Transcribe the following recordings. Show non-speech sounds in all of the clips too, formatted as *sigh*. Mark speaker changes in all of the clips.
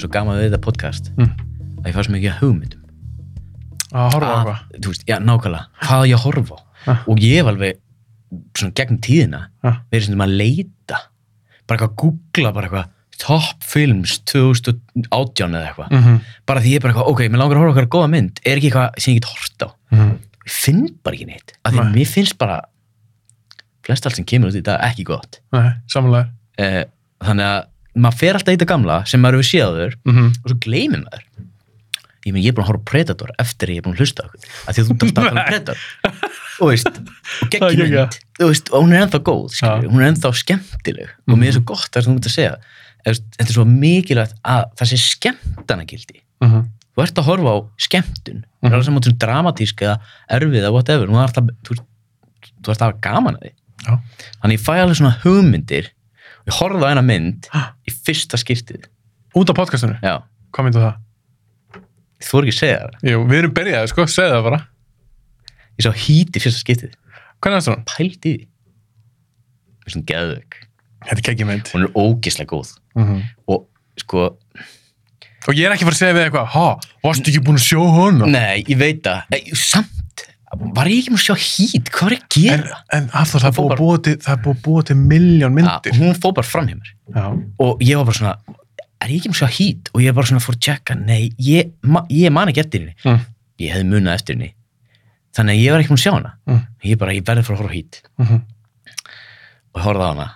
Speaker 1: svo gaman við þetta podcast
Speaker 2: Mm.
Speaker 1: að ég fara svo mikið að hugmyndum
Speaker 2: að horfa á
Speaker 1: Að-
Speaker 2: eitthvað
Speaker 1: þú veist, já, nákvæmlega, hvað á ég að horfa á
Speaker 2: Ah.
Speaker 1: og ég hef alveg svona gegn tíðina
Speaker 2: Ah.
Speaker 1: verið svona að leita bara eitthvað að googla bara eitthvað top films 2018 eða eitthvað
Speaker 2: Mhm,
Speaker 1: bara því ég er bara eitthvað, ok, mér langar að horfa á eitthvað góða mynd er ekki eitthvað sem ég get hort á
Speaker 2: mhm.
Speaker 1: ég finn bara ekki neitt af því
Speaker 2: Nei.
Speaker 1: mér finnst bara flest allt sem kemur út í dag ekki gott
Speaker 2: Nei, samanlega
Speaker 1: eh, þannig að maður fer alltaf í þetta gamla sem maður hefur séð áður
Speaker 2: mm -hmm.
Speaker 1: og svo gleymir maður ég mean, ég er búin að horfa á Predator eftir að ég er búin að hlusta á okkur af því að þú dæst að tala um Predator og veist, og
Speaker 2: Það er
Speaker 1: geggjum
Speaker 2: geggjað.
Speaker 1: mynd Þú veist, og hún er ennþá góð, skilur,
Speaker 2: Já. Mhm.
Speaker 1: hún er ennþá skemmtileg og mér er svo gott það sem þú mútt að segja Eða, þú veist, þetta er svo mikilvægt að það sé skemmtana
Speaker 2: Mm -hmm.
Speaker 1: þú ert að horfa á skemmtun það
Speaker 2: Mhm.
Speaker 1: er alveg saman sem dramatísk eða erfið eða whatever, þú ert að þú, þú ert að hafa gaman að því
Speaker 2: Já.
Speaker 1: þannig ég fæ alveg svona hugmyndir ég horfði á eina mynd
Speaker 2: Ha?
Speaker 1: í fyrsta skiptið
Speaker 2: Út af podcastinu,
Speaker 1: já,
Speaker 2: hvað myndu það?
Speaker 1: þú voru ekki að segja það
Speaker 2: Jú, við erum byrjaði, sko, segðu það bara
Speaker 1: ég sá hít í fyrsta skiptið,
Speaker 2: Hvernig er það svona?
Speaker 1: pælt í því Mér er svona geðvögg
Speaker 2: Þetta er keggjumynd
Speaker 1: hún er ógislega góð
Speaker 2: mm
Speaker 1: og sko,
Speaker 2: Og ég er ekki fara að segja við eitthvað Há, varstu ekki búin að sjó hana?
Speaker 1: nei, ég veit það Nei, samt, var ég ekki með að sjá hít hvað var ég að
Speaker 2: En,
Speaker 1: gera?
Speaker 2: en aftur, það
Speaker 1: Hún
Speaker 2: er búið
Speaker 1: fór
Speaker 2: að búa til, það er búið að búa til miljón
Speaker 1: Ja,
Speaker 2: myndir.
Speaker 1: Ah, hún fór bara fram hjá mér
Speaker 2: Já.
Speaker 1: og ég var bara svona er ég ekki með svo hít og ég bara svona fór að tjekka nei, ég, ma ég man ekki eftir henni
Speaker 2: Mm.
Speaker 1: ég hefði munað eftir henni þannig að ég var ekki búin að sjá hana
Speaker 2: Mm.
Speaker 1: ég bara, ég verði fyrir að horfa á hít
Speaker 2: Mm
Speaker 1: og ég horfði á hana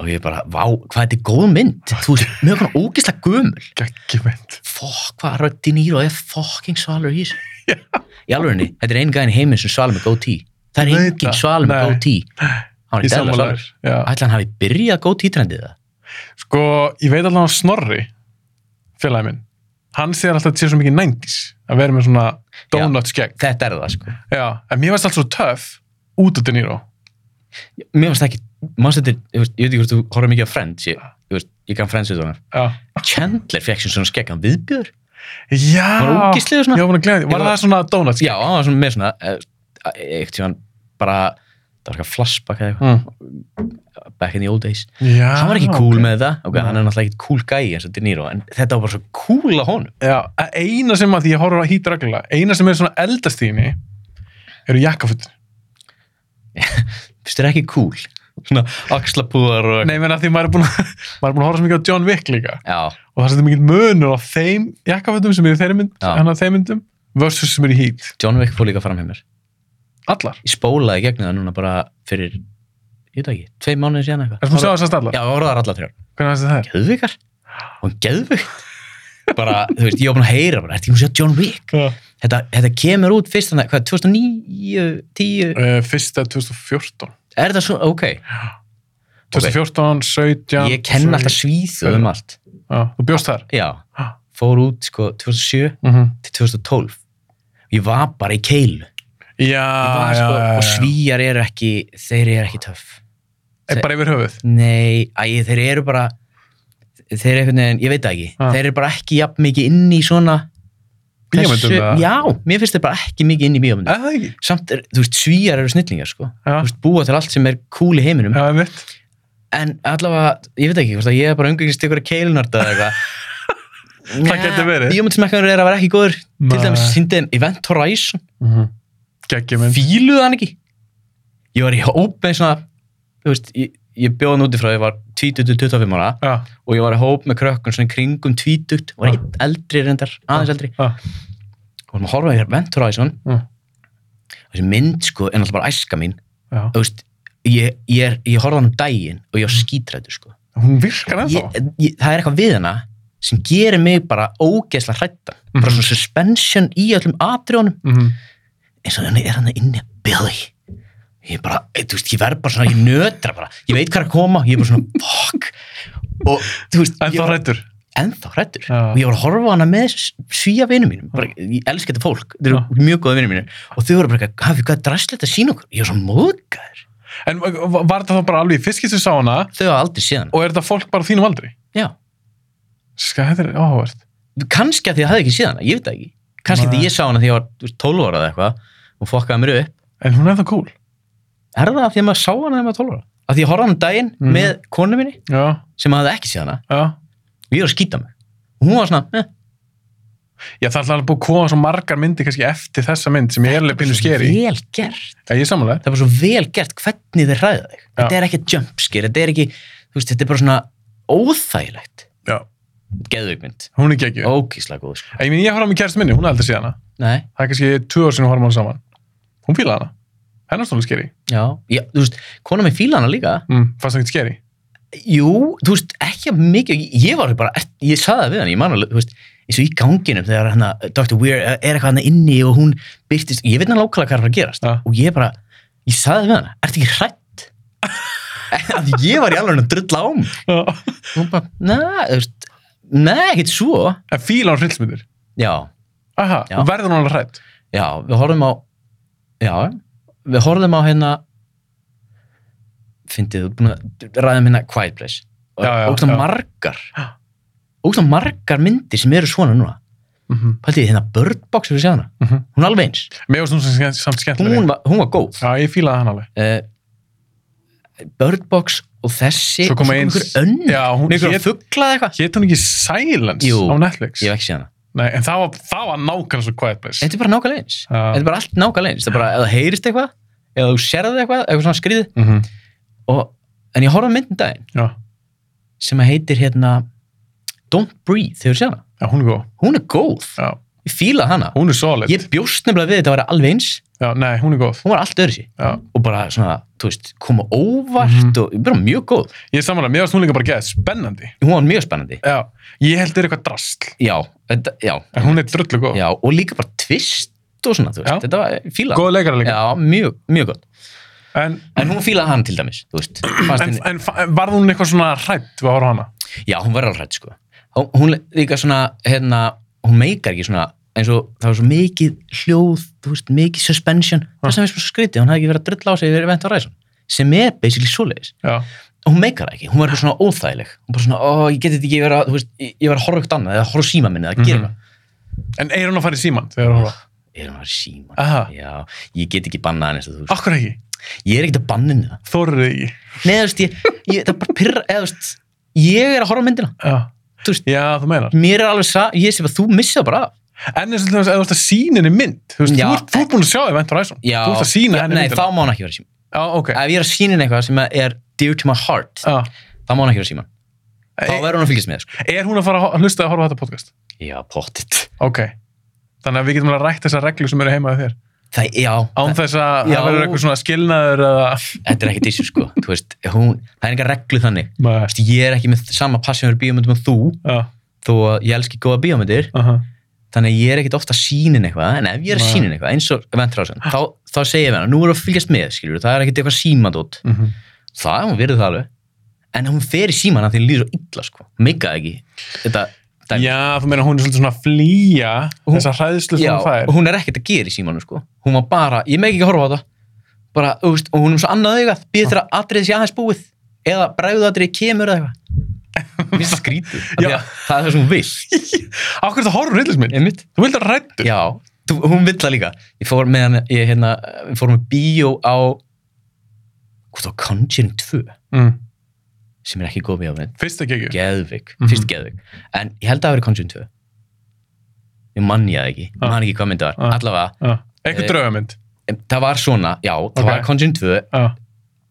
Speaker 1: og ég bara, vá, hvað þetta er góð mynd þú veist, mjög konar ógislega gömul
Speaker 2: Geggjumynd.
Speaker 1: fokk, hvað Röddi Nýró er fucking svalur
Speaker 2: *laughs*
Speaker 1: í þessu í alveg henni, þetta er einn gæðin heiminn sem svalur með goatee það er
Speaker 2: Veit
Speaker 1: engin
Speaker 2: það.
Speaker 1: svalur með
Speaker 2: Nei.
Speaker 1: goatee hann
Speaker 2: Ég
Speaker 1: er dæla
Speaker 2: sammála
Speaker 1: svalur
Speaker 2: þér. Já.
Speaker 1: ætla hann hafi byrjað goatee trendið það
Speaker 2: Sko, ég veit allavega að Snorri, félagi minn, hann segir alltaf að þetta sé svo mikið 90s, að vera með svona donut skegg.
Speaker 1: þetta er það sko
Speaker 2: Já, en mér varst alltaf svo töff út af De Niro.
Speaker 1: mér finnst það ekki, mannst þetta ég veist- ég veit ekki hvort þú horfður mikið á Friends ég, ég, veist, ég kann Friends við þannig
Speaker 2: Já.
Speaker 1: Chandler fekk sem svona skekkan viðbjör
Speaker 2: Já.
Speaker 1: var ógíslegur svona
Speaker 2: Ég var búin að glemja því.
Speaker 1: Ég
Speaker 2: Var
Speaker 1: var-
Speaker 2: það svona donut skegg?
Speaker 1: já, hann var svona með svona eh, eitt tíma bara það var eitthvað flashback eða
Speaker 2: Mm.
Speaker 1: eitthvað back in the old days
Speaker 2: Já.
Speaker 1: hann var ekki cool
Speaker 2: Ah, ok. Mm.
Speaker 1: með það ok,
Speaker 2: Nei.
Speaker 1: hann er náttúrulega ekki cool gæi eins og De Niro en þetta var bara svo cool á honum
Speaker 2: Já, að eina sem að því ég horfur að hýta reglulega, eina sem er svona eldast í henni eru jakkafutin.
Speaker 1: finnst þér ekki cool svona axlapúðar og
Speaker 2: Nei, menn að því maður er búin að, *laughs* maður er búin að horfa svo mikið á John Wick líka.
Speaker 1: já,
Speaker 2: og það er svolítið mikill munur á þeim jakkafötum sem eru í þeirri mynd,
Speaker 1: Já.
Speaker 2: hann að þeim myndum versus sem eru í hít,
Speaker 1: John Wick fór líka fram hjá mér
Speaker 2: allar
Speaker 1: ég spólaði gegna það núna bara fyrir ég veit það ekki, tvei mánuði síðan
Speaker 2: Það er sem að sjá
Speaker 1: eitthvað
Speaker 2: þess að allar,
Speaker 1: já, orðaðar alla þrjár
Speaker 2: hvernig fannst þér það er
Speaker 1: geðvikar og hann geðvikt bara, þú veist, ég var búin að heyra bara, ertu ekki múin að sjá John Wick
Speaker 2: þetta?
Speaker 1: þetta, þetta kemur út fyrst þannig, hvað, 2009 10,
Speaker 2: Uh, fyrsta 2014
Speaker 1: er það svona, ok
Speaker 2: 2014, 17
Speaker 1: ég kenn alltaf svíðu um allt
Speaker 2: já, þú bjóst þar
Speaker 1: já,
Speaker 2: Ha.
Speaker 1: fór út sko 2007
Speaker 2: mm
Speaker 1: til 2012 ég var bara í keilu
Speaker 2: já,
Speaker 1: Ég var,
Speaker 2: Ah, já,
Speaker 1: sko,
Speaker 2: já,
Speaker 1: og
Speaker 2: já,
Speaker 1: svíjar eru ekki þeir eru ekki töff
Speaker 2: Er bara yfir höfuð
Speaker 1: nei, æ, þeir eru bara þeir eru einhvern veginn, ég veit það ekki
Speaker 2: Ha.
Speaker 1: þeir eru bara ekki jafn mikið inn í svona
Speaker 2: bíómyndum
Speaker 1: þessu-
Speaker 2: eða?
Speaker 1: já, mér finnst þeir bara ekki mikið inn í bíómyndum
Speaker 2: Er það ekki?
Speaker 1: samt er, þú veist, svíjar eru snillingar sko
Speaker 2: Já.
Speaker 1: Þú veist, búa til allt sem er cool í heiminum
Speaker 2: Ah. já, mitt
Speaker 1: en allavega, ég veit ekki hvort að ég er bara umgengist ykkur keilnarta eða
Speaker 2: *laughs*
Speaker 1: eitthvað
Speaker 2: Það gæti verið.
Speaker 1: Bíómyndsmekkanur er að vera ekki góður Til
Speaker 2: Nei.
Speaker 1: dæmis síndi þeim Event Horizon
Speaker 2: Mhm. geggjum mynd
Speaker 1: Fíluðu hann ekki Ég var í hóp með svona Þú veist, ég, ég bjóð hann úti frá Ég var 20-25 ára
Speaker 2: já,
Speaker 1: Og ég var í hóp með krökkun svona í kringum 20 Og
Speaker 2: Já.
Speaker 1: einn eldri reyndar, aðeins eldri
Speaker 2: já,
Speaker 1: Og hann horfa í Event Horizon
Speaker 2: Já.
Speaker 1: Þessi mynd sko, en alltaf bara æska mín
Speaker 2: já.
Speaker 1: Þú veist, ég, ég, er- ég horfa hann um daginn Og ég var skítrættur sko
Speaker 2: hún virkar
Speaker 1: ég,
Speaker 2: ennþá
Speaker 1: ég, það er eitthvað við hana sem gerir mig bara ógeðslega hrættan bara
Speaker 2: Mhm.
Speaker 1: svona suspension í öllum atriðunum
Speaker 2: Mhm.
Speaker 1: eins og henni er hann inni að byrði ég bara, eh, þú veist, ég verð bara svona ég nötra bara, ég veit hvað er að koma ég er bara svona, fuck og þú veist,
Speaker 2: ennþá
Speaker 1: ég,
Speaker 2: rættur
Speaker 1: ennþá hrættur
Speaker 2: Já.
Speaker 1: og ég var að horfa á hana með svíja vinum mínum bara, ég elska þetta fólk, þeir eru mjög góða vinum mínum og þau voru bara, eitthvað, hafi, hvað er dræslegt að sína okkur ég var svona móðgæður,
Speaker 2: en var var þetta þá bara alveg í fiskist sem sá hana
Speaker 1: þau hafa aldrei séðan
Speaker 2: og er þetta fólk bara á þínum aldri?
Speaker 1: já,
Speaker 2: Ska, þetta er áhugavert
Speaker 1: kannski að því að það hefði ekki séð hana, ég veit það ekki kannski að því
Speaker 2: Nei.
Speaker 1: ég sá hana því ég var þú veist, 12 ára eða eitthvað og fokkaði mér upp,
Speaker 2: En hún er það cool.
Speaker 1: er það að því að maður sá hana þegar maður var 12 ára, að því ég horfði á hana um daginn
Speaker 2: Mhm.
Speaker 1: með konu minni
Speaker 2: Já,
Speaker 1: sem hafði ekki séð hana
Speaker 2: já.
Speaker 1: og ég var að skýta mig og hún var svona eh,
Speaker 2: Já, það er alltaf búið að koma svo margar myndi kannski eftir þessa mynd sem ég er alveg pínu skeri.
Speaker 1: vel gert
Speaker 2: Já, ég er samanlega.
Speaker 1: það er bara svo vel gert hvernig þeir hræða þig þetta er ekki jumpscare, þetta er ekki þú veist, þetta er bara svona óþægilegt
Speaker 2: Já.
Speaker 1: geðugmynd,
Speaker 2: Hún er geggjuð.
Speaker 1: ókíslega góð sko.
Speaker 2: En Ég minn, ég horfði á mig kærst minni, hún er aldrei síðan hana.
Speaker 1: nei,
Speaker 2: Það er kannski tvö ár sinni horfum hana saman. Hún fíla hana. Hennar stóðlega skeri.
Speaker 1: já, já, þú veist kona með fílana líka,
Speaker 2: Mm, fannst það ekki skeri?
Speaker 1: jú, þú veist ekki að mikið, ég var bara, ert- ég saði það við hann ég man alveg, þú veist, eins og í ganginum þegar hann, eh, Dr. Weir er eitthvað hann inni og hún byrtist, ég veit hann lókala hvað er að fara að gerast
Speaker 2: Ja.
Speaker 1: og ég bara, ég saði við hann ert ekki *laughs* hrætt að ég var í alveg að drulla á mig
Speaker 2: Já.
Speaker 1: og hún bara, neða, þú veist neða, ekkert svo
Speaker 2: En fíla hann hryllismyndir.
Speaker 1: já,
Speaker 2: Aha,
Speaker 1: Já.
Speaker 2: og verður hún alveg hrætt.
Speaker 1: já, við horfum á já, við horfum á hérna fyndið, þú ert búin að ræða minna Quiet Place og
Speaker 2: Já, já,
Speaker 1: ógstlega
Speaker 2: já.
Speaker 1: margar
Speaker 2: Já.
Speaker 1: ógstlega margar myndir sem eru svona núna
Speaker 2: Mm -hmm.
Speaker 1: pæltið, hérna Bird Box við séð hana,
Speaker 2: mm -hmm.
Speaker 1: hún er alveg eins
Speaker 2: Mér varst hún sem ske- samt skemmtilegri.
Speaker 1: hún var, hún var góð
Speaker 2: Já, ég fílaði hann alveg.
Speaker 1: uh, Bird Box og þessi
Speaker 2: Svo kom
Speaker 1: og
Speaker 2: eins.
Speaker 1: einhver önn,
Speaker 2: Já, hún
Speaker 1: einhver
Speaker 2: hét,
Speaker 1: hét... fugglað eitthvað
Speaker 2: hét hún ekki Silence
Speaker 1: Jú.
Speaker 2: á Netflix.
Speaker 1: ég hef ekki séð hana,
Speaker 2: Nei, en það var, það var nákvæmlega svo Quiet Place.
Speaker 1: þetta er bara nákvæmlega eins þetta
Speaker 2: Já.
Speaker 1: er bara allt nákvæmlega eins, það er bara eða heyrist eitthvað eða þú sérði eitthvað, eitthvað svona skrýð
Speaker 2: Mm -hmm.
Speaker 1: og, en ég horfði á myndin daginn
Speaker 2: Já,
Speaker 1: sem heitir hérna Don't Breathe, þegar þú séð hana
Speaker 2: já, hún er góð.
Speaker 1: hún er góð,
Speaker 2: Já.
Speaker 1: ég fílaði hana
Speaker 2: Hún er solid.
Speaker 1: ég bjóst nefnilega við þetta að vera alveg eins
Speaker 2: Já, nei, hún er góð.
Speaker 1: hún var allt öðru sér
Speaker 2: Já.
Speaker 1: og bara svona, þú veist, koma óvart og bara mjög góð,
Speaker 2: Ég er samanlega, mér varst hún líka bara geð, spennandi.
Speaker 1: hún var mjög spennandi
Speaker 2: Já, ég held þetta er eitthvað drasl.
Speaker 1: já, þetta, já,
Speaker 2: En hún er drullu góð.
Speaker 1: já og líka bara tvist og svona, þú veist,
Speaker 2: Já.
Speaker 1: þetta var fílað
Speaker 2: Góð leikara líka.
Speaker 1: já, mjög, mjög gott
Speaker 2: En,
Speaker 1: en hún fílaði hann til dæmis, þú veist fannst
Speaker 2: en,
Speaker 1: henni-
Speaker 2: en, fa- en varð hún eitthvað svona hrætt við að horfa á hana?
Speaker 1: Já, hún verður alveg hrætt sko. Hún- Hún líka svona, hérna, hún meikar ekki svona, eins og það var svo mikið hljóð, þú veist, mikið suspension. Það sem er svo skrítið, hún hafði ekki verið að drulla á sig verið vent á ræðsan. Sem er basically svoleiðis.
Speaker 2: Já.
Speaker 1: Og hún meikar það ekki, hún verður bara svona óþægileg. Hún bara svona, ó, ég geti þetta ekki verið að, þú veist, ég, ég verið að horfa eitthvað annað eða horfa á síma minni eða gera eitthvað.
Speaker 2: En er hún að fara í síman þegar hún horfa?
Speaker 1: Er hún að vera síma?
Speaker 2: Aha.
Speaker 1: Já, ég get ekki bannað hann eins og þú veist.
Speaker 2: Akkur ekki.
Speaker 1: Ég er ekkert að banna henni það.
Speaker 2: Þorrið ekki.
Speaker 1: Nei, þú veist, ég, ég, það er bara pyrra, eða, þú veist, ég er að horfa á myndina.
Speaker 2: Já.
Speaker 1: Þú veist,
Speaker 2: Já, þú meinar.
Speaker 1: mér er alveg sa, ég sé bara, þú missið það bara af.
Speaker 2: En eins og til dæmis, ef þú ert að sína henni mynd, þú veist,
Speaker 1: Já.
Speaker 2: þú ert- þú ert búin að sjá þig Vent Horizon.
Speaker 1: Já,
Speaker 2: Þú ert að sína
Speaker 1: já,
Speaker 2: henni
Speaker 1: nei,
Speaker 2: myndina.
Speaker 1: þá má hann ekki vera síma
Speaker 2: Já, ok.
Speaker 1: ef ég er að sína henni eitthvað sem er dear to my heart
Speaker 2: Já.
Speaker 1: þá má hann ekki vera síma þá
Speaker 2: E-
Speaker 1: verður hún að fylgjast með sko.
Speaker 2: Er hún að fara að hlusta að horfa á þetta podcast?
Speaker 1: já, pottit
Speaker 2: Ok. Þannig að við getum alveg rætt þessar reglur sem eru heimaði þér.
Speaker 1: það, já,
Speaker 2: Án þess að
Speaker 1: Já.
Speaker 2: það verður eitthvað svona skilnaður eða...
Speaker 1: þetta er ekki dissu sko Þú veist, hún, það er engar reglu þannig
Speaker 2: Nei.
Speaker 1: Vist, ég er ekki með sama passjón fyrir bíómyndum en þú
Speaker 2: Já.
Speaker 1: þó að ég elski góða bíómyndir
Speaker 2: aha.
Speaker 1: þannig að ég er ekkit ofta að sína henni eitthvað en ef ég er að
Speaker 2: Nei.
Speaker 1: sína henni eitthvað eins og ventrásan þá, þá segja ég við henni, nú er að fylgjast með skilur, það er ekkit eitthvað símadót
Speaker 2: Mhm.
Speaker 1: það, hún verður það alveg en hún fer í síman að því hún líður svo illa sko. meikaði ekki þetta, dæmi.
Speaker 2: Já, þú meina hún er svolítið svona að flýja
Speaker 1: Hún-
Speaker 2: þessar hræðslu sem
Speaker 1: Já,
Speaker 2: hún fær.
Speaker 1: og hún er ekkert að gera í símanum sko. hún var bara, ég megi ekki að horfa á það bara, þú veist, og hún er með svo annað augað býður þeirra atrið sé aðeins búið eða bræðu atrið kemur
Speaker 2: *laughs*
Speaker 1: eða eitthvað Mér finnst það skrítið, af því
Speaker 2: Já.
Speaker 1: að það er það sem hún
Speaker 2: *laughs*
Speaker 1: vill
Speaker 2: Akkur þetta horfur rillismin?
Speaker 1: einmitt,
Speaker 2: Þú vilt að rættu?
Speaker 1: já, þú, hún vill það líka ég fór með hann, ég hérna við fórum með bíó á hvað það var Conjuring 2
Speaker 2: Mm.
Speaker 1: sem er ekki góð bíómynd,
Speaker 2: Fyrsta kekju.
Speaker 1: geðvik
Speaker 2: Mhm.
Speaker 1: fyrst geðvik, en ég held að það hafi verið Conjuring 2 ég mann ég það ekki, ég
Speaker 2: Ah.
Speaker 1: man ekki hvað myndið var
Speaker 2: Ah.
Speaker 1: allavega,
Speaker 2: Yeah. Eitthvað
Speaker 1: Eh,
Speaker 2: draugamynd.
Speaker 1: það var svona, já, það
Speaker 2: Ok.
Speaker 1: var Conjuring 2
Speaker 2: Já.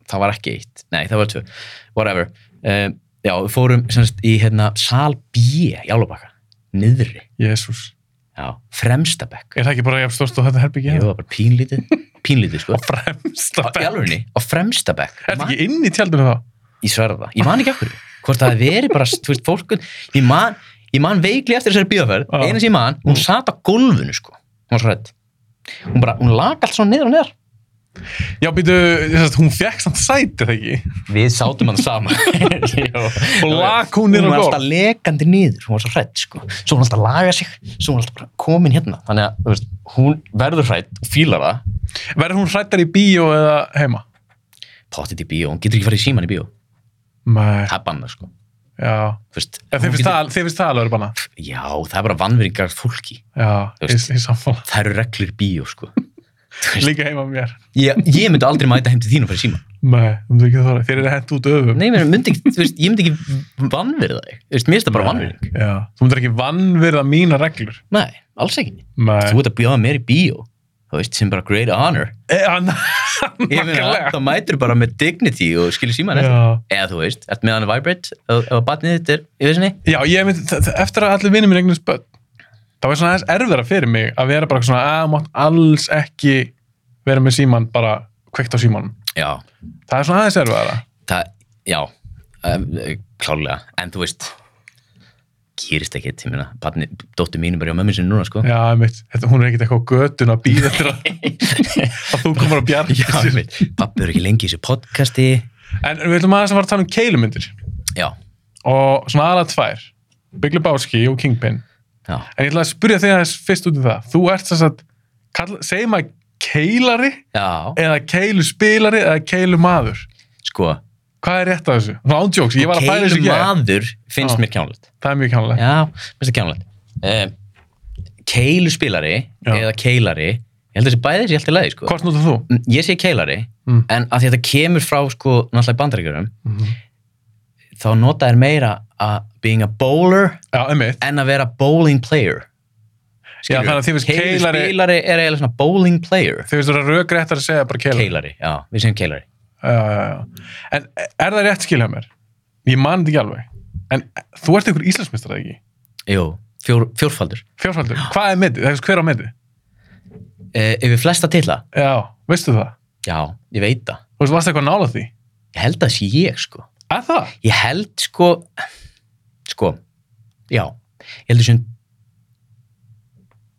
Speaker 1: það var ekki eitt, nei það var tvö whatever, um, já við fórum semst í hérna sal B í Álubakka, niðri
Speaker 2: Jésús.
Speaker 1: já, fremstabekk
Speaker 2: Er það ekki bara jafn stórst og þetta herbyggi?
Speaker 1: ég var bara pínlítið, pínlítið sko
Speaker 2: *laughs* Og fremsta
Speaker 1: í
Speaker 2: bekk.
Speaker 1: alvegni, á fremstabekk
Speaker 2: Er þetta ekki inn í tjaldinu þá?
Speaker 1: ég sverða það, ég man ekki okkur hvort það hafi verið bara, þú veist, fólkun ég man, ég man veikli eftir þessari bíðaferð
Speaker 2: Já.
Speaker 1: eina sem ég man, hún sat á gólfinu sko hún var svo hrædd hún bara, hún lag allt svona niður og niður
Speaker 2: Já, býtu, þess að hún fekk samt sæti það ekki.
Speaker 1: við sátum hann saman *laughs*
Speaker 2: Og
Speaker 1: og
Speaker 2: lag hún niður á
Speaker 1: hún var
Speaker 2: gólf.
Speaker 1: alltaf lekandi niður, hún var svo hrætt sko. svo hún alltaf laga sig, svo hún alltaf bara komin hérna þannig að þú veist, hún verður hrætt og fílar það,
Speaker 2: Verður hún hrættar í bíó eða heima?
Speaker 1: pottit í bíó hún getur ekki farið í síman í bíó,
Speaker 2: Nei.
Speaker 1: það er bannað sko.
Speaker 2: Já.
Speaker 1: Þú veist,
Speaker 2: Já, Þið
Speaker 1: hún
Speaker 2: finnst það- þið finnst það alveg banna.
Speaker 1: já, það er bara vannveringar fólki
Speaker 2: Já,
Speaker 1: Þú
Speaker 2: í,
Speaker 1: veist.
Speaker 2: í samfóla.
Speaker 1: það eru reglur í bíó sko.
Speaker 2: líka heima með mér
Speaker 1: ég, ég myndi aldrei mæta heim til þín og fara í síma
Speaker 2: Nei, þú myndir ekki þóra, þér eru hent út öfum
Speaker 1: Nei, ég meina, myndi, ekki- þú veist, ég myndi ekki vannverða þig Þú veist, mér finnst það bara vannverðing
Speaker 2: Já, þú myndir ekki vannverða mína reglur
Speaker 1: Nei, alls ekki
Speaker 2: Nei,
Speaker 1: Þú ert að bjóða mér í bíó Þú veist, sem bara great honor
Speaker 2: e, *laughs* hann
Speaker 1: Ég meina,
Speaker 2: Nákvæmlega.
Speaker 1: þá mætur bara með dignity og skilur síman eftir
Speaker 2: Já.
Speaker 1: Eða þú veist, ert með hann að vibrate Ef ef að batnið þitt er, ég veist
Speaker 2: Já, ég myndi, þ- þ- eftir að allir vinir mér eignast börn þá er svona aðeins erfiðara fyrir mig að vera bara svona að mátt alls ekki vera með síman bara kveikt á símanum.
Speaker 1: Já,
Speaker 2: Það er svona aðeins erfiðara.
Speaker 1: það, já um, Klálega, en þú veist Gerist ekki til minna Batnið, dóttir mín er bara hjá mömmu sinni núna, sko
Speaker 2: Já, *laughs* mitt, þetta, hún er ekkert eitthvað á götun að býða eftir að, að þú komur að bjarga
Speaker 1: Já, ég veit, pappi er ekki lengi í þessu podcasti
Speaker 2: En við ætlum aðeins að fara að tala um keilumyndir
Speaker 1: Já,
Speaker 2: og svona aðalega tvær, Big Lebowski og Kingpin.
Speaker 1: já,
Speaker 2: En ég ætla að spyrja þig aðeins fyrst út í það. Þú ert þess að, kall- segjum að keilari
Speaker 1: já
Speaker 2: eða keiluspilari eða keilumadur.
Speaker 1: Sko,
Speaker 2: Hvað er rétt af þessu? Svona ándjóks, ég var að pæla þessu
Speaker 1: keilu
Speaker 2: ekki.
Speaker 1: maður finnst
Speaker 2: Já.
Speaker 1: mér kjánlegt
Speaker 2: Það er mjög kjánlega.
Speaker 1: Já, finnst það kjánlegt um, Keilu spilari
Speaker 2: Já.
Speaker 1: eða keilari Ég held að þessi bæðið sé alltaf leiði sko.
Speaker 2: Hvort notar þú?
Speaker 1: Mm, Ég sé keilari
Speaker 2: Mm.
Speaker 1: en að því að þetta kemur frá sko, náttúrulega bandaríkjörum
Speaker 2: Mhm.
Speaker 1: þá nota er meira að being a bowler
Speaker 2: Já, einmitt.
Speaker 1: en að vera bowling player
Speaker 2: Já, þannig að þið finnst
Speaker 1: Keilu
Speaker 2: keilari,
Speaker 1: spilari er eiginlega svona bowling player
Speaker 2: þið finnst þú að rökréttar að segja bara keilari.
Speaker 1: Keilari, já, við segjum keilari
Speaker 2: Já, já, já. En er það rétt skilja mér? Ég man þetta ekki alveg. En þú ert einhver íslensmistar, eða ekki?
Speaker 1: Jú, fjór, fjórfaldur
Speaker 2: Fjórfaldur, hvað er metið? Það er hver á metið?
Speaker 1: uh, Yfir flesta titla,
Speaker 2: Já, veistu það?
Speaker 1: já, ég veit það
Speaker 2: Þú veist, varst eitthvað nála því?
Speaker 1: Ég held að það sé ég sko
Speaker 2: Er það?
Speaker 1: Ég held sko sko, já ég held þessum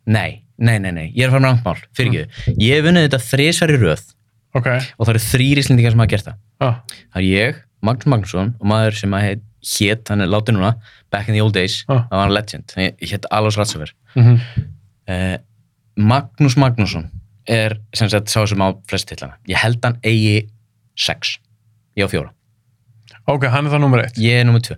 Speaker 1: nei, nei, nei, nei, ég er að fara með rangmál fyrir ekki,
Speaker 2: Mm.
Speaker 1: ég hef unnið þetta þrisvar í röð
Speaker 2: Ok.
Speaker 1: og það eru þrýr íslendingar sem hafa gert það
Speaker 2: Já,
Speaker 1: það er ég, Magnús Magnússon og maður sem að heit, hét, hann er látið núna back in the old days,
Speaker 2: Ah.
Speaker 1: það var hann legend ég, ég hétt Alos Ratsafer
Speaker 2: Mhm.
Speaker 1: eh, Magnús Magnússon er sem sagt sá sem á flest tillana ég held hann eigi sex ég á fjóra,
Speaker 2: ok, hann er það nummer eitt.
Speaker 1: ég er nummer tvö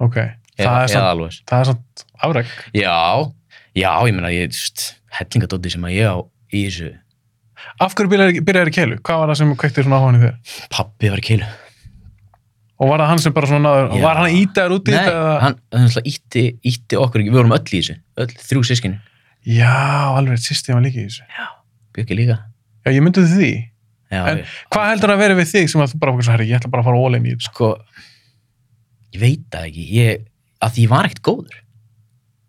Speaker 2: Ok. Það
Speaker 1: eða,
Speaker 2: er
Speaker 1: eða
Speaker 2: samt,
Speaker 1: Alos
Speaker 2: það er samt afreg.
Speaker 1: Já, já, ég meina, ég, st, hellingadóti sem að ég á í þessu,
Speaker 2: Af hverju byrjaði byrjaðir í keilu? Hvað var það sem kveiktir svona áhugan í þér?
Speaker 1: pappi var í keilu.
Speaker 2: Og var það hann sem bara svona náður,
Speaker 1: Já.
Speaker 2: var hann ítaður út í
Speaker 1: Nei,
Speaker 2: þetta? eða-
Speaker 1: hann, hann ætla, ítti, ítti okkur ekki, við vorum öll í þessu, öll þrjú sískinu,
Speaker 2: Já, alveg, sýsti var líka í þessu.
Speaker 1: bjöggi líka.
Speaker 2: Já, ég myndi því.
Speaker 1: Já,
Speaker 2: En
Speaker 1: ég,
Speaker 2: Hvað heldur að vera við þig sem að þú bara okkur svo, herri, ég ætla bara að fara ólinn í þetta.
Speaker 1: sko, ég veit það ekki, ég, að því ég var ekkert góður,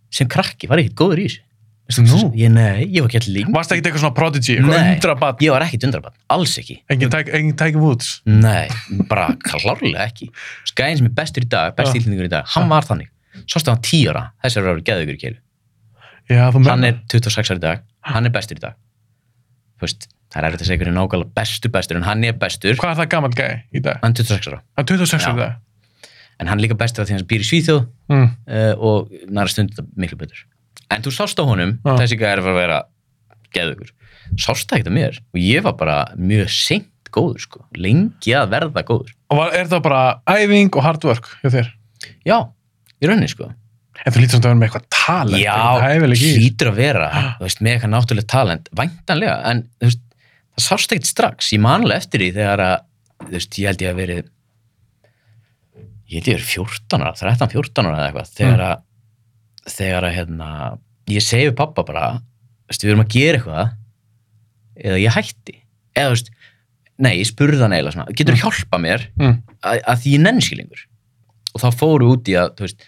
Speaker 1: sem krakki var ég ekkert góður í þessu. Veistu,
Speaker 2: Nú?
Speaker 1: Ég, nei, ég var ekki allir líka.
Speaker 2: Varst ekkert eitthvað svona prodigy,
Speaker 1: Nei.
Speaker 2: eitthvað undrabatt,
Speaker 1: Ég var ekkert undrabann, alls ekki.
Speaker 2: engin tæk- engin tæki vúts.
Speaker 1: Nei, bara klárlega ekki. Skæðin sem er bestur í dag, best
Speaker 2: Já.
Speaker 1: ílendingur í dag, hann var þannig. Svo stöðan tíra, þessar eru geðugur í keilu.
Speaker 2: Já, þú
Speaker 1: hann
Speaker 2: menn.
Speaker 1: er 26 ári í dag, hann er bestur í dag þú veist, það er erfitt að segja hvernig nákvæmlega bestur bestur, en hann er bestur
Speaker 2: Hvað er það gammal gæi í dag?
Speaker 1: hann er 26 ára,
Speaker 2: Hann er 26 ára í
Speaker 1: Já.
Speaker 2: dag.
Speaker 1: en hann er líka bestur af því hann býr í Svíþjóð
Speaker 2: Mm.
Speaker 1: uh, og næra stundum þetta miklu betur en þú sást á honum,
Speaker 2: Já.
Speaker 1: þessi gæði er að vera geðugur, sást það ekkert að mér og ég var bara mjög seint góður sko, lengi að verða góður
Speaker 2: Og var, er það bara æfing og hard work hjá þér?
Speaker 1: já, í rauninni sko
Speaker 2: En þú lítur samt að vera með eitthvað talent. eitthvað
Speaker 1: já,
Speaker 2: hæfileik í þessu.
Speaker 1: hlýtur að vera þú veist, með eitthvað náttúrulega talent, væntanlega en þú veist, það sást ekkert strax ég manlega eftir því þegar að þú veist, ég held ég að verið ég held ég að verið 14 ára 13, 14 ára eða eitthvað
Speaker 2: Mm.
Speaker 1: þegar að, þegar að hérna ég segi við pappa bara þú veist, við erum að gera eitthvað eða ég hætti eða þú veist, nei, ég spurði hann eiginlega svona, getur þú hjálpa mér
Speaker 2: Mm.
Speaker 1: að, að því ég nenni ekki lengur og þá fóru út í að þú veist,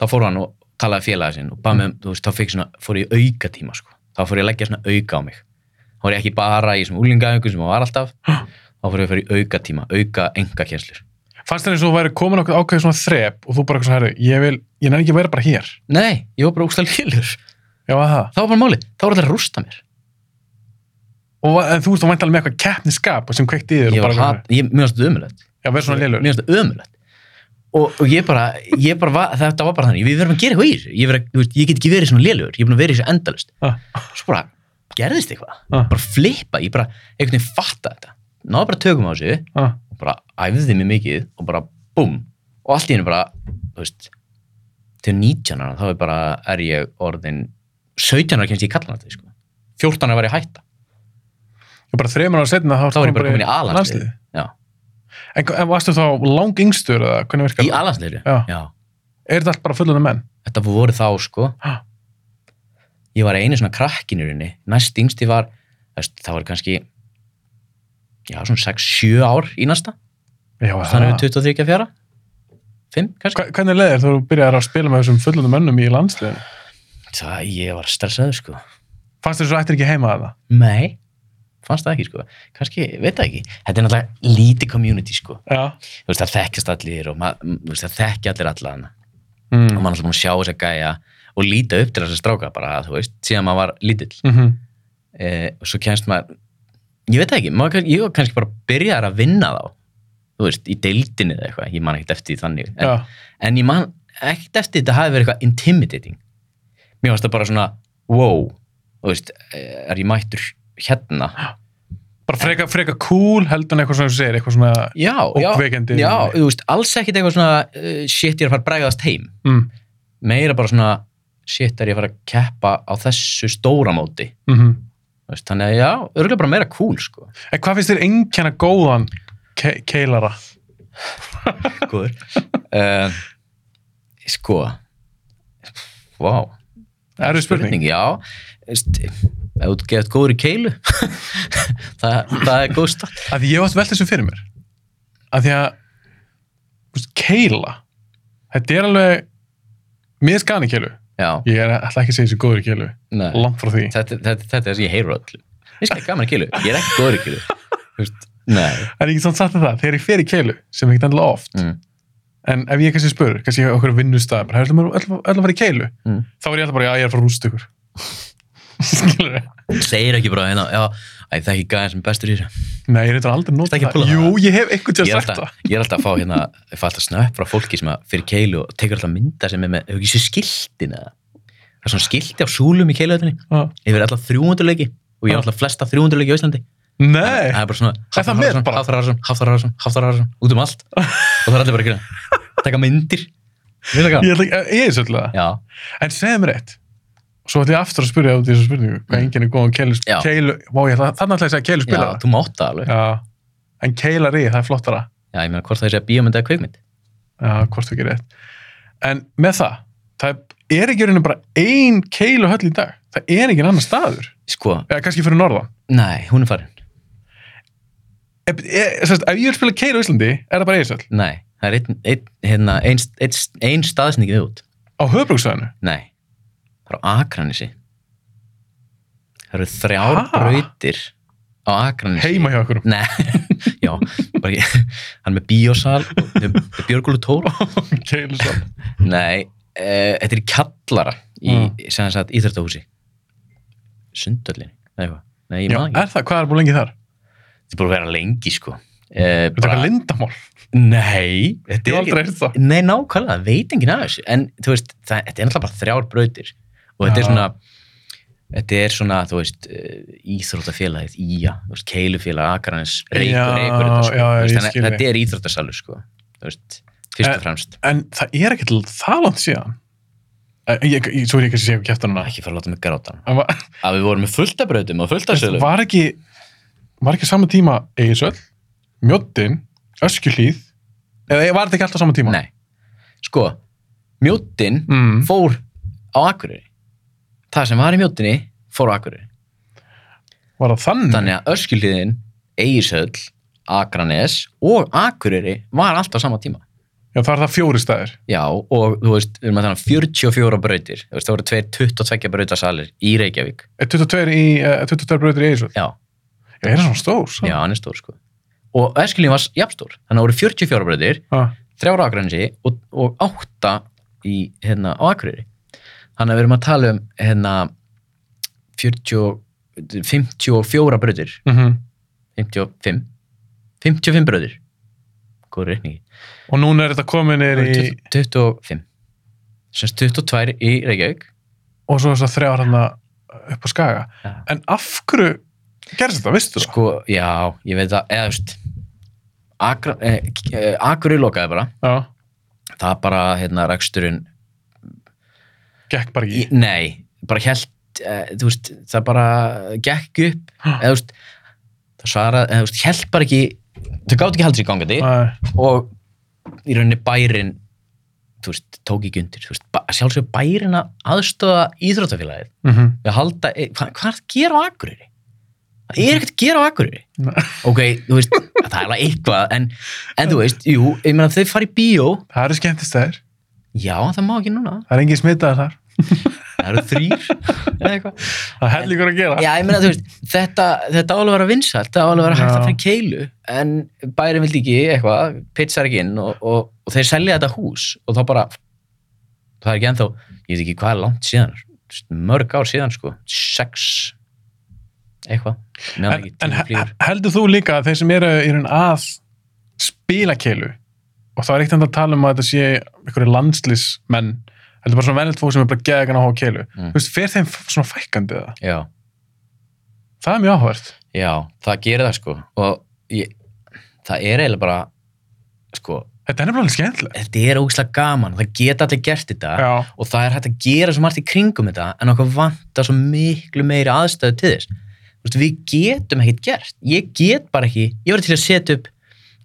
Speaker 1: þá fóru hann og talaði félaga sinn og bað með, þú veist, þá fikk svona, fór ég auka tíma sko. þá fór ég að leggja svona auka á mig þá fór ég ekki bara í svona úlingaðingu sem það var alltaf þá fór ég að fara í auka tíma auka enga kjenslur
Speaker 2: Fannst þér eins og þú væri komin okkur ákveðið svona þrep og þú bara eitthvað svona, herri, ég vil, ég nenni ekki að vera bara hér.
Speaker 1: nei, ég var bara úkslega lélur
Speaker 2: Já, var það.
Speaker 1: þá var bara málið, þá var allir að rústa mér
Speaker 2: Og var- en þú veist, þú vænt alveg með eitthvað keppniskap sem kveikt í þér. og
Speaker 1: ég var
Speaker 2: bara eitthvað
Speaker 1: hat, ég, mér varst þetta ömulegt
Speaker 2: svona, Já, verð svona
Speaker 1: mér
Speaker 2: lélur.
Speaker 1: varst þetta ömulegt og, og ég bara, ég bara var, þetta var bara þannig við verðum að gera eitthvað í þessu, ég, vera, þú veist, ég get ekki verið svona lélur ég er búin að vera í þessu endalist
Speaker 2: Ah.
Speaker 1: svo bara gerðist eitthvað
Speaker 2: Ah.
Speaker 1: bara flippa, ég bara einhvern veginn fatta þetta náðu bara tökum á þessu
Speaker 2: Ah.
Speaker 1: og bara æfði mig mikið og bara búm og allt í hennu bara, þú veist til 19 ára, þá er bara er ég orðin 17 ára kemst ég í kallan þetta, sko 14 ára var ég hætta
Speaker 2: Ég bara þreymur ára setna
Speaker 1: Þá var ég bara komin í A-landslið. Já.
Speaker 2: En, hva- en varstu þá lang yngstur eða hvernig virkar
Speaker 1: Í
Speaker 2: það?
Speaker 1: alansleiri?
Speaker 2: Já.
Speaker 1: Já.
Speaker 2: Er þetta allt bara fullunum menn?
Speaker 1: Þetta voru þá, sko.
Speaker 2: Ha.
Speaker 1: Ég var einu svona krakkinurinni. Næst yngsti var, þú veist, það var kannski, já, svona 6-7 ár í næsta.
Speaker 2: Já,
Speaker 1: Þannig
Speaker 2: það.
Speaker 1: við 23 að 4. 5, kannski.
Speaker 2: Hva- Hvernig leðir þú byrjar að spila með þessum fullunum mönnum í landsliðinu?
Speaker 1: Það, ég var stressaður, sko.
Speaker 2: Fannst þér svo ættir ekki heima að það?
Speaker 1: Nei, fannst það ekki, sko. Kannski, veit það ekki. Þetta er náttúrulega lítið community, sko.
Speaker 2: Já.
Speaker 1: Þú veist, það þekkjast allir og ma- m- þú veist, það þekkja allir alla hana. Og maður er
Speaker 2: Mm.
Speaker 1: náttúrulega búinn að sjá þess að gæja og líta upp til þess að stráka bara, þú veist, síðan maður var lítill.
Speaker 2: Mhm.
Speaker 1: eh, og svo kemst maður ég veit það ekki, maður, kann- ég var kannski bara byrjar að vinna þá þú veist, í deildinni eða eitthvað, ég man ekkert eftir því þannig en,
Speaker 2: Já.
Speaker 1: en ég man ekkert eftir þetta hafi verið eitthvað intimidating mér varst það bara svona, wow þú veist, eh, er ég mættur hérna
Speaker 2: Bara freka, freka cool heldur en eitthvað svona þú segir, eitthvað svona
Speaker 1: já, já,
Speaker 2: okkveikandi.
Speaker 1: já, þú veist alls ekkert eitthvað svona, eh, shit ég er að fara að bregðast heim
Speaker 2: Mm.
Speaker 1: meira bara svona, shit er ég að fara að keppa á þessu stóra móti
Speaker 2: Mm
Speaker 1: Þú veist, þannig að já, örgulega bara meira cool sko,
Speaker 2: En hvað finnst þér einkenna góðan ke keilara?
Speaker 1: góður uh, sko vá,
Speaker 2: Erfið spurning.
Speaker 1: já Veist, ef þú getur góður í keilu *laughs* það, það er góð start
Speaker 2: Að ég átt velt þessu fyrir mér. Að því að þú veist, keila, þetta er alveg mér skani keilu.
Speaker 1: já,
Speaker 2: Ég er ætla ekki að segja þessu góður í keilu.
Speaker 1: nei,
Speaker 2: Langt frá því.
Speaker 1: þetta, þetta, þetta er það sem ég heyru öll ég skal gaman í keilu, ég er ekki góður í keilu Þú veist, nei
Speaker 2: En ég get samt sagt þér það, þegar ég fer í keilu, sem er ekkert endilega oft,
Speaker 1: mm,
Speaker 2: en ef ég kannski spur, kannski ég okkur vinnustæð, bara hefur öll öll að fara í keilu,
Speaker 1: Mm.
Speaker 2: þá er ég alltaf bara, já, ég er að fara rúst ykkur. *laughs* Skilur þið?
Speaker 1: segir ekki bara hérna, já, æ, það er ekki gæðin sem er bestur í þessu
Speaker 2: Nei, ég reyndar aldrei
Speaker 1: Ertu
Speaker 2: nota
Speaker 1: ekki að púlla það?
Speaker 2: Jú, ég hef einhvern
Speaker 1: ég
Speaker 2: tíðan
Speaker 1: er
Speaker 2: sagt
Speaker 1: alltaf, ég er alltaf að fá hérna ég fá alltaf snöpp frá fólki sem að fyrir keilu og tekur alltaf mynda sem er með, hefur ekki sér skiltin eða það er svona skilti á súlum í keiluöðinni
Speaker 2: það.
Speaker 1: yfir alltaf 300 leiki og ég er alltaf flesta 300 leiki á Íslandi
Speaker 2: Nei,
Speaker 1: það er bara svona
Speaker 2: Er það með bara?
Speaker 1: Hafþar Arason, Hafþar Arason, Hafþar Arason út um allt og það er allir bara að
Speaker 2: *laughs*
Speaker 1: gera taka myndir Vil það
Speaker 2: ég, ætla ekki- ég er svolítið það.
Speaker 1: Já,
Speaker 2: En segðu mér eitt. Svo ætla ég aftur að spyrja út í þessu spurningu. Hvað
Speaker 1: Mm.
Speaker 2: enginn er góðan keilu...
Speaker 1: Já.
Speaker 2: keilu Vá, ég ætla, þannig ætla ég að segja keilu
Speaker 1: já,
Speaker 2: spilara.
Speaker 1: þú mátt það alveg
Speaker 2: Já. En keilari, það er flottara.
Speaker 1: Já, ég meina hvort það sé að bíómynd eða kveikmynd
Speaker 2: Já, hvort þú gerir rétt. En með það, það er ekki raunin bara ein keilu höll í dag. Það er ekki annar staður.
Speaker 1: Sko,
Speaker 2: Eða kannski fyrir norðan.
Speaker 1: nei, hún er farin
Speaker 2: Ef, ef, sérst, ef ég vil spila keilu á Íslandi, er það bara eigisöll.
Speaker 1: Nei, það er einn ein, hérna, ein, ein, ein staðsning við út
Speaker 2: Á höfbruksvæðinu.
Speaker 1: Nei, það er á Akranisi Það eru þrjár
Speaker 2: Ha?
Speaker 1: brautir á Akranisi
Speaker 2: Heima hjá okkur.
Speaker 1: Nei, *laughs* já, bara ekki Hann er með bíósal, Björgólu Tóra
Speaker 2: Keilusal.
Speaker 1: Nei, uh, þetta er í kallara í,
Speaker 2: Mm.
Speaker 1: sem sagt, íþrættahúsi Sundöllin, eða eitthvað Nei, ég
Speaker 2: Já,
Speaker 1: maður ekki,
Speaker 2: er það? Hvað er búin lengi þar?
Speaker 1: þetta er búin að vera lengi, sko uh,
Speaker 2: Þetta er eitthvað lindamál.
Speaker 1: Nei,
Speaker 2: Ég
Speaker 1: þetta
Speaker 2: hef
Speaker 1: er
Speaker 2: aldrei heyrt það.
Speaker 1: Nei, nákvæmlega, það veit enginn af þessu en þú veist, það, þetta er náttúrulega bara þrjár brautir og þetta
Speaker 2: Já.
Speaker 1: er svona þetta er svona, þú veist eh, íþróttafélagið, íja, þú veist, keilufélag Akranes,
Speaker 2: Já,
Speaker 1: reykur, reykur þetta, sko.
Speaker 2: já, já,
Speaker 1: Þú veist,
Speaker 2: ég
Speaker 1: þannig að
Speaker 2: skil
Speaker 1: þetta er íþróttasalur, sko þú veist, fyrst
Speaker 2: Eh,
Speaker 1: og fremst
Speaker 2: En það er ekkert það langt síðan. Eh, Ég, ég, svo er ég kannski að segja kjæftanuna.
Speaker 1: ekki fara að láta mig gráta
Speaker 2: En var,
Speaker 1: að við vorum með fullta brautum og fullta sölum
Speaker 2: var ekki, var ekki saman tíma Eirsöll, Mjóttin, Öskjuhlíð, eða var þetta ekki alltaf saman tíma?
Speaker 1: nei, sko mjóttin
Speaker 2: Mm.
Speaker 1: fór á Akureyri það sem var í mjóttinni fór á Akureyri
Speaker 2: Var það þannig?
Speaker 1: þannig að öskilíðin, Egilshöll Akranes og Akureyri var alltaf sama tíma
Speaker 2: Já, það var það fjóri staðir.
Speaker 1: já og þú veist, við erum að tala um 44 brautir þú veist, það voru tveir 22 brautasalir í Reykjavík
Speaker 2: Eh, 22 í, uh, 22 bröður í Eirsöll.
Speaker 1: já,
Speaker 2: Já, er það svona stór?
Speaker 1: já, hann er stór sko og öskilíðin var jafnstór, þannig að það voru 44 brautir
Speaker 2: Ah,
Speaker 1: þrjára Akranesi og, og átta í, hérna, á Akureyri þannig að við erum að tala um hérna 40, 54 brautir
Speaker 2: mm
Speaker 1: 55 55 brautir góður reikningi
Speaker 2: Og núna er þetta komið niður í,
Speaker 1: 25 semst 22 í Reykjavík
Speaker 2: og svo þess að þrjá hérna upp á skaga.
Speaker 1: Já.
Speaker 2: En af hverju gerðist þetta, veistu það?
Speaker 1: sko, já, ég veit það eða, þú veist Akra- eh, eh, Akureyri lokaði bara
Speaker 2: Já,
Speaker 1: það bara, hérna, reksturinn
Speaker 2: gekk bara
Speaker 1: Í-
Speaker 2: ekki.
Speaker 1: nei, bara held eh, þú veist, það bara gekk upp
Speaker 2: Ha.
Speaker 1: eða þú veist það svaraði, eða þú veist, held bara ekki þau gátt ekki haldið sér gangandi
Speaker 2: Æ,
Speaker 1: og í rauninni bærin þú veist, tók ekki undir þú veist, ba- sjálfsög bærin að aðstofa íþróttafélagið
Speaker 2: mhm,
Speaker 1: við að halda, e, hva, hvað er að gera á Akureyri? Það er ekkert að gera á Akureyri
Speaker 2: Nei.
Speaker 1: ok, þú veist, það er alveg eitthvað en, en þú veist, jú, ég meina þau fara í bíó
Speaker 2: Það eru skemmtist þær.
Speaker 1: já, það má ekki núna,
Speaker 2: Það er engin smitaðar þar.
Speaker 1: það eru þrýr eða eitthvað,
Speaker 2: Það heldur ykkur að gera.
Speaker 1: já, ég meina þú veist þetta, þetta álega vera vinsalt, það álega vera hægt
Speaker 2: Já.
Speaker 1: að fyrir keilu, en bærin vildi ekki eitthvað, pitsar ekki inn og, og, og þeir selja þetta hús og þá bara það er ekki ennþá, ég veit ekki hvað er langt síðan þú veist, mörg ár síðan sko, sex eitthvað, meðan
Speaker 2: en,
Speaker 1: ekki
Speaker 2: en
Speaker 1: tíminn flýgur.
Speaker 2: he- heldur þú líka að þeir sem eru í raun að spila keilu og það er ekkert að tala um að þetta sé einhverju landslismenn heldur bara svona vennilt fólk sem er bara geðegan að hóa keilu
Speaker 1: Mm.
Speaker 2: þú veist, fer þeim f- svona fækandi það
Speaker 1: já
Speaker 2: það er mjög áhvert
Speaker 1: Já, það gerir það sko og ég, það er eiginlega bara sko,
Speaker 2: þetta er nefnilega alveg skemmtilega
Speaker 1: þetta er ógislega gaman það geta allir gert þetta
Speaker 2: já,
Speaker 1: og það er hægt að gera svo margt í kringum þetta en okkur vantar svo miklu meiri aðstöðu til þess Þú veist, við getum ekkert gert ég get bara ekki, ég var til að setja upp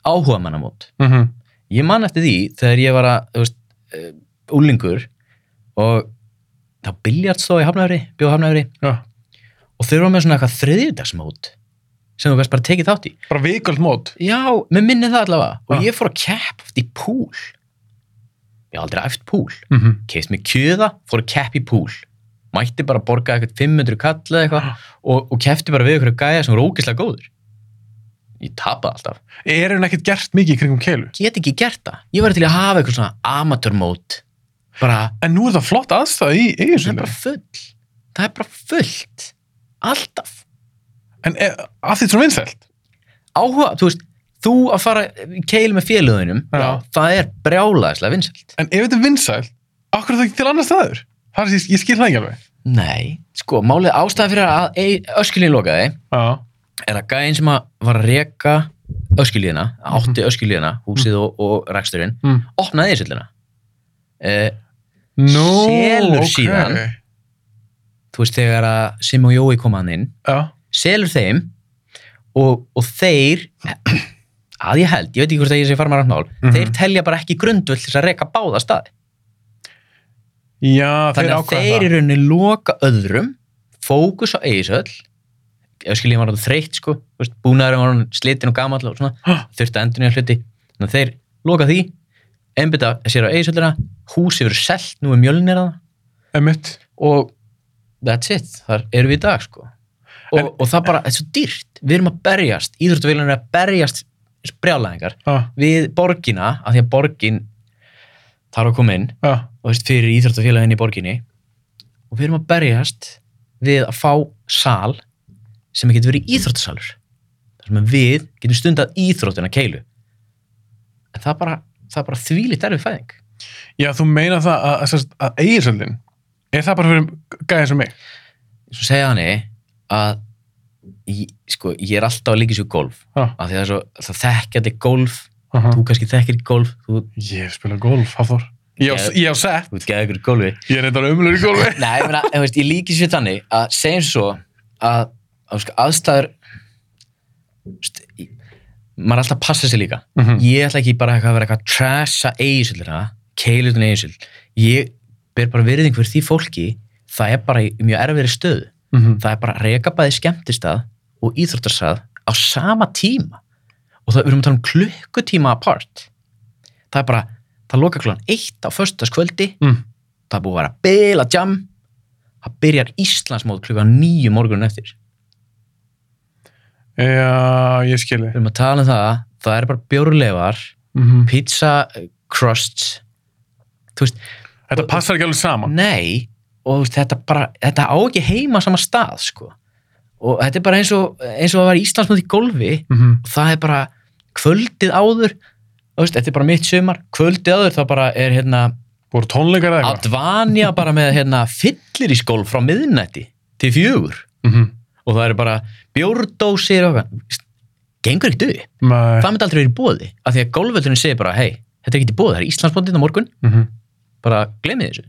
Speaker 1: áhuga mannamót
Speaker 2: mm
Speaker 1: ég man eftir því þegar ég var að þú veist, uh, úlingur og þá biljart stóð í hafnafri bjóð hafnafri
Speaker 2: já.
Speaker 1: og þau eru með svona eitthvað þriðjudagsmót sem þú veist bara tekið þátt í
Speaker 2: bara vikald mót
Speaker 1: Já, mér minni það allavega og
Speaker 2: Ah.
Speaker 1: ég fór að keppa oft í púl ég hef aldrei æft púl
Speaker 2: mm -hmm.
Speaker 1: keist mér kjöða, fór að keppa í púl mætti bara að borga eitthvað 500 kall eða eitthvað og, og kefti bara við eitthvað gæja sem voru ógeðslega góður ég tapaði alltaf
Speaker 2: er hann ekkert gert mikið í kringum keilu
Speaker 1: get ekki gert það, ég var til að hafa eitthvað svona amatörmót bara,
Speaker 2: en nú er það flott aðstæða í
Speaker 1: það er
Speaker 2: eiginsvílu
Speaker 1: bara full það er bara fullt alltaf,
Speaker 2: en er, að því svona vinsælt
Speaker 1: áhuga, þú veist þú að fara í keil með félöðunum
Speaker 2: Já.
Speaker 1: það er brjálaðislega vinsælt
Speaker 2: en ef þetta er vinsælt, akkur er það ekki til annar staður það er, ég, ég skil það ekki alveg
Speaker 1: Nei, sko, málið ástæðan fyrir að öskilín lokaði
Speaker 2: já,
Speaker 1: er að gæðin sem að var að reka öskilíðina, átti öskilíðina húsið og, og reksturinn,
Speaker 2: mm.
Speaker 1: opnaði ísillina eh,
Speaker 2: no,
Speaker 1: Selur
Speaker 2: ok.
Speaker 1: síðan. þú veist þegar að Sim og Jói koma hann inn
Speaker 2: já
Speaker 1: selur þeim og, og þeir að ég held, ég veit ekki hvort að ég sé farmar áttmál
Speaker 2: Mhm.
Speaker 1: þeir telja bara ekki grundvöld þess að reka báða staði
Speaker 2: Já, þeir
Speaker 1: þannig að
Speaker 2: ákvæða
Speaker 1: þeir
Speaker 2: það.
Speaker 1: í rauninni loka öðrum fókus á eigisöll öskilíðin var orðin þreytt sko þú veist, búnaðurinn var orðin slitinn og gamall og svona,
Speaker 2: Ha.
Speaker 1: þurfti að endur nýja hluti þannig að þeir loka því einbytta sér á eigisöllina húsi verið selt, nú er mjölnir að
Speaker 2: Einmitt.
Speaker 1: og that's it, þar eru við í dag sko og,
Speaker 2: En-
Speaker 1: og það bara, þetta er svo dýrt við erum að berjast, íþróttuvélun er að berjast brjálæðingar
Speaker 2: Já,
Speaker 1: við borgina, af því að borgin þarf að koma inn
Speaker 2: já,
Speaker 1: og veist, fyrir íþróttafélagin í borginni og við erum að berjast við að fá sal sem getur verið íþróttasalur þar sem að við getum stundað íþróttina keilu en það er bara, það er bara þvílít erfið fæðing
Speaker 2: já, þú meina það að, að, að eiginsöldin er það bara fyrir gæði sem mig
Speaker 1: svo segja hann að ég, sko, ég er alltaf að líka sér golf
Speaker 2: Já.
Speaker 1: af því að það er svo, það þekkja þetta golf
Speaker 2: Aha.
Speaker 1: þú kannski þekkir ekki golf þú,
Speaker 2: Ég hef spilað golf, Hafþór Ég á,
Speaker 1: Ég-
Speaker 2: ég á sett,
Speaker 1: þú veit ekki að ykkur golfi
Speaker 2: ég er reyndar umlur í golfi
Speaker 1: Nei, ég, meina, ég, veist, ég líkist við þannig að segjum svo að, að sko, aðstæður st, í- maður er alltaf að passa sig líka
Speaker 2: Mhm.
Speaker 1: ég ætla ekki bara eitthvað að vera eitthvað að trasha eiginsöldina, keilutin eiginsöld ég ber bara virðing fyrir því fólki það er bara í mjög erfiðri stöðu
Speaker 2: Mhm.
Speaker 1: það er bara að reka bæði skemmtistað og íþróttarsað á sama tíma og það við erum að tala um klukkutíma apart það er bara, það loka klukkan eitt á föstaskvöldi
Speaker 2: Mm.
Speaker 1: það er búið að vera bila jam það byrjar Íslandsmót klukkan nýju morgunin eftir
Speaker 2: Já, ég skili
Speaker 1: við erum að tala um það, það er bara bjórleifar
Speaker 2: Mhm.
Speaker 1: pizza eh, crusts þú veist,
Speaker 2: Þetta passar ekki alveg saman
Speaker 1: Nei, og þú veist, þetta, bara, þetta á ekki heima á sama stað sko. og þetta er bara eins og, eins og að vera Íslandsmót í golfi
Speaker 2: Mhm.
Speaker 1: og það er bara kvöldið áður þú veist, þetta er bara mitt sumar kvöldið áður þá bara er hérna
Speaker 2: Voru tónleikar eða eitthvað
Speaker 1: Advanja bara með hérna fyllir í skól frá miðnætti til fjögur
Speaker 2: Mhm.
Speaker 1: og það eru bara bjórdósir og eitthvað gengur ekkert upp,
Speaker 2: Nei.
Speaker 1: það myndi aldrei verið í bóði af því að golföldurinn segir bara, hei, þetta er ekki í bóði það er Íslandsbóndin á morgun,
Speaker 2: Mhm.
Speaker 1: bara glemið þessu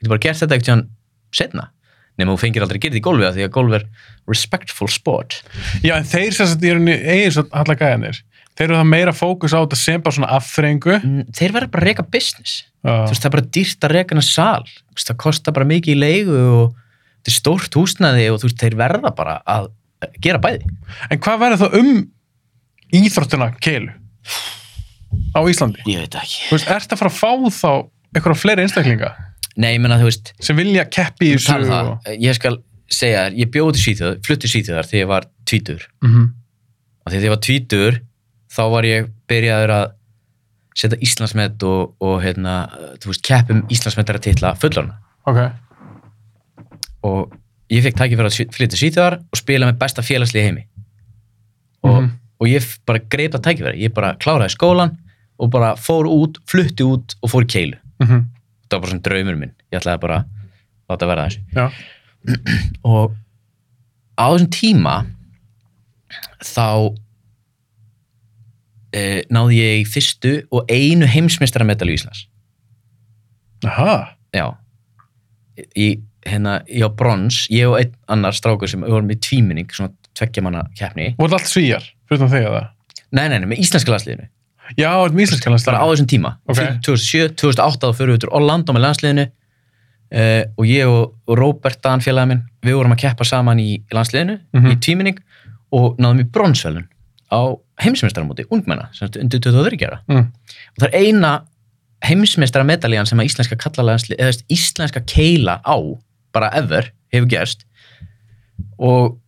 Speaker 1: getur bara gert þetta eitthvað setna nema þú fengir aldrei að gera þetta í golfi af því að golf er respectful sport
Speaker 2: Já, en þeir sem sagt í rauninni eigin svo allar gæðanir. Þeir eru það meira fókus á þetta sem bara svona afþrengu.
Speaker 1: Mm, þeir verða bara að reka business
Speaker 2: Já,
Speaker 1: þú veist, það er bara dýrt að reka hana sal Þú veist, það kostar bara mikið í leigu og þetta er stórt húsnaði og þú veist, þeir verða bara að gera bæði
Speaker 2: En hvað verður þá um íþróttina keilu á Íslandi?
Speaker 1: ég veit ekki
Speaker 2: Þú veist, ert að fara að fá þá einhverja fleiri einstaklinga
Speaker 1: nei, ég menna, þú veist,
Speaker 2: sem vilja keppi í
Speaker 1: þú talar
Speaker 2: þessu?
Speaker 1: það ég skal segja þér, ég bjóði sýþjóð flutti sýþjóðar þegar ég var tvítur
Speaker 2: Mm -hmm.
Speaker 1: og þegar ég var tvítur þá var ég byrjaður að setja Íslandsmet og, og hérna, þú veist, keppum Íslandsmetar að titla fullorna
Speaker 2: Ok,
Speaker 1: og ég fekk tæki fyrir að sy- flytja sýþjóðar og spila með besta félagslið heimi og,
Speaker 2: Mhm.
Speaker 1: og ég f- bara greip það tæki ég bara kláraði skólan og bara fór út, flutti út og fór í keilu
Speaker 2: mm
Speaker 1: það var bara svona draumur minn, ég ætlaði bara að láta verða þessu
Speaker 2: já,
Speaker 1: og á þessum tíma þá e, náði ég fyrstu og einu heimsmeistaramedalju Íslands
Speaker 2: aha,
Speaker 1: já í, hérna, ég á brons ég og einn annar strákur sem við vorum í tvíminning svona tveggja manna keppni
Speaker 2: voru allt svíjar, fyrir þegar það.
Speaker 1: nei, nei, nei, með íslenska landsliðinu
Speaker 2: Já, þetta með íslenska
Speaker 1: bara á
Speaker 2: landslæðin.
Speaker 1: þessum tíma
Speaker 2: Ok.
Speaker 1: 2007, 2008 þá fyrir við til Orlando með landsliðinu uh, og ég og, og Robert Dan félagið minn, við vorum að keppa saman í landsliðinu,
Speaker 2: Mhm.
Speaker 1: í tvíminning og náðum í bronsvelun á heimsmeistaramóti ungmenna, sem sagt undir 23 ára
Speaker 2: Mm.
Speaker 1: og það er eina heimsmeistaramedaljan sem að íslenska kallalansli eða þú veist, íslenska keila á bara ever, hefur gerst og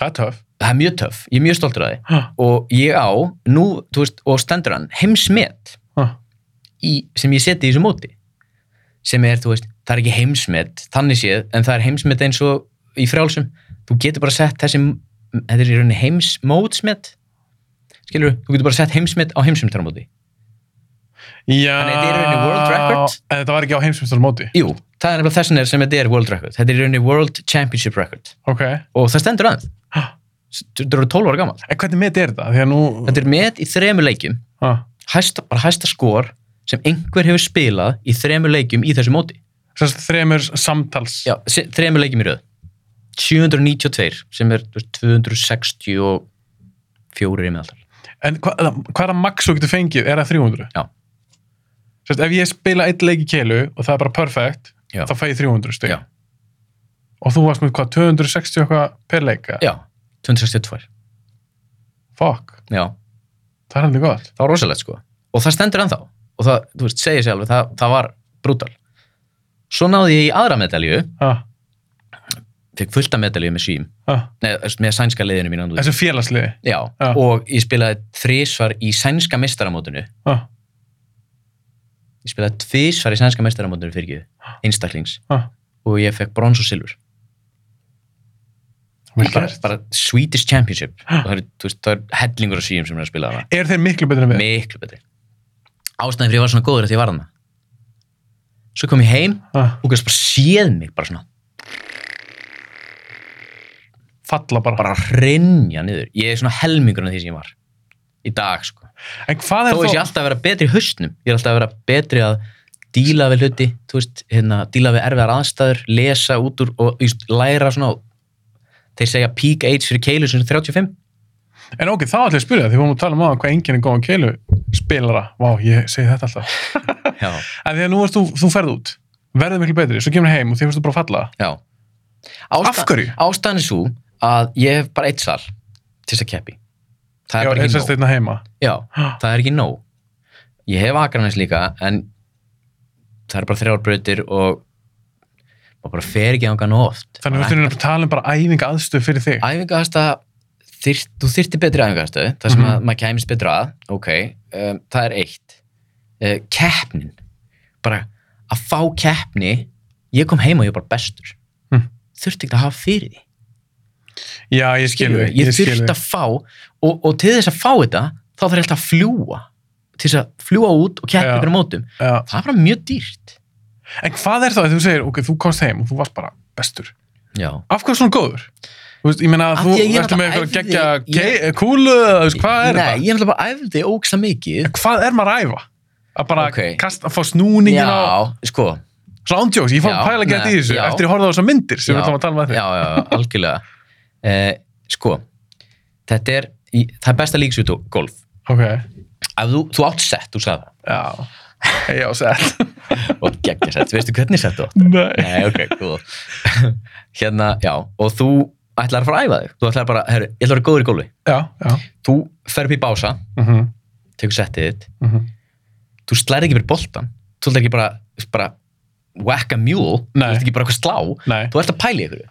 Speaker 2: Það er töff.
Speaker 1: það er mjög töff, ég er mjög stoltur af því
Speaker 2: Ha,
Speaker 1: og ég á, nú, þú veist, og stendur hann heimsmet
Speaker 2: ha.
Speaker 1: í, sem ég seti í þessu móti sem er, þú veist, það er ekki heimsmet þannig séð, en það er heimsmet eins og í frjálsum, þú getur bara sett þessi, þetta er í rauninni heimsmótsmet skilur, þú getur bara sett heimsmet á heimsmetarmóti
Speaker 2: Já,
Speaker 1: Þannig þetta er í rauninni world record.
Speaker 2: en þetta var ekki á heimsumstöðum móti.
Speaker 1: jú, það er nefnilega þessin er sem þetta er world record þetta er í rauninni world championship record
Speaker 2: Ok,
Speaker 1: og það stendur aðeins
Speaker 2: Ha.
Speaker 1: þetta eru 12 ára gammal
Speaker 2: en hvernig með er þetta? Því að nú...
Speaker 1: þetta er met í þremur leikjum
Speaker 2: Ha.
Speaker 1: hæsta, bara hæsta skor sem einhver hefur spilað í þremur leikjum í þessu móti
Speaker 2: Sérst þremur samtals
Speaker 1: Já, se- þremur leikjum í röð 792 sem er þú veist, 264 í meðaltal
Speaker 2: En hva, hvað er að max þú getur fengið? Er það 300?
Speaker 1: Já.
Speaker 2: Sérst, ef ég spila eitt leik í keilu og það er bara perfect
Speaker 1: Já.
Speaker 2: þá fæ ég 300 stig
Speaker 1: Já.
Speaker 2: Og þú varst með hvað, 260 eitthvað per leika?
Speaker 1: Já, 262
Speaker 2: Fuck,
Speaker 1: Já,
Speaker 2: það er alveg gott
Speaker 1: það var rosalegt sko og það stendur ennþá og það, þú veist, segir sér alveg, það, það var brútal Svo náði ég í aðra medalju
Speaker 2: ha,
Speaker 1: fekk fullta medalju með sím
Speaker 2: ha.
Speaker 1: Nei, þú veist, með sænska liðinu mínu
Speaker 2: Þessu félagsliði
Speaker 1: Já,
Speaker 2: Já.
Speaker 1: og ég spilaði þrisvar í sænska meistaramótinu
Speaker 2: ha,
Speaker 1: Ég spilaði tvisvar í sænska meistaramótinu fyrir ekki einstaklings
Speaker 2: ha.
Speaker 1: og ég fekk brons og silfur
Speaker 2: Vel
Speaker 1: bara,
Speaker 2: gert.
Speaker 1: bara Swedish Championship og það er, veist, það er hellingur af síum sem er að spila það
Speaker 2: Er þeir miklu betur en við?
Speaker 1: miklu betri ástæðan fyrir ég var svona góður að því ég var þarna svo kom ég heim
Speaker 2: Ha,
Speaker 1: og gæst bara séð mig bara svona
Speaker 2: falla bara.
Speaker 1: bara hreinja niður ég er svona helmingurinn af því sem ég var í dag sko
Speaker 2: En hvað
Speaker 1: þó
Speaker 2: er
Speaker 1: er ég
Speaker 2: þá?
Speaker 1: alltaf að vera betri í hausnum ég er alltaf að vera betri að díla við hluti þú veist, hérna, díla við erfiðar aðstæður lesa út úr og þú veist, læra svona þeir segja peak age fyrir keilu sem er 35
Speaker 2: En ok, þá ætlum ég að spyrja því við vorum að tala um aðan hvað enginn er góðan keilu spilara. Vá, ég segi þetta alltaf.
Speaker 1: já
Speaker 2: En því að nú erst þú, þú ferð út, verður miklu betri, svo kemur heim og því fyrst þú bara falla.
Speaker 1: Já.
Speaker 2: Af hverju?
Speaker 1: Ástæðan er svo að ég hef bara eitt sal til þess að keppi. Það er
Speaker 2: Já,
Speaker 1: bara
Speaker 2: eins
Speaker 1: ekki
Speaker 2: og
Speaker 1: nóg.
Speaker 2: steina heima.
Speaker 1: Já,
Speaker 2: Ha.
Speaker 1: það er ekki nóg. Ég hef Akranes líka en það er bara þrjár brautir og maður bara fer ekki ángan oft.
Speaker 2: Þannig við þurfum að tala um bara æfinga aðstöð fyrir þig.
Speaker 1: Æfingahasta, þyrt, þú þyrti betri æfingahasta, það
Speaker 2: Mhm.
Speaker 1: sem að maður kæmist betra að, ok, um, það er eitt. Uh, keppnin, bara að fá keppni, ég kom heim og ég var bara bestur.
Speaker 2: Mhm.
Speaker 1: Þurfti ekki að hafa fyrir því.
Speaker 2: Já, ég skil
Speaker 1: Skilurðu?
Speaker 2: þig.
Speaker 1: ég
Speaker 2: skil
Speaker 1: þurft
Speaker 2: þig.
Speaker 1: að fá og, og til þess að fá þetta þá þarf ég alltaf að fljúa til þess að fljúa út og keppa
Speaker 2: Já.
Speaker 1: ykkur á mótum
Speaker 2: Já.
Speaker 1: það er bara mjög dýrt
Speaker 2: En hvað er það að þú segir, ok, þú komst heim og þú varst bara bestur.
Speaker 1: já,
Speaker 2: Af hvað er svona góður? Þú veist, ég meina
Speaker 1: Af
Speaker 2: að þú
Speaker 1: því að ég
Speaker 2: ertu með
Speaker 1: náttúrulega
Speaker 2: eitthvað geggja
Speaker 1: æfði-
Speaker 2: ke- kúlu, þú veist, hvað er
Speaker 1: nei,
Speaker 2: það?
Speaker 1: ég er náttúrulega bara æfði ógsa mikið
Speaker 2: *laughs* Hvað er maður að æfa? Að bara
Speaker 1: Ókei.
Speaker 2: kasta, að fá snúningin á...
Speaker 1: já, sko
Speaker 2: Svona ándjóks, ég fór
Speaker 1: Já,
Speaker 2: að pæla gett
Speaker 1: nei,
Speaker 2: í þessu
Speaker 1: já.
Speaker 2: eftir ég horfði á þessar myndir sem
Speaker 1: Já.
Speaker 2: við ætlum að tala um með þig.
Speaker 1: já, já, já,
Speaker 2: *laughs*
Speaker 1: algjörlega eh, sko, þetta er í, það er besta líksvítu golf
Speaker 2: Ok,
Speaker 1: ef þú, þú átt sett, þú sagði
Speaker 2: já. Ég á sett.
Speaker 1: það og geggja sett, veistu hvernig sett þú átt
Speaker 2: *laughs* Nei.
Speaker 1: nei, ok, cool *laughs* hérna, já, og þú ætlar að fara að æfa þig þú ætlar bara, herru, ég ætlar að vera góður í golfi
Speaker 2: Já, já.
Speaker 1: þú fer upp í bása,
Speaker 2: Mhm,
Speaker 1: tekur settið þitt
Speaker 2: mhm.
Speaker 1: þú slæri ekki fyrir boltan þú ætlar ekki bara, bara whack a mule, þú
Speaker 2: Nei.
Speaker 1: ert ekki bara eitthvað slá
Speaker 2: Nei.
Speaker 1: þú ert að pæla ykkur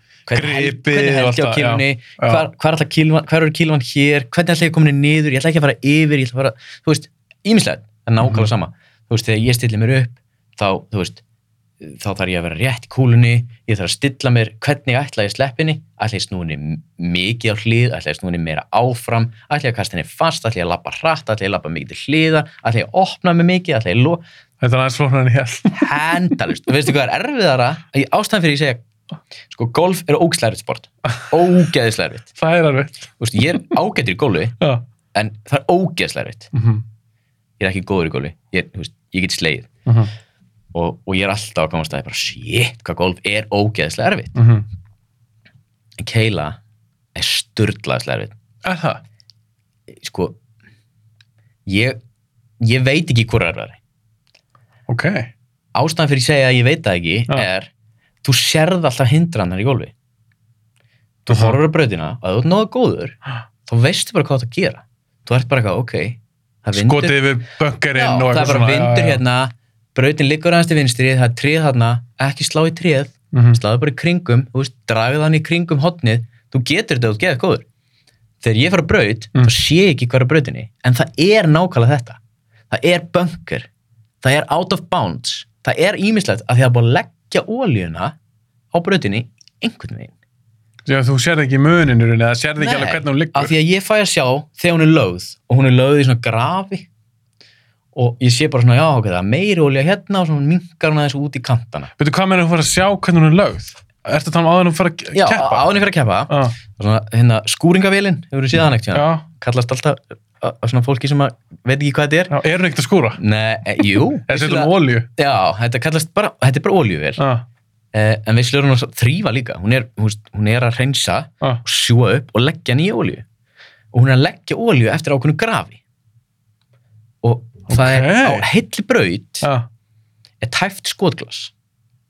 Speaker 1: hvernig
Speaker 2: Gripið og
Speaker 1: held ég á
Speaker 2: allt það,
Speaker 1: kilunni
Speaker 2: já.
Speaker 1: hvar, hvar, ætla kílvan, hvar er kilvan hér hvernig ætla ég að koma henni niður, ég ætla ekki að fara yfir ég ætla að fara, þú veist, ímislega það er
Speaker 2: Mhm.
Speaker 1: nákvæmlega sama, þú veist, þegar ég stilli mér upp þá, þú veist, þá þarf ég að vera rétt í kúlunni, ég þarf að stilla mér hvernig ætla ég að sleppa henni, ætla ég að snúi henni m- mikið á hlið, ætla ég að snúi henni meira áfram, ætla ég að kasta henni fast ætla ég að labba hratt, ætla ég að labba mikið til hliðar ætla ég að opna mig mikið, ætla ég að lo
Speaker 2: Þetta er aðeins flóknar en ég held. *laughs*
Speaker 1: hendalust og veistu hvað er erfiðara í ástæðan fyrir ég segja sko golf er ógæðislega sport ógæðislega erfitt
Speaker 2: Það er erfitt.
Speaker 1: Þú veist, ég er ágæður í golfi
Speaker 2: Já.
Speaker 1: en það er ógæðislega erfitt
Speaker 2: Mhm,
Speaker 1: ég er ekki góður í golfi ég, er, þú veist, ég get sleið
Speaker 2: mhm,
Speaker 1: og, og ég er alltaf að komast að ég bara shit hvað golf er ógæðislega erfitt
Speaker 2: mhm.
Speaker 1: en keila er sturdlaðislega erfitt
Speaker 2: Er það?
Speaker 1: sko ég, ég veit ekki hvort er erfiðari
Speaker 2: Ok.
Speaker 1: ástæðan fyrir ég segja að ég veit það ekki
Speaker 2: Já.
Speaker 1: er þú sérð alltaf hindrannar í golfi þú
Speaker 2: Aha.
Speaker 1: horfur á brautina og ef þú ert náðu góður þá veistu bara hvað þú átt að gera þú ert bara eitthvað, ok það er vindur,
Speaker 2: Skotið við
Speaker 1: já,
Speaker 2: böngarinn og
Speaker 1: það er bara vindur hérna brautin liggur aðeins til vinstri, það er tréð þarna ekki slá í tréð,
Speaker 2: hérna.
Speaker 1: sláðu bara í kringum þú veist, dragðu hann í kringum hotnið þú getur þetta og þú getur góður þegar ég fara á braut,
Speaker 2: Mm.
Speaker 1: þá sé ég ekki hvað er á brautinni en það er nákvæmlega þetta það er bunker, það er out of bounds það er ímislegt að því að búið að leggja ólíuna á brautinni einhvern veginn
Speaker 2: Já, þú sérð ekki muninur eða sérð ekki
Speaker 1: Nei,
Speaker 2: alveg hvernig hún
Speaker 1: af
Speaker 2: liggur.
Speaker 1: því að ég fæ að sjá þegar hún er lögð og hún er lögð í svona grafi og ég sé bara svona, já, ok, það er meiri olja hérna og svona minkar hún aðeins út í kantana
Speaker 2: Veitu hvað meina hún fara að sjá hvernig hún er lögð? Ertu að tala um áður en hún fara að ke-
Speaker 1: já,
Speaker 2: keppa?
Speaker 1: áðan ég fyrir að keppa
Speaker 2: Já,
Speaker 1: og svona, hérna, skúringavélin, hefur þú séð hann ekkert
Speaker 2: já,
Speaker 1: kallast alltaf á á svona fólki sem að veit ekki hvað þetta er
Speaker 2: já, er hún ekkert að skúra?
Speaker 1: Nei, e, jú, *laughs*
Speaker 2: Eða setja
Speaker 1: vissulega-
Speaker 2: hún olju?
Speaker 1: já, þetta kallast bara, þetta er bara oljuvél
Speaker 2: Já,
Speaker 1: eh, en visslega er hún að þrýfa líka hún er, hún, veist, hún er að reynsa
Speaker 2: já,
Speaker 1: og sjúa upp og leggja nýja olju og hún er að leggja olju eftir ákveðnu grafi og það er á
Speaker 2: Ókei.
Speaker 1: heilli braut
Speaker 2: já,
Speaker 1: er tæft skotglas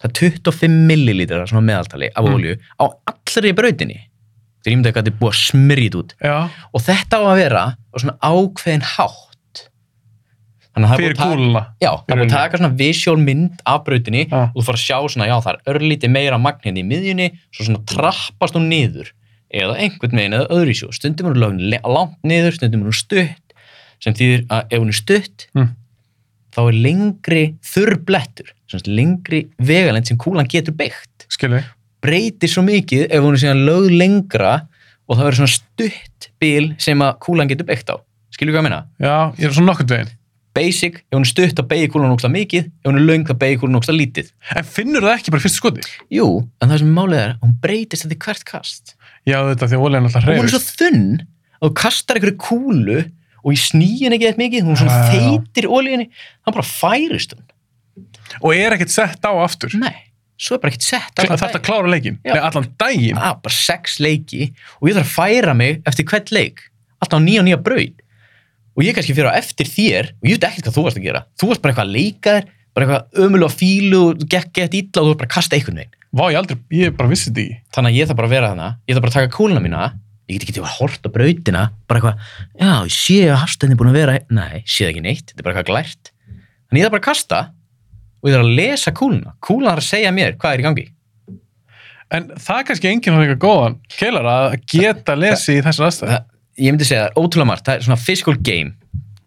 Speaker 1: það er 25 millilítrar svona meðaltali af
Speaker 2: Mm.
Speaker 1: olju á allri brautinni þegar ég myndi að þetta er búið að smyrja þetta út
Speaker 2: já,
Speaker 1: og þetta á að vera á svona ákveðin hátt þannig að það er búið
Speaker 2: fyrir
Speaker 1: að taka-
Speaker 2: kúluna.
Speaker 1: Já, það er búið að
Speaker 2: rauninni.
Speaker 1: taka svona visual mynd af brautinni
Speaker 2: Já.
Speaker 1: og þú fara að sjá svona, já, það er örlítið meira magn hérna í miðjunni, svo svona trappast hún niður, eða einhvern veginn eða öðru í sjó, stundum er hún lögn le- langt niður stundum er hún stutt, sem þýðir að ef hún er stutt,
Speaker 2: Mm.
Speaker 1: þá er lengri þurr blettur sem sagt lengri vegalend sem kúlan getur beigt,
Speaker 2: Skilji,
Speaker 1: breytir svo mikið ef hún er síðan lögð lengra og það verður svona stutt bil sem að kúlan getur beigt á, skilur hvað að minna?
Speaker 2: já, ég er svona nokkurt veginn.
Speaker 1: basic, ef hún er stutt að beigja kúlan ógsta mikið, ef hún er löng að beigja kúlan ógsta lítið.
Speaker 2: En finnur það ekki bara í fyrsta skoti?
Speaker 1: Jú, en það sem málið er, hún breytist þetta í hvert kast.
Speaker 2: Já, þetta því að oljan alltaf
Speaker 1: Og hún er
Speaker 2: hreyfist.
Speaker 1: svo þunn að þú kastar einhverju kúlu og ég snýin ekki eitthvað mikið, hún svona
Speaker 2: Já, já, já.
Speaker 1: þeitir olíunni, þannig bara færist hún.
Speaker 2: Og er ekkert sett á aftur.
Speaker 1: Nei, svo er bara ekkert sett.
Speaker 2: Það
Speaker 1: allan
Speaker 2: þarf að
Speaker 1: daginn.
Speaker 2: klára leikin.
Speaker 1: Já.
Speaker 2: Nei, allan daginn.
Speaker 1: Ah, bara sex leiki og ég þarf að færa mig eftir hvert leik, alltaf á nýja og nýja braut. Og ég er kannski fyrir á eftir þér og ég veit ekkert hvað þú varst að gera. Þú varst bara eitthvað að leika þér, bara eitthvað ömul og fílu og gekk gett illa og þú varst bara að kasta einhvern veginn.
Speaker 2: Vá, ég aldrei, ég bara vissi þetta í.
Speaker 1: þannig að ég þarf bara að vera þarna ég þarf bara að taka kúluna mína ég get ekki til að hort á brautina bara eitthvað, já, ég sé að hafstæðin er búin að vera nei, sé það ekki neitt, þetta er bara eitthvað glært þannig ég þarf bara að kasta og ég þarf að lesa kúluna, kúlan þarf að segja mér hvað er í gangi
Speaker 2: En það er kannski enginn hann eitthvað góðan keilar að geta lesi í þessar aðstæði.
Speaker 1: það, Eh, ég myndi segja það er ótrúlega margt, það er svona physical game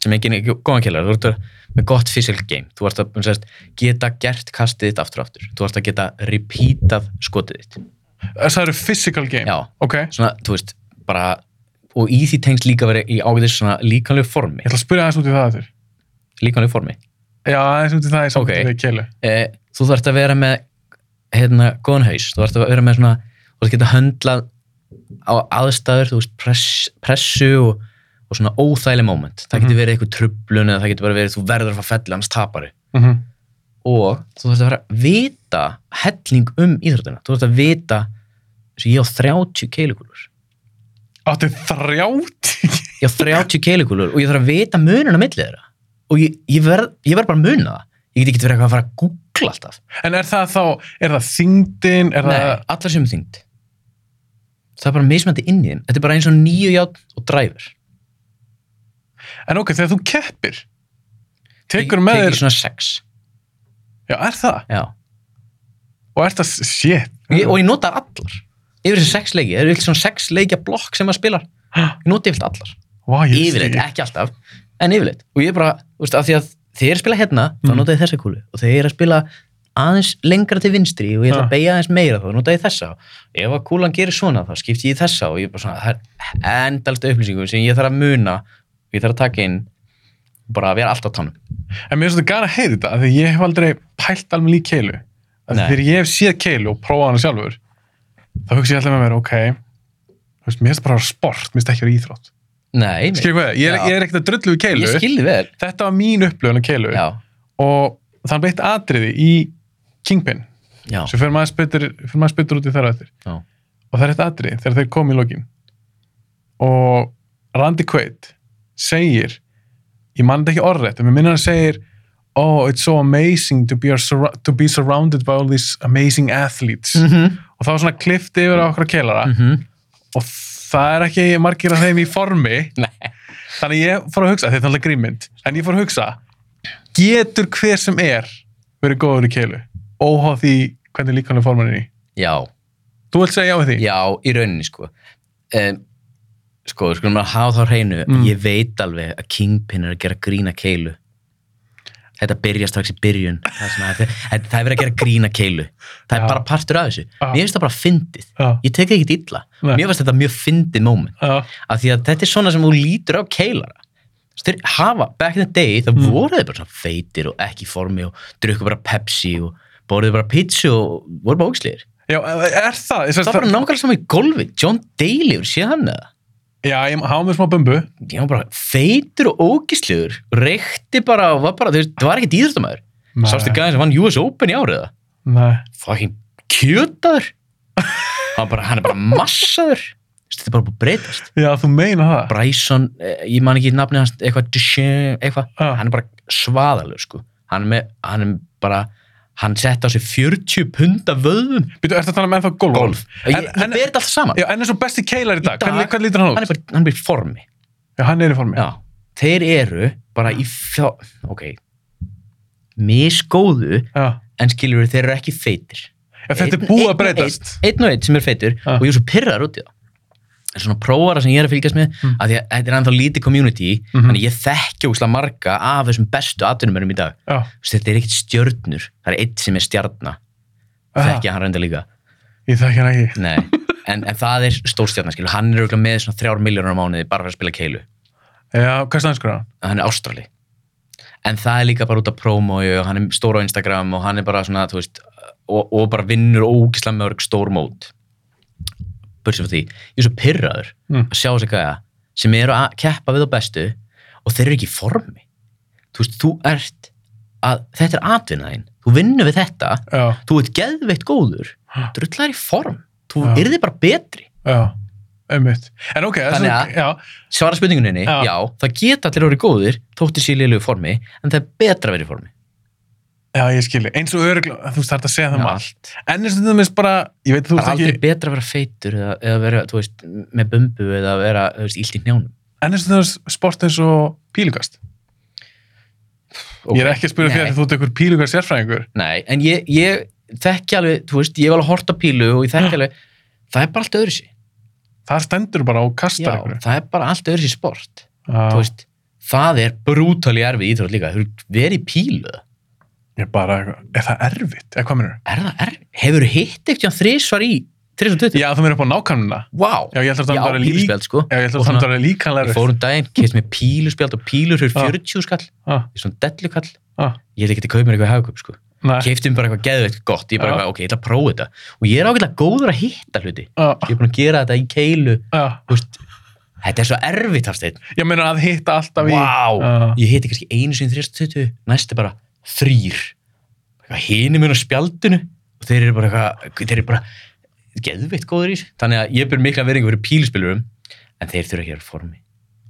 Speaker 1: sem enginn er góðan kellar þú ert að- með gott physical game, þú ert að um, sérst, geta gert kastið þitt aftur og aftur þú ert að geta repeatað skotið þitt
Speaker 2: Það eru physical game.
Speaker 1: já,
Speaker 2: Ok,
Speaker 1: svona, þú veist, bara og í því tengst líka verið í ágæðis svona líkanlegu formi,
Speaker 2: ég ætla að spyrja aðeins út í það eftir.
Speaker 1: líkanlegu formi
Speaker 2: Já, aðeins út í það í samtæði
Speaker 1: Ok.
Speaker 2: okay. við keilu.
Speaker 1: eh, þú þarft að vera með hérna, góðan haus, þú þarft að vera með svona þú þarft að geta höndlað á aðstæður, þú veist, press, pressu og, og svona óþægileg moment það getur
Speaker 2: Mhm.
Speaker 1: verið eitthvað trublun eða það getur bara verið þú verður að fara felli annars tapari
Speaker 2: Mm -hmm.
Speaker 1: og þú þarfst að fara að vita helling um íþróttina, þú þarfst að vita þessi ég á 30 keilukúlur
Speaker 2: Áttu þrjáti
Speaker 1: ég á 30 keilukúlur og ég þarf að vita mununa milli þeirra og ég, ég, verð, ég verð bara að muna það ég get ekki verið eitthvað að fara að googla alltaf
Speaker 2: *laughs* En er það þá, er það þingdin Er
Speaker 1: Nei,
Speaker 2: það,
Speaker 1: allar sem þyngd það er bara mismandi inn í þeim þetta er bara eins og nýju játn og dræfur
Speaker 2: en ok, þegar þú keppir Tekur
Speaker 1: Ég-
Speaker 2: með
Speaker 1: tek ég
Speaker 2: þér,
Speaker 1: svona sex
Speaker 2: já er það
Speaker 1: já.
Speaker 2: Og er það, shit
Speaker 1: ég, og ég nota þær allar yfir þessi sex leiki, það eru yfir svona sex leikja blokk sem maður spilar, ég nota yfir allar
Speaker 2: Vá, ég vissi
Speaker 1: yfirleitt,
Speaker 2: ekki.
Speaker 1: ekki alltaf en yfirleitt, og ég er bara, þú veist, af því að þeir eru að spila hérna, þá
Speaker 2: Mm.
Speaker 1: nota ég þessa kúlu og þeir eru að spila aðeins lengra til vinstri og ég ætla
Speaker 2: Ha.
Speaker 1: að beigja aðeins meira þá nota ég þessa, ef að kúlan gerir svona þá skipti ég í þessa og ég er bara svona það er endalst upplýsingum sem ég þarf að muna og ég þarf að taka inn og bara að vera alltaf tánum
Speaker 2: En mér finnst þetta gana að heyra þetta af Því ég hef aldrei pælt alveg lík keilu Af því
Speaker 1: Nei.
Speaker 2: Þegar ég hef séð keilu og prófað hana sjálfur Þá hugsa ég alltaf með mér, ok Þú veist, mér finnst bara að vera sport Mér finnst ekki að vera íþrótt
Speaker 1: Nei, nei,
Speaker 2: Skilur hvað, ég er,
Speaker 1: Já.
Speaker 2: ég er ekkert að drullu við keilu
Speaker 1: ég skilði vel
Speaker 2: Þetta var mín upplöfun af keilu
Speaker 1: Já,
Speaker 2: og það er beitt atriði í Kingpin
Speaker 1: já,
Speaker 2: sem fyrir maður spytur, fyrir maður spytur út í þar eftir
Speaker 1: Já.
Speaker 2: og það er eitt atriði þegar þeir komu í lokin og Randy Quaid segir ég mann þetta ekki orðrætt en mér minna hann segir oh it's so amazing to be, our surra to be surrounded by all these amazing athletes
Speaker 1: Mhm.
Speaker 2: og það var svona klift yfir á okkur keilara
Speaker 1: Mhm.
Speaker 2: og það er ekki margir af þeim í formi
Speaker 1: *laughs* Nei.
Speaker 2: Þannig að ég fór að hugsa, þetta er alltaf grímynd, en ég fór að hugsa, getur hver sem er verið góður í keilu, óháð því hvernig líkanlega forman er í?
Speaker 1: já
Speaker 2: Þú vilt segja já við því?
Speaker 1: Já, í rauninni sko um, Sko, við skulum að hafa þá á hreinu
Speaker 2: Mm.
Speaker 1: Ég veit alveg að Kingpin er að gera grína keilu Þetta byrja strax í byrjun Það er, svona, þetta, þetta, það er verið að gera grína keilu Það er
Speaker 2: Já.
Speaker 1: bara partur af þessu
Speaker 2: Já.
Speaker 1: Mér finnst það bara fyndið
Speaker 2: Já.
Speaker 1: Ég tek ekki illa
Speaker 2: Nei.
Speaker 1: Mér finnst þetta mjög fyndið moment
Speaker 2: Já.
Speaker 1: af því að þetta er svona sem þú lítur á keilara Þú veist, þeir hafa, back in the day það
Speaker 2: Mm.
Speaker 1: voru þeir bara svona feitir og ekki í formi og drukku bara Pepsi og borðuðu bara pizza og voru bara ógisleir
Speaker 2: Já, e, er það? Ég,
Speaker 1: það var bara nákvæmlega saman í golfi John Daly, hefur séð hann eða?
Speaker 2: Já, ég hafa með smá bumbu.
Speaker 1: ég var bara feitur og ógislegur reykti bara og var bara, þú veist, það var ekkert íþróttamæður
Speaker 2: Nei.
Speaker 1: sástu gæðin sem vann US Open í áriða
Speaker 2: Nei.
Speaker 1: fucking kjötaður *laughs* hann, bara, hann er bara massaður Þú veist, þetta er bara búið að breytast
Speaker 2: Já, þú meina það.
Speaker 1: Bryson, eh, ég man ekki nafni hans eitthvað, Duchenne, eitthvað
Speaker 2: Já.
Speaker 1: hann er bara svaðalur sko hann er, með, hann er bara hann sett á sig 40 punda vöðum
Speaker 2: Býtu, ertu að tala með ennþá golf?
Speaker 1: golf, ég,
Speaker 2: En-
Speaker 1: ég
Speaker 2: en-
Speaker 1: ber þetta allt saman
Speaker 2: Já, en eins og besti keilar í dag,
Speaker 1: dag-
Speaker 2: hvernig, hvernig lítur hann út?
Speaker 1: hann er bara, hann er bara í formi
Speaker 2: Já, hann er í formi.
Speaker 1: Já, þeir eru bara í fjá... Ok, misgóðu
Speaker 2: Já.
Speaker 1: en skilur við þeir eru ekki feitir.
Speaker 2: Já, þetta er
Speaker 1: Einn-
Speaker 2: búið
Speaker 1: einn
Speaker 2: að
Speaker 1: og
Speaker 2: breytast.
Speaker 1: Einn, einn og einn sem er feitur
Speaker 2: Ah.
Speaker 1: og ég er svo pyrrar út í það. Það er svona prófara sem ég er að fylgjast með
Speaker 2: Mm.
Speaker 1: af því að þetta er ennþá lítið community
Speaker 2: Mhm.
Speaker 1: þannig ég þekki óslega marga af þessum bestu atvinnumörum í dag.
Speaker 2: Já.
Speaker 1: Þú veist, Þetta er ekkert stjörnur. Það er einn sem er stjarnar.
Speaker 2: Ah.
Speaker 1: Þekki hann reynda líka.
Speaker 2: Ég þekki hann ekki.
Speaker 1: Nei.
Speaker 2: *laughs*
Speaker 1: En, en það er stórstjarnar, skilur. Hann er auðvitað með svona þrjár miljónur á mánuði bara fyrir að spila keilu.
Speaker 2: Já, hvað er stanskur hann?
Speaker 1: hann er ástrali en það er líka bara út af promói og hann er stór á Instagram og hann er bara svona þú veist, og, og bara vinnur ógislega mörg stór mót börsum frá því, ég er svo pyrraður
Speaker 2: Mm.
Speaker 1: að sjá þessi gæja sem eru að keppa við á bestu og þeir eru ekki í formi þú veist, þú ert að þetta er atvinnaðin, þú vinnur við þetta
Speaker 2: Já,
Speaker 1: þú ert geðveitt góður
Speaker 2: Ha.
Speaker 1: drullar í form, þú
Speaker 2: Já.
Speaker 1: yrði bara betri
Speaker 2: já, ummitt. En ok, það er
Speaker 1: Þannig
Speaker 2: svona-
Speaker 1: að-
Speaker 2: já,
Speaker 1: svara spurninguninni,
Speaker 2: Já.
Speaker 1: já. já, það geta allir orðið góðir þóttir sér lélegu formi, en það er betra að vera í formi
Speaker 2: Já, ég skilji. Eins og öruglega, þú starta að segja það um
Speaker 1: Já.
Speaker 2: allt. En eins og þetta minnst bara, ég veit að þú
Speaker 1: það er
Speaker 2: veist
Speaker 1: aldrei
Speaker 2: ekki,
Speaker 1: betra að vera feitur eða, eða vera, þú veist, með bumbu eða vera, þú veist, ílt í njánum
Speaker 2: en eins og þetta er sport eins og pílugast. Ég er ekki að spyrja fyrir
Speaker 1: Nei.
Speaker 2: að þú ert einhver pílugast sérfræðingur.
Speaker 1: Nei, en ég, ég þekki alveg, þú veist, ég var alveg hort á pílu og ég þekki alveg, það er bara allt öðru sér
Speaker 2: Það stendur bara og kastar einhverju.
Speaker 1: það er bara allt öðru sér sport þú
Speaker 2: Já,
Speaker 1: veist, það er brútali erfið íþrótt líka, þú verið í pílu
Speaker 2: ég bara, eitthvað, er það erfitt? Eða hvað minnur?
Speaker 1: er það erfið, hefur hitt eitthvað þrísvar í 320?
Speaker 2: Já, þú minnur upp á nákvæmna.
Speaker 1: Vá,
Speaker 2: Já, ég ætla að tala um bara lík.
Speaker 1: píluspjald sko
Speaker 2: Já, ég
Speaker 1: Og
Speaker 2: ætla að tala um
Speaker 1: svona-
Speaker 2: bara líkanlega
Speaker 1: Ég
Speaker 2: erfitt.
Speaker 1: fór um daginn, kemst með píluspjald og pílur fyrir
Speaker 2: Ah.
Speaker 1: 40 skall,
Speaker 2: Ah,
Speaker 1: ég er svona dellukall
Speaker 2: ah,
Speaker 1: ég ætla ekki að kaupa mér eitthvað í hagkaup sko
Speaker 2: nei,
Speaker 1: keifti mér bara eitthvað geðveikt gott ég bara,
Speaker 2: Já.
Speaker 1: eitthvað, ok, ég ætla að prófa þetta og ég er ágætlega góður að hitta hluti
Speaker 2: ah,
Speaker 1: ég er búin að gera þetta í keilu
Speaker 2: ah.
Speaker 1: þú veist, þetta er svo erfitt afstætt
Speaker 2: Ég meina að hitta alltaf í... Ah.
Speaker 1: wow.
Speaker 2: Já.
Speaker 1: ég hitti kannski einu sinni 320 næst er bara þrýr hínir minn á spjaldinu og þeir eru bara eitthvað, þeir eru bara geðveitt góður í þessu. Þannig að ég byrð mikla verið fyrir pílspilurum, en þeir þurfa ekki að vera í formi.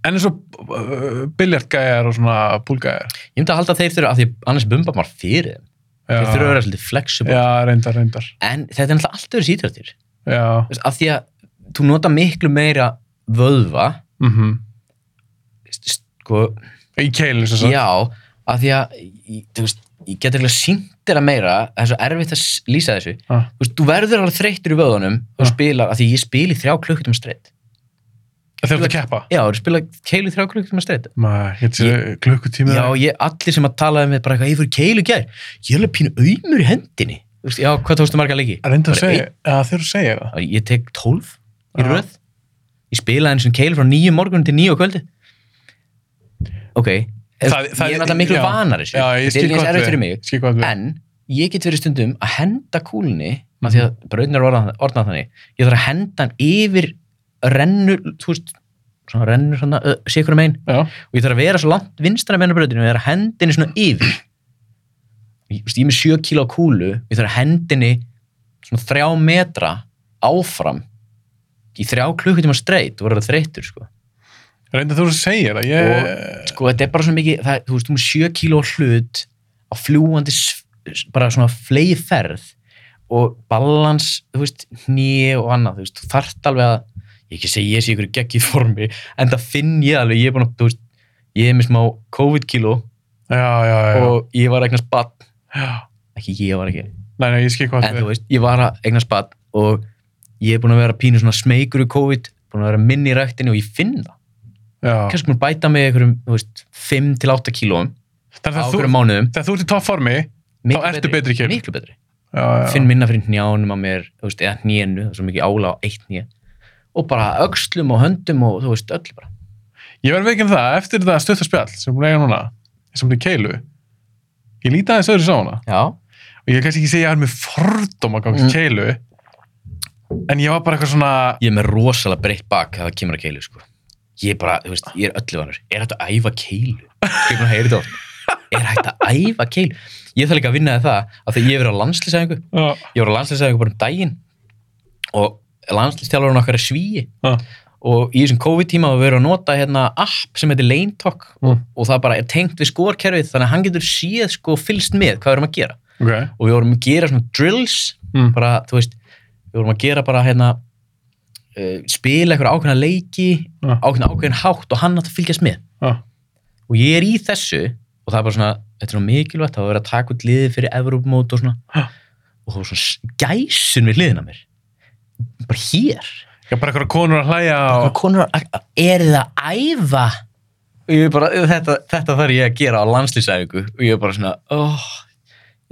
Speaker 2: En eins og uh, biljartgæjar og svona púlgæjar.
Speaker 1: Ég myndi að halda að þeir þurfa, af því annars bumba maður fyrir þeim. Þeir þurfa að vera svolítið flexible.
Speaker 2: Já, reyndar, reyndar.
Speaker 1: En þetta er náttúrulega allt öðru sítrættir.
Speaker 2: Já.
Speaker 1: Af því að þú nota miklu meira vöðva,
Speaker 2: Mm
Speaker 1: st- sko,
Speaker 2: Í keilu, sem sagt.
Speaker 1: Já, af því að ég- þú veist, ég get eitthvað sínt þér að meira það er svo erfitt að s- lýsa þessu
Speaker 2: Ah.
Speaker 1: þú, veist, þú verður alveg þreyttur í vöðunum og
Speaker 2: Ah.
Speaker 1: spilar, af því ég spili þrjá klukkutum streitt
Speaker 2: Þeir eru að keppa.
Speaker 1: Já, þú spila keilu í þrjá klukkutum streitt
Speaker 2: Maður, hér sé klukkutími.
Speaker 1: Já, ég, allir sem að talaði með bara eitthvað, ég fyrir keilu í gær ég er alveg pínu auðmur í hendinni Þú veist, Já, hvað tókstu marga leiki?
Speaker 2: Reyndar
Speaker 1: Bara
Speaker 2: að segja, að þeir eru að segja það.
Speaker 1: Já, Ég tek 12 í
Speaker 2: Já.
Speaker 1: röð Ég spilaði eins og keilu frá nýju morgun til nýju kvöldi Ok,
Speaker 2: Það- það-
Speaker 1: ég er náttúrulega miklu
Speaker 2: já.
Speaker 1: vanar þessu
Speaker 2: Já, ég
Speaker 1: Þetta er
Speaker 2: skil
Speaker 1: ekki eins
Speaker 2: hvað
Speaker 1: erfitt fyrir
Speaker 2: við.
Speaker 1: mig
Speaker 2: Skil hvað við.
Speaker 1: en ég get verið stundum að henda kúlinni af því að braunar orðað, orðað þannig ég þarf að henda hann yfir rennur, þú veist svona rennur svona, uh, sikur megin
Speaker 2: Já.
Speaker 1: og ég þarf að vera svo langt vinstra meina brautinu og ég þarf að henda henni svona yfir ég, þú veist, ég er með 7 kíla á kúlu ég þarf að henda henni svona 3 metra áfram í 3 klukkutíma streitt og verður þreyttur sko
Speaker 2: Reyndar þú eru að segja það. Ég...
Speaker 1: sko þetta er bara svo mikið það, þú veist, þú er 7 kíló hlut á fljúandi bara svona flegi ferð og balans, þú veist, hné og annað, þú veist, þú þarft alveg að ég ekki segi ég sé ykkur gegg í formi en það finn ég alveg, ég er búin að, þú veist ég er með smá COVID-kíló
Speaker 2: Já, já, já.
Speaker 1: og ég var að eignast badn
Speaker 2: já.
Speaker 1: ekki ég var ekki,
Speaker 2: Nei, nei, ég skil hvað
Speaker 1: en
Speaker 2: við.
Speaker 1: þú veist, ég var að eignast badn og ég er búin að vera pínu svona smeykur í COVID, búin að vera minni í ræktinu og ég finn það,
Speaker 2: Já.
Speaker 1: kannski mér bæta með einhverjum, þú veist, 5-8 kílóum
Speaker 2: Þannig
Speaker 1: á
Speaker 2: að
Speaker 1: okkur
Speaker 2: þú,
Speaker 1: mánuðum
Speaker 2: þegar þú ert í toppformi,
Speaker 1: miklu
Speaker 2: Þá ertu betri í keilu.
Speaker 1: miklu betri.
Speaker 2: já, já.
Speaker 1: finn minna fyrir njánum á mér þú veist, eða hnénu, það er svo mikið ála á eitt hné og bara öxlum og höndum og þú veist öll bara
Speaker 2: Ég verð veikin það, eftir það stuttarspjall sem hún eiga núna, sem hún er keilu, ég líti aðeins öðru sá hana
Speaker 1: já,
Speaker 2: og ég vil kannski ekki segja að ég er með fordóma gangi
Speaker 1: Mm.
Speaker 2: mm. keilu, en ég var bara eitthvað svona,
Speaker 1: ég er með rosalega breytt bak þegar það kemur að keilu sko. ég er bara, þú veist, ég er öllu vanur er hægt að æfa keilu Ég er búinn að heyra þetta oft. er hægt að æfa keilu ég þarf líka að vinna við það af því að ég hef verið á landslýsæðingu
Speaker 2: já,
Speaker 1: ég var á landslýsæðingu bara um daginn og landslýstjálfurinn okkar er svíi
Speaker 2: já,
Speaker 1: og í þessum COVID-tíma hafa við verið að nota hérna app sem heitir Lane Talk
Speaker 2: Mm.
Speaker 1: og það bara er tengt við skorkerfið þannig að hann getur séð sko fylgst með hvað við erum að gera
Speaker 2: ok,
Speaker 1: og við vorum að gera svona drills
Speaker 2: mm.
Speaker 1: bara, þú veist, við vorum að gera bara hérna uh, spila eitthvað ákveðna leiki
Speaker 2: Ja.
Speaker 1: ákveðna ákveðin hátt og hann átt að fylgjast með
Speaker 2: já,
Speaker 1: og ég er í þessu og það er bara svona, þetta er svona mikilvægt það var verið að taka út liðið fyrir Evrópumót og svona
Speaker 2: Ha.
Speaker 1: og það var svona s- gæsun við liðina mér bara hér
Speaker 2: ég er bara eitthvað konur að hlæja
Speaker 1: og
Speaker 2: og,
Speaker 1: konur er það að æfa ég er bara, þetta, þetta þarf ég að gera á landslýsæfingu og ég er bara svona oh,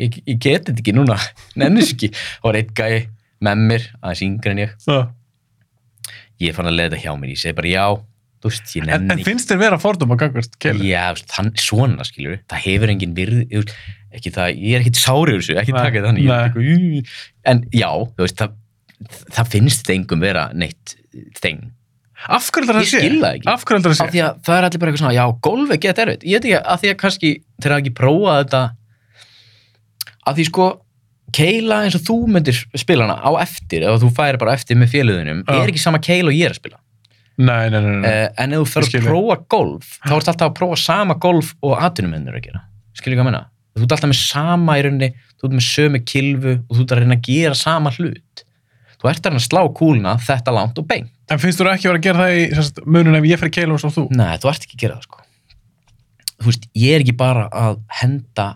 Speaker 1: ég, ég get þetta ekki núna *laughs* nennis ekki, og var einn gæi með mér, aðeins yngri en ég
Speaker 2: já.
Speaker 1: ég fann að leiða þetta hjá mér, ég segi bara já þú veist, ég
Speaker 2: En,
Speaker 1: nenni
Speaker 2: en finnst þér vera fordóma gangvart keilu?
Speaker 1: já, þú veist, hann, svona skilur það hefur engin virð þú veist, ekki það, ég er ekkit sárið þessu, ekki
Speaker 2: Nei,
Speaker 1: taka þetta þannig ég er
Speaker 2: nei.
Speaker 1: ekki eitthvað, "Í." en já, þú veist það, það finnst þetta engum vera neitt þeng
Speaker 2: Af hverju heldur það
Speaker 1: Ég
Speaker 2: sé?
Speaker 1: skil það ekki.
Speaker 2: Af hverju heldur
Speaker 1: af
Speaker 2: það sé?
Speaker 1: því að það er allir bara eitthvað svona, já, golf er gett erfitt ég veit ekki að því að kannski þeir hafa ekki prófað þetta að því sko keila eins og þú myndir spila hana á eftir eða þú færi bara eftir með félöðunum
Speaker 2: Já.
Speaker 1: er ekki sama keila og ég er að spila
Speaker 2: Nei, nei, nei, nei.
Speaker 1: uh, en ef þú
Speaker 2: Mm. Ég
Speaker 1: fyrir
Speaker 2: skil
Speaker 1: að
Speaker 2: þig.
Speaker 1: prófa golf þá ertu alltaf að prófa sama golf og atunumennur að gera skilur ekki að menna þú ert alltaf með sama í rauninni þú ert með sömu kilfu og þú ert að reyna að gera sama hlut þú ert að reyna að slá kúluna þetta langt og bein
Speaker 2: En finnst þú ekki vera að gera það í sem sagt, munun ef ég fer í keilu og svo þú?
Speaker 1: Nei, þú ert ekki að gera það sko Þú veist, ég er ekki bara að henda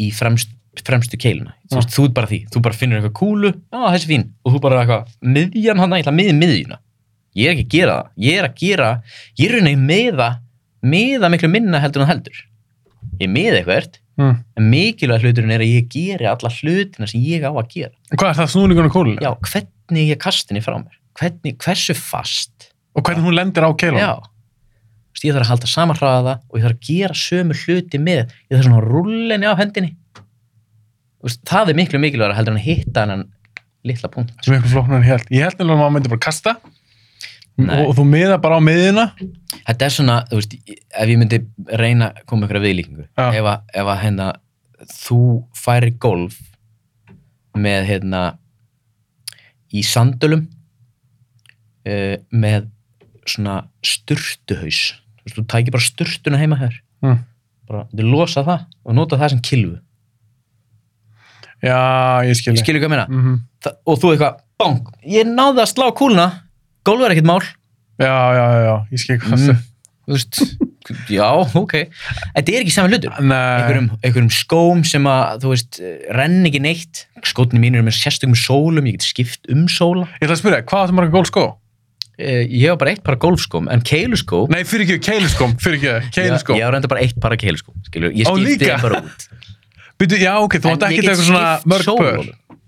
Speaker 1: í fremst, fremstu keiluna Þú
Speaker 2: Já.
Speaker 1: veist, þú ert bara því, þú bara finnur eitthvað kúlu Já, þessi fín, og þú bara eitthvað miðjan hann, ég ætla að miði miðjuna Ég er ekki að gera það, ég er að gera Ég er rauninni meða, meða miklu minna heldur en þú heldur Ég meða eitthvað,
Speaker 2: Mm.
Speaker 1: en mikilvæg hluturinn er að ég geri alla hlutina sem ég á að gera
Speaker 2: Hvað er það snúningun á kúlunni?
Speaker 1: Já, hvernig ég kastin ég frá mér hvernig, Hversu fast
Speaker 2: Og hvernig hún lendir á keilunum?
Speaker 1: Já. Þú veist, ég þarf að halda sama hraða og ég þarf að gera sömu hluti með ég þarf svona rullinni af hendinni Þú veist, það er miklu mikilvægur heldur en að hitta hennan litla punkt
Speaker 2: sem er eitthvað flóknar en ég held. Ég held nefnilega að maður myndi bara kasta
Speaker 1: Nei.
Speaker 2: og, og þú miða bara á miðina.
Speaker 1: þetta er svona, þú veist, ef ég myndi reyna að koma ykkur að viðlíkingu
Speaker 2: Já.
Speaker 1: ef að, ef að hérna, þú færi golf með hérna í sandölum uh, með svona sturtuhaus þú, veist, þú tækir bara sturtuna heima hér
Speaker 2: Mm.
Speaker 1: bara, þú losa það og nota það sem kilfu,
Speaker 2: Já, ég skilji.
Speaker 1: skilur hvað ég meina
Speaker 2: Mm
Speaker 1: Þa- og þú eitthvað, bang, ég náði að slá kúluna golf er ekkert mál
Speaker 2: Já, já, já, já, ég skilji hvað
Speaker 1: Mm,
Speaker 2: það.
Speaker 1: þú veist, *laughs* já, ok þetta er ekki saman hlutur
Speaker 2: Nei.
Speaker 1: einhverjum, einhverjum skóm sem að, þú veist, eh, renn ekki neitt skótni mínir eru með sérstökum sólum ég get skipt um sóla
Speaker 2: Ég ætla að spyrja, hvað áttu marga gólskó?
Speaker 1: eh, ég hef bara eitt para golfskóm, en keiluskó
Speaker 2: Nei, fyrir ekki, keiluskóm, fyrir ekki, keiluskóm.
Speaker 1: ég hef reynda bara eitt para keiluskó skilur, ég
Speaker 2: Ó,
Speaker 1: skipti
Speaker 2: líka?
Speaker 1: þeim bara *laughs* út
Speaker 2: Býtu, já, ok, þú
Speaker 1: En
Speaker 2: átt
Speaker 1: ég
Speaker 2: ekki
Speaker 1: get
Speaker 2: eitthvað svona
Speaker 1: skipt
Speaker 2: mörg pör.
Speaker 1: sólunum.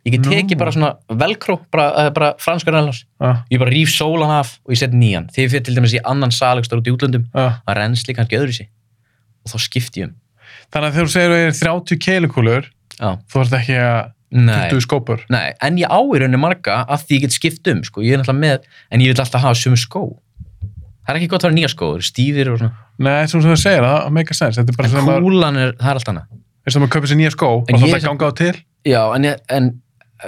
Speaker 1: ég get tekið
Speaker 2: Nú.
Speaker 1: bara svona velkró bara, eh, bara franskur ennlás
Speaker 2: Já,
Speaker 1: ég bara rýf sólan af og ég set nýjan þegar fyrir til dæmis í annan salegstar út í útlöndum
Speaker 2: já.
Speaker 1: það rennsli kannski öðru sér og þá skipti ég um
Speaker 2: Þannig að þegar þú segir að það er 30 keilukúlur,
Speaker 1: Já.
Speaker 2: þú ert ekki að
Speaker 1: Nei.
Speaker 2: 20 skópur.
Speaker 1: Nei, en ég á í rauninni marga að því ég get skipt um, sko, ég er náttúrulega með, en ég vil alltaf hafa sömu skó. Það er ekki gott að vera nýja skó, þeir eru stífir og svona,
Speaker 2: Nei, sem þú segir, það make a sense. Þetta er bara
Speaker 1: en
Speaker 2: sem að,
Speaker 1: kúlan er, það er allt annað.
Speaker 2: eins og maður kaupir sér nýja skó og
Speaker 1: En
Speaker 2: það
Speaker 1: ég-
Speaker 2: er að ganga á til.
Speaker 1: Já, en, ég- en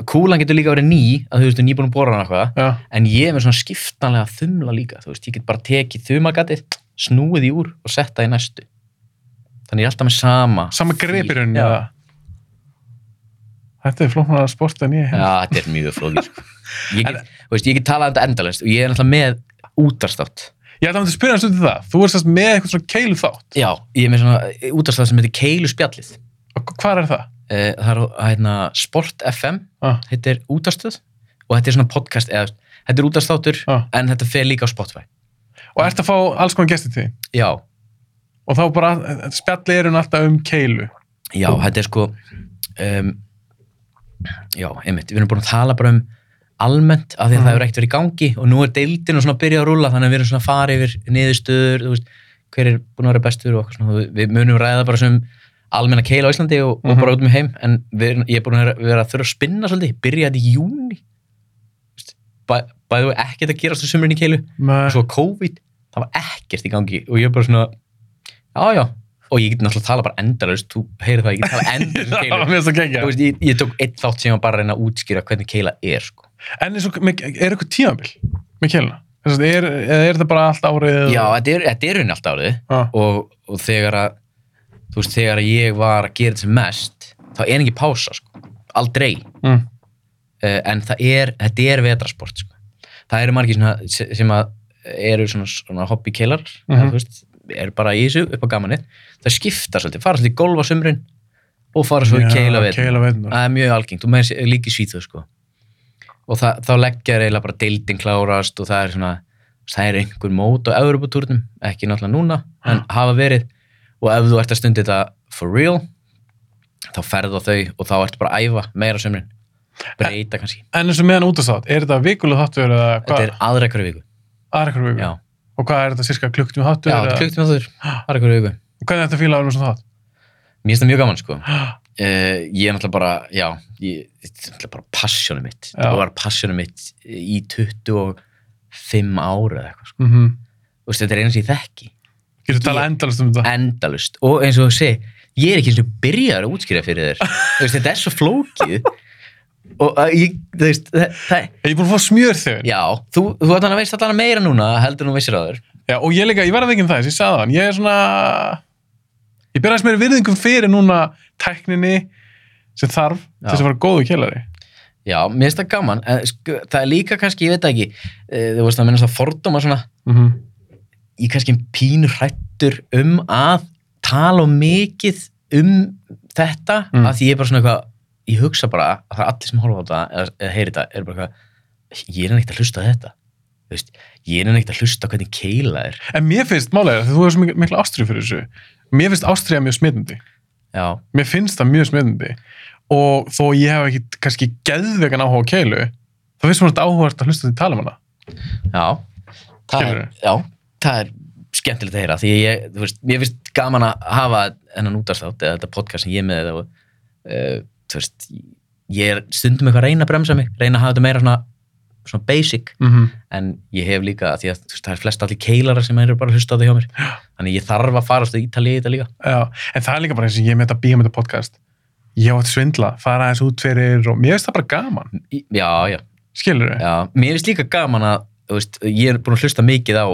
Speaker 1: kúlan getur líka verið ný, að þú veist, þú er nýbúin að bóra hann eitthvað,
Speaker 2: Já,
Speaker 1: en ég er með svona skiptanlega þumla líka, þú veist, ég get bara tekið þumagatið, snúið í úr og sett það í næstu. Þannig ég er alltaf með sama.
Speaker 2: sama gripirinn.
Speaker 1: Já.
Speaker 2: eða- Þetta er flóknar að sporta nýja
Speaker 1: Já,
Speaker 2: hér.
Speaker 1: þetta er mjög flókið, sko. Ég get, þú veist, ég get talað um þetta endalist og ég er náttúrulega með útastátt.
Speaker 2: Ég ætla að myndi spyrja hans út í það. Þú ert sérst með eitthvað svona keiluþátt.
Speaker 1: Já, ég er með svona útastátt sem heitir Keiluspjallið.
Speaker 2: Og Hvar er það?
Speaker 1: Eh, það er á- hérna, Sport FM
Speaker 2: Ah.
Speaker 1: heitir útastöð og þetta er svona podcast eða, þetta er útastáttur
Speaker 2: Ah.
Speaker 1: en þetta fer líka á Spotify
Speaker 2: Og ert að fá alls konar gesti til? þín?
Speaker 1: já,
Speaker 2: Og þá bara, spjalli er hún alltaf um keilu.
Speaker 1: já, þetta er sko um, já, einmitt við erum búin að tala bara um almennt af því að
Speaker 2: Mhm.
Speaker 1: það hefur ekkert verið í gangi og nú er deildin og svona að byrja að rúla þannig að við erum svona að fara yfir niðurstöður, þú veist, hver er búin að vera bestur og okkar svona, Við- við munum ræða bara sem almenna keila á Íslandi og, og
Speaker 2: Mhm.
Speaker 1: bara út með heim en við erum, ég er búin að vera, vera að þurfa að spinna svolítið, byrja þetta í júni bæðu ekkert að gerast á sumrin í keilu
Speaker 2: *laughs* Með...
Speaker 1: svo COVID, það var ekkert í gangi og ég er bara svona, já já og ég get náttúrulega að tala bara endalaust þú heyrið það, ég get tala endalaust um
Speaker 2: *laughs* það
Speaker 1: keilu
Speaker 2: var mjög svo
Speaker 1: Þú
Speaker 2: gegja.
Speaker 1: veist, ég, ég tók eitt þátt sem ég var bara að reyna að útskýra hvernig keila er sko.
Speaker 2: En eins og, með- er eitthvað tímabil með keiluna? Þess að Er, eða er þetta bara allt árið? eða-
Speaker 1: já, þetta er, þetta er unni allt árið
Speaker 2: Ah,
Speaker 1: og, og þegar að þú veist, þegar að ég var að gera þetta sem mest þá er ekki pása, sko. aldrei
Speaker 2: mm,
Speaker 1: uh, en það er, þetta er vetrasport sko. það eru margir svona, se- sem að eru svona, svona hobbykeilar mm
Speaker 2: Mhm.
Speaker 1: -hmm. veist, eru bara í þessu upp á gamanni það skipta svolítið, fara svolítið í golf á sumrin og fara svo Ah. í
Speaker 2: Já,
Speaker 1: keila við
Speaker 2: keila veitnur.
Speaker 1: það er mjög algengt og meðan sé- líka í svíþu sko. og það, þá leggja þeir eiginlega bara deildin klárast og það er svona það er einhver mót á Europatúrnum ekki náttúrulega núna, en hafa verið og ef þú ert að stundi þetta for real þá ferðu á þau og þá ertu bara að æfa meira á sumrin breyta kannski
Speaker 2: En eins og meðan út að sátt, er þetta vikulega þáttur eða
Speaker 1: Þetta
Speaker 2: hvað?
Speaker 1: er aðra hverju viku.
Speaker 2: Aðra hverju viku?
Speaker 1: Já,
Speaker 2: Og hvað er þetta cirka klukktum
Speaker 1: já
Speaker 2: þáttur?
Speaker 1: þetta
Speaker 2: eða-
Speaker 1: er klukkutíma þáttur. Aðra hverju viku.
Speaker 2: Og hvernig er þetta fíla að vera með svona þátt?
Speaker 1: Mér finnst það mjög gaman, sko.
Speaker 2: Ah,
Speaker 1: Uh, ég er náttúrulega bara, já, ég, þetta er náttúrulega bara passjónum mitt.
Speaker 2: Já.
Speaker 1: Það var passjónum mitt í 25 ára eða eitthvað, sko.
Speaker 2: mhm.
Speaker 1: Þú veist, þetta er eina sem ég þekki.
Speaker 2: Getur talað endalast um þetta?
Speaker 1: Endalust. Og eins og þú segir, ég er ekki eins og byrjaður að útskýra fyrir þér. Þú veist, þetta er svo flókið. *laughs* og uh, ég, þú veist, það, það,
Speaker 2: Ég er búin að fá smjör þegar.
Speaker 1: já, þú, þú allan að veist allan að meira núna heldur en þú vissir á þér.
Speaker 2: Já, og ég líka, ég verði ekki um það, þess að ég sagði hann, ég er svona, ég byrja aðeins meira virðingum fyrir núna tækninni sem þarf til þess að vera góðu kjellari.
Speaker 1: Já, mér finnst það gaman, en sko, það er líka kannski, ég veit það ekki, eh, þú veist að minnast að fordóma svona,
Speaker 2: Mm -hmm.
Speaker 1: ég er kannski pínu hrættur um að tala um mikið um þetta,
Speaker 2: Mm.
Speaker 1: að því ég er bara svona eitthvað, ég hugsa bara að það er allir sem horfa á þetta, eða, eða heyri þetta, er bara eitthvað, ég er neitt að hlusta á þetta, þú veist, ég er neitt að hlusta á hvernig keila er,
Speaker 2: En mér finnst, málega er að þú hefur svo mik- mikla ástríð fyrir þessu, mér finnst ástríða mjög smitandi.
Speaker 1: já,
Speaker 2: Mér finnst það mjög smitandi og þó ég hef ekki kannski geðvegan áhuga á keilu, þá finnst mér þetta áhugavert að hlusta því tala um hana.
Speaker 1: já, það er,
Speaker 2: Skilurðu?
Speaker 1: já, það er skemmtilegt að heyra, því ég, þú veist, mér finnst gaman að hafa hennan útastátt eða þetta podcast sem ég er með og eh, uh, þú veist, ég er stundum eitthvað að reyna að bremsa mig, reyna að hafa þetta meira svona svona basic
Speaker 2: mm
Speaker 1: en ég hef líka, því að þú veist, það er flest allir keilarar sem eru bara að hlusta á það hjá mér þannig ég þarf að farast að ítali í þetta líka
Speaker 2: Já, en það er líka bara eins og ég með þetta bíómynda podcast ég átt svindla, fara aðeins út fyrir og mér finnst það bara gaman,
Speaker 1: Í- já, já,
Speaker 2: skilur við?
Speaker 1: já, mér finnst líka gaman að þú veist, ég er búin að hlusta mikið á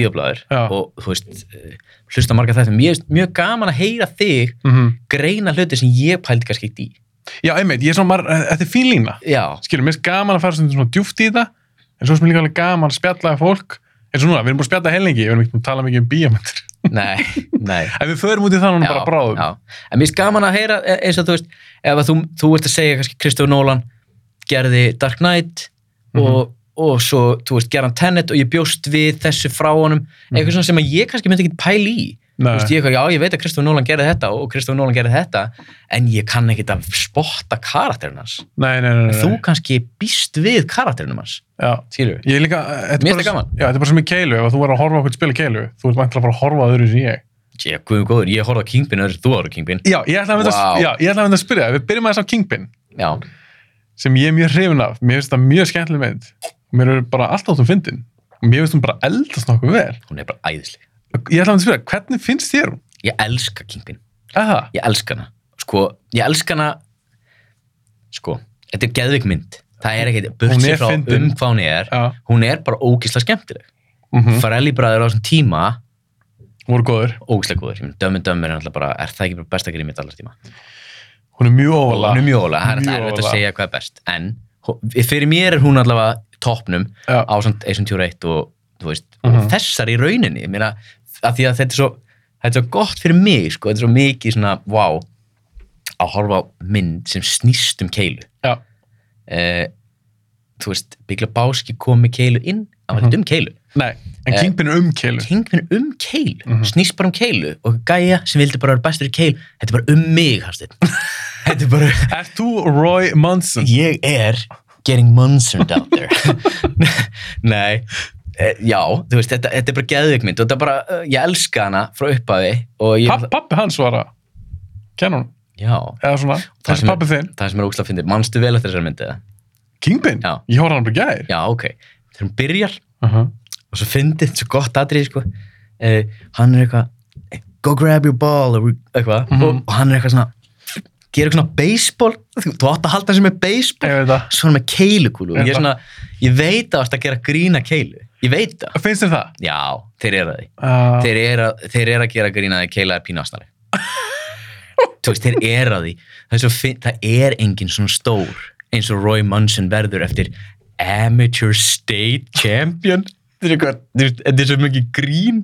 Speaker 1: bíoblæður
Speaker 2: Já.
Speaker 1: og þú veist eh, hlusta marga þetta, mér finnst mjög gaman að heyra þig
Speaker 2: Mm
Speaker 1: greina hluti sem ég pældi kannski ekkert í
Speaker 2: Já, einmitt, ég er svona, mar- eh, þetta er fín lína
Speaker 1: já,
Speaker 2: skilur, mér finnst gaman að fara svona, svona djúft í það en svo sem líka alveg gaman að spjalla að fólk eins og núna, við erum búin að spjalla hellingi, við erum ekki búin að tala mikið um bíómyndir, *laughs*
Speaker 1: nei, nei
Speaker 2: en við förum út í það núna bara bráðum
Speaker 1: já. en mér finnst gaman að heyra e- eins og þú veist, ef að þú, þú ert að segja kannski Kristofur Nólan gerði Dark Knight
Speaker 2: Mhm.
Speaker 1: og, og svo, þú veist, gerðan Tenet og ég bjóst við þessu frá honum eitthvað svona sem að ég kannski myndi ekki pæli í þú
Speaker 2: Mhm. Nei.
Speaker 1: veist, ég, eitthvað, já, ég veit að Kristofur Nólan gerði þetta og Kristofur Nólan gerði þetta en ég kann ekki að spotta karakterinn hans
Speaker 2: nei, nei, nei, nei,
Speaker 1: en þú
Speaker 2: nei.
Speaker 1: kannski býst við karakterinum hans
Speaker 2: Já.
Speaker 1: skilur við,
Speaker 2: Ég er líka, eh, þetta
Speaker 1: Mér
Speaker 2: er
Speaker 1: finnst það
Speaker 2: bara,
Speaker 1: gaman.
Speaker 2: já, þetta er bara sem í keilu, ef þú verður að horfa okkur spila keilu, þú ert vantilega að fara að horfa að öðru sem ég.
Speaker 1: ég, guðum góður, ég horfði á Kingpin öðru, þú horfði á Kingpin
Speaker 2: Já, ég ætla að mynda
Speaker 1: Vá.
Speaker 2: wow. að, að spyrja, þig. við byrjum aðeins á Kingpin,
Speaker 1: já,
Speaker 2: sem ég er mjög hrifin af, mér finnst það mjög skemmtileg mynd, mér er bara alltaf þú fyndin, og mér finnst hún bara eldast nokkuð vel.
Speaker 1: hún er bara æðisleg
Speaker 2: Ég ætla að mynda að spyrja, hvernig finnst þér hún?
Speaker 1: ég elska Kingpin
Speaker 2: Er það?
Speaker 1: ég elska hana sko, ég elska hana sko, þetta er geðvik mynd það er ekkert, burt
Speaker 2: Hún
Speaker 1: sér
Speaker 2: er
Speaker 1: frá
Speaker 2: fyndin.
Speaker 1: um hvað hún er
Speaker 2: Já.
Speaker 1: hún er bara ógislega skemmtileg
Speaker 2: Mm -hmm.
Speaker 1: Farelli bræður á þessum tíma
Speaker 2: Voru góður.
Speaker 1: ógislega góður, ég minn Dömmin Dömmir er náttúrulega bara, er það ekki bara besta grímið allar tíma
Speaker 2: Hún er mjög óvala.
Speaker 1: hún er mjög ólega, það er
Speaker 2: Mjög
Speaker 1: náttúrulega erfitt
Speaker 2: ólega.
Speaker 1: að segja hvað er best en hó- fyrir mér er hún allavega toppnum
Speaker 2: Já.
Speaker 1: á samt Asian 21 og þú veist,
Speaker 2: Mhm.
Speaker 1: þessar í rauninni ég meina, af því að þetta er svo þetta er svo gott fyrir mig, sko, þetta er svo mikið svona, wow að horfa á mynd sem snýst um keilu
Speaker 2: Já.
Speaker 1: eh, þú veist, Bigla Báski kom með keilu inn, það var
Speaker 2: Mhm.
Speaker 1: ekkert um keilu
Speaker 2: Nei, en
Speaker 1: Eh,
Speaker 2: Kingpin er um keilu.
Speaker 1: Kingpin um keilu,
Speaker 2: Mhm.
Speaker 1: snýst bara um keilu og gæja sem vildi bara vera bestur í keilu þetta er bara um mig, Hafsteinn *laughs* þetta er bara,
Speaker 2: Er þú Roy Munson?
Speaker 1: ég er getting monstered out there *laughs* nei eh, já, þú veist, þetta, þetta er bara geðveikmynd og þetta er bara, eh, ég elska hana frá upphafi og ég,
Speaker 2: Papp, pappi hans var að kenna hún,
Speaker 1: já,
Speaker 2: eða svona,
Speaker 1: Það
Speaker 2: þessi
Speaker 1: sem-
Speaker 2: pappi þinn.
Speaker 1: það sem er ógslag fyndið, manstu vel eftir þessari myndið
Speaker 2: Kingpin?
Speaker 1: Já. Uh-huh.
Speaker 2: Ég horfði á hann bara í gær.
Speaker 1: já, ok, þegar hún byrjar
Speaker 2: Uh -huh.
Speaker 1: og svo fyndið, svo gott atrið sko. eh, hann er eitthvað go grab your ball or eitthvað,
Speaker 2: Mhm.
Speaker 1: og, og hann er eitthvað svona gera eitthvað svona baseball þú, þú átt að halda þessi með baseball
Speaker 2: Ég veit það.
Speaker 1: svo hann með keilukúlu og ég, er
Speaker 2: Þetta.
Speaker 1: svona, ég veit að það að gera grína keilu ég veit það,
Speaker 2: Finnst þér það?
Speaker 1: já, þeir eru að því
Speaker 2: Uh,
Speaker 1: þeir eru að, þeir eru að gera grína að keila er pínastari þú veist, þeir eru að því það er, svo, finn- það er engin svona stór eins og Roy Munson verður eftir amateur state champ
Speaker 2: Björn.
Speaker 1: Þetta er eitthvað- þú veist, þetta er svo mikið grín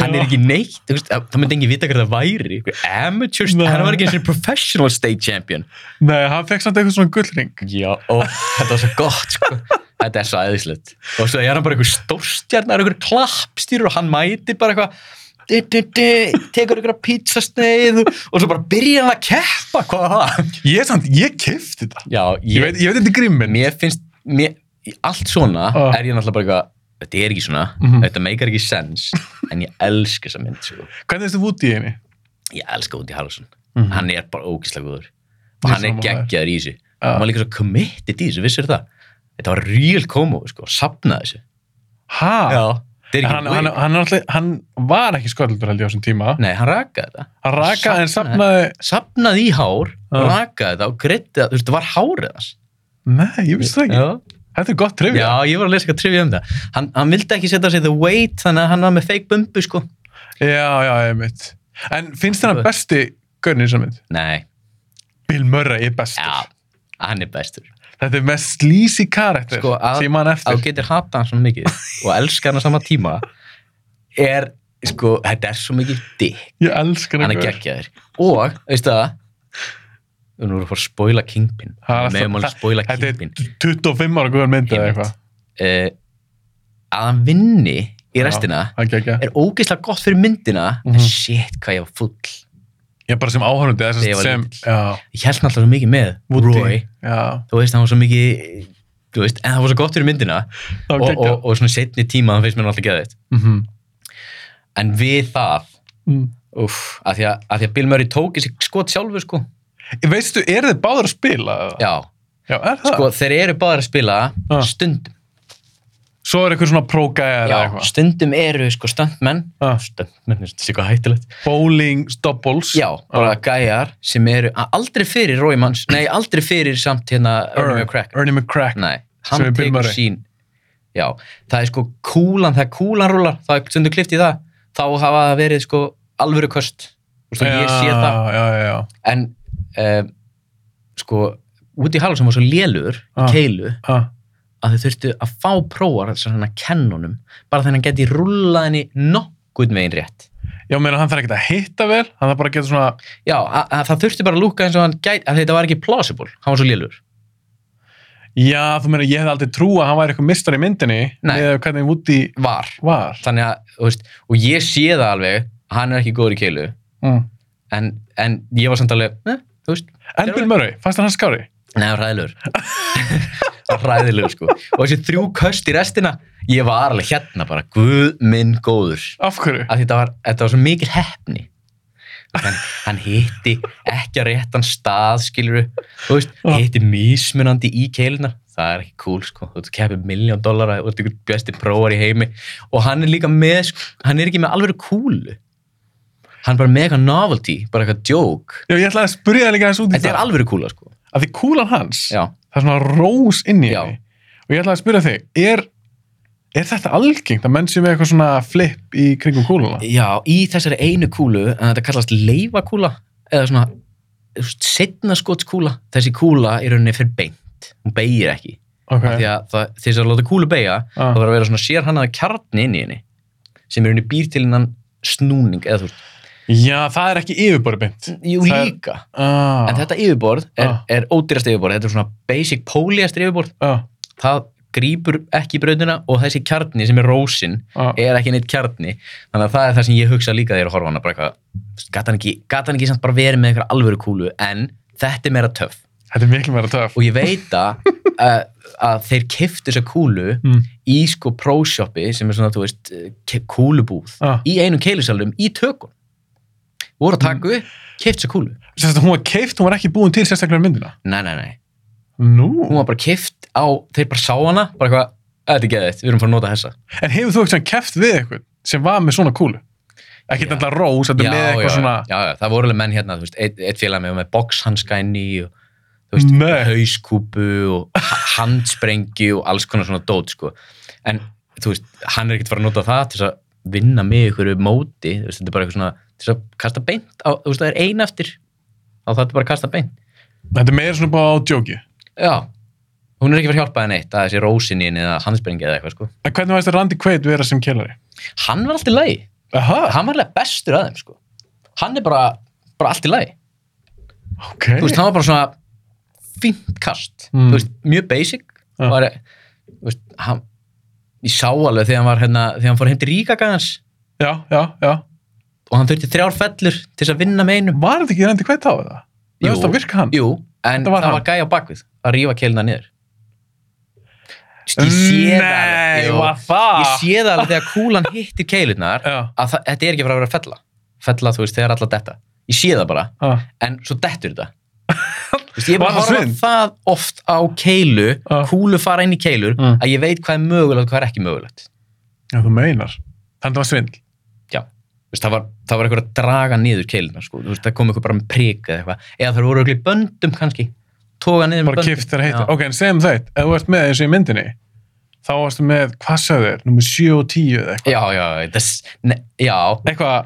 Speaker 1: hann er ekki neitt þú veist, það myndi engin vita hvað það væri Einhver amateur,
Speaker 2: Nei.
Speaker 1: hann var ekki eins og professional state champion
Speaker 2: Nei, hann fekk samt eitthvað svona gullring.
Speaker 1: já, og þetta var svo gott sko. þetta er svo aðeinslegt og svo er hann bara einhver stórstjarnar einhver klappstýrur og hann mætir bara eitthvað du, du, du, tekur einhverja pizzasneið og svo bara byrjar hann að keppa hvað var það?
Speaker 2: Ég samt, ég kifti þetta.
Speaker 1: já,
Speaker 2: Ég, veit, ég veit þetta er grimmin.
Speaker 1: mér finnst mér, í allt svona
Speaker 2: Ah.
Speaker 1: er ég náttúrulega bara eitthvað þetta er ekki svona,
Speaker 2: Mhm.
Speaker 1: þetta meikar ekki sens en ég elska þessa mynd sko.
Speaker 2: Hvernig finnst þú út í henni?
Speaker 1: ég elska Woody Harrelson
Speaker 2: Mhm.
Speaker 1: hann er bara ógislega góður
Speaker 2: Ég
Speaker 1: og hann er
Speaker 2: sammála þér.
Speaker 1: geggjaður í þessu
Speaker 2: Já.
Speaker 1: hann var líka svo committed í þessu, vissir það þetta var real komo, sko, sapnaði þessu
Speaker 2: Ha?
Speaker 1: þetta er
Speaker 2: En
Speaker 1: ekki
Speaker 2: Hann, hann,
Speaker 1: hann,
Speaker 2: hann, hann, hann var ekki sköldur held ég á þessum tíma.
Speaker 1: nei, hann rakaði þetta
Speaker 2: Hann rakaði en
Speaker 1: Safnaði.
Speaker 2: safnaði...
Speaker 1: sapnaði í hár,
Speaker 2: Já.
Speaker 1: rakaði þetta og gritti það, þú veist, það var hárið hans
Speaker 2: Nei, ég vissi það ekki.
Speaker 1: Já.
Speaker 2: Þetta er gott trivja.
Speaker 1: Já, ég var að lesa eitthvað trivja um það hann, hann vildi ekki setja sig the weight þannig að hann var með fake bumbu sko
Speaker 2: Já, já, ég mitt. En finnst þér hann besti gaurinn í þessar mynd?
Speaker 1: Nei,
Speaker 2: Bill Murray er bestur.
Speaker 1: já, hann er bestur
Speaker 2: Þetta er mest slísi karakter
Speaker 1: Sko, að-
Speaker 2: sem hann eftir.
Speaker 1: að þú getur hata hann svona mikið og elska hann á sama tíma er, sko, þetta er svo mikið dick,
Speaker 2: Ég elskar
Speaker 1: hann
Speaker 2: hann
Speaker 1: er geggjaður og, veistu það við erum að fara að spoila Kingpin
Speaker 2: Það er
Speaker 1: við erum alveg að
Speaker 2: alltaf-
Speaker 1: spoila
Speaker 2: Þetta
Speaker 1: Kingpin
Speaker 2: er 25 ára góður mynd eða
Speaker 1: Einmitt. uh,
Speaker 2: eitthvað.
Speaker 1: að hann vinni í restina
Speaker 2: Já, hann geggja.
Speaker 1: er ógeðslega gott fyrir myndina
Speaker 2: Mhm.
Speaker 1: en shit hvað ég var full
Speaker 2: Ég bara sem áhörnundi, þess
Speaker 1: Þegar ég
Speaker 2: að
Speaker 1: var
Speaker 2: sem...
Speaker 1: lítill.
Speaker 2: Já,
Speaker 1: ég held náttúrulega svo mikið með
Speaker 2: Woody.
Speaker 1: Roy
Speaker 2: já.
Speaker 1: þú veist, hann var svo mikið þú veist, en það var svo gott fyrir myndina
Speaker 2: Það
Speaker 1: og,
Speaker 2: var
Speaker 1: og,
Speaker 2: geggja.
Speaker 1: og svona setni tíma hann finnst mér alltaf geðið
Speaker 2: Mhm.
Speaker 1: en við það
Speaker 2: Mm.
Speaker 1: Úf, að því að, að því að Bill Murray tók í sig skot sjálfur sko
Speaker 2: Veistu, eru þið báður að spila? eða?
Speaker 1: já,
Speaker 2: Já, er það?
Speaker 1: sko þeir eru báðir að spila
Speaker 2: Ah.
Speaker 1: stundum
Speaker 2: Svo er eitthvað svona prógæja eða
Speaker 1: Já,
Speaker 2: eitthvað.
Speaker 1: stundum eru sko stöndmenn
Speaker 2: Ah.
Speaker 1: stöndmenn er þetta eitthvað hættilegt
Speaker 2: Bowling doubles.
Speaker 1: já, bara gæjar sem eru a- aldrei fyrir Rói Manns, nei aldrei fyrir samt hérna Ernie McCracken
Speaker 2: Ah, Ernie McCracken.
Speaker 1: nei,
Speaker 2: Sem
Speaker 1: hann
Speaker 2: er Bill
Speaker 1: tekur
Speaker 2: Murray.
Speaker 1: sín já, það er sko kúlan það er kúlan rúlar, það er stundum klift í það þá hafa það verið sko alvöru köst og svo ég sé það
Speaker 2: Já, já, já.
Speaker 1: en um, sko Woody Harrelson var svo lélur í
Speaker 2: Ah.
Speaker 1: keilu
Speaker 2: Ha.
Speaker 1: að þau þurftu að fá prófar svona kennunum, bara þannig að hann geti rúlað henni nokkuð megin rétt
Speaker 2: Já, meina hann þarf ekkert að hitta vel, hann þarf bara að geta svona,
Speaker 1: Já, að, að það þurfti bara að lúka eins og hann gæti, að þetta var ekki plausible, hann var svo lélur.
Speaker 2: já, þú meina, ég hefði aldrei trú að hann væri eitthvað mistar í myndinni,
Speaker 1: Nei.
Speaker 2: með hvernig Woody
Speaker 1: Var.
Speaker 2: var.
Speaker 1: Þannig að, þú veist, og ég sé það alveg, hann er ekki góður í keilu,
Speaker 2: Mm.
Speaker 1: en, en ég var samt alveg, ne, þú veist,
Speaker 2: En Bill Murray, fannst þér hann skári?
Speaker 1: neða *laughs* ræðilegur. ræðilegur, sko. Og þessi þrjú köst í restina, ég var alveg hérna bara, guð minn góður.
Speaker 2: Af hverju?
Speaker 1: Að þetta var, þetta var svo mikil heppni. Hann, hann hitti ekki að réttan stað, skilur þú veist,
Speaker 2: Já.
Speaker 1: hitti mismunandi í keilunar það er ekki cool, sko, þú keppir miljón dollara og þú besti prófar í heimi og hann er líka með, sko, hann er ekki með alveg kúlu hann er bara með eitthvað novelty, bara eitthvað joke
Speaker 2: Já, ég ætlaði að spyrja það líka eins út í
Speaker 1: þetta er
Speaker 2: það.
Speaker 1: alveg kúla, sko
Speaker 2: Að því kúlan hans,
Speaker 1: já,
Speaker 2: það er svona rós inn í
Speaker 1: Já.
Speaker 2: henni. Og ég ætlaði að spyrja þig, er, er þetta algengt að menn sé með eitthvað svona flip í kringum kúluna?
Speaker 1: já, í þessari einu kúlu en þetta kallast leifakúla eða svona, þú veist, setna skotskúla þessi kúla í rauninni fyrir beint hún beigir ekki, af
Speaker 2: Ok,
Speaker 1: því að það- til þess að láta kúlu beiga
Speaker 2: Ah.
Speaker 1: það þarf að vera svona sérhannaða kjarni inn í henni sem er henni býr til hennan snúning eða þú veist,
Speaker 2: já, það er ekki yfirborði beint.
Speaker 1: jú
Speaker 2: Það er-
Speaker 1: líka
Speaker 2: Ah,
Speaker 1: en þetta yfirborð er,
Speaker 2: Ah.
Speaker 1: er ódýrast yfirborð þetta er svona basic polyester yfirborð
Speaker 2: ah,
Speaker 1: það grýpur ekki í brautina og þessi kjarni sem er rósin
Speaker 2: ah.
Speaker 1: er ekki neitt kjarni þannig að það er það sem ég hugsa líka þegar ég er að horfa á hana bara eitthvað, gat hann ekki, gat hann ekki samt bara verið með einhverja alvöru kúlu en þetta er meira töff
Speaker 2: Þetta er miklu meira töf.
Speaker 1: og ég veit að, *laughs* að, að þeir kiftu þessa kúlu
Speaker 2: Mm.
Speaker 1: í sko pro-shoppi sem er svona, þú veist, eh, ke- kúlubúð
Speaker 2: Ah.
Speaker 1: í einum keilusalum í tökum voru að taka upp, kift þessa kúlu
Speaker 2: Sérst að hún var keift, hún var ekki búin til sérstaklega myndina.
Speaker 1: nei, nei, nei, hún
Speaker 2: Nú.
Speaker 1: var bara kift á þeir bara sá hana, bara eitthvað þetta er geðið, við erum fara að nota þessa
Speaker 2: En hefur þú eitthvað keft við eitthvað sem var með svona kúlu? Ekki
Speaker 1: Já.
Speaker 2: alltaf rós, þetta er með eitthvað svona...
Speaker 1: já, já, það voru alveg menn hérna, þú veist, eitt, eitt félag með, með boxhanska inn í og þú veist,
Speaker 2: Nei.
Speaker 1: hauskúpu og ha- handsprengi og alls konar svona dót, sko. En, þú veist, hann er ekkert fara að nota það til þess að vinna með ykkur móti, þú veist, þetta er bara eitthvað svona, til þess að kasta beint, á, þú veist, það er ein eftir, þá þarf þetta bara að kasta beint.
Speaker 2: Þetta er meira svona bara á djóki.
Speaker 1: Já, hún er ekki verið að hjálpa henni eitt, að þessi rósinin eða handsprengi eða eitthvað, sko.
Speaker 2: En hvernig varst það Randy Quaid vera sem kellari?
Speaker 1: Hann var alltaf lægi,
Speaker 2: Aha,
Speaker 1: hann var alveg bestur að þeim, sko. Hann er bara, bara alltaf lægi.
Speaker 2: ok.
Speaker 1: þú veist, það var bara svona fínt kast,
Speaker 2: Mm.
Speaker 1: þú veist, mjög basic
Speaker 2: Ja.
Speaker 1: var, þú veist, hann ég sá alveg þegar hann var hérna þegar hann fór heim til Ríkagans
Speaker 2: Já, já, já.
Speaker 1: og hann þurfti þrjár fellur til þess að vinna með einum
Speaker 2: Var þetta ekki Randy Quaid þá eða? Jú.
Speaker 1: Jú.
Speaker 2: Veist, það virka hann.
Speaker 1: jú, en
Speaker 2: Þetta var
Speaker 1: það
Speaker 2: hann.
Speaker 1: var gæja á bakvið að rífa keilina niður Þú veist, ég sé það alveg
Speaker 2: Nei,
Speaker 1: jú.
Speaker 2: var það?
Speaker 1: ég sé það alveg þegar kúlan hittir keilunar
Speaker 2: Já,
Speaker 1: að það, þetta er ekki að fara að vera fella fella, þú veist, þegar alla detta ég sé það bara
Speaker 2: já.
Speaker 1: en svo dettur
Speaker 2: *laughs*
Speaker 1: þetta Þú veist, ég er bara
Speaker 2: Var það
Speaker 1: að horfa
Speaker 2: svindl?
Speaker 1: það oft á keilu
Speaker 2: Já.
Speaker 1: kúlu fara inn í keilur
Speaker 2: Mm.
Speaker 1: að ég veit hvað er mögulegt og hvað er ekki mögulegt
Speaker 2: Já, þú meinar. Þannig að það var svindl.
Speaker 1: já, Þú veist, það var, það var eitthvað að draga niður keiluna sko. Þú veist, það kom eitthvað bara með prik eða eitthvað eða það voru eitthvað í böndum kannski toga niður með
Speaker 2: Bara
Speaker 1: böndum
Speaker 2: kift þegar heita.
Speaker 1: Já.
Speaker 2: Ok, en segjum þetta. Ef þú ert með eins og í myndinni, þá varstu með, hvað sagðu þér? Númer 7 og 10 eða eitthvað.
Speaker 1: já, já, þess, ne, já
Speaker 2: Eitthvað,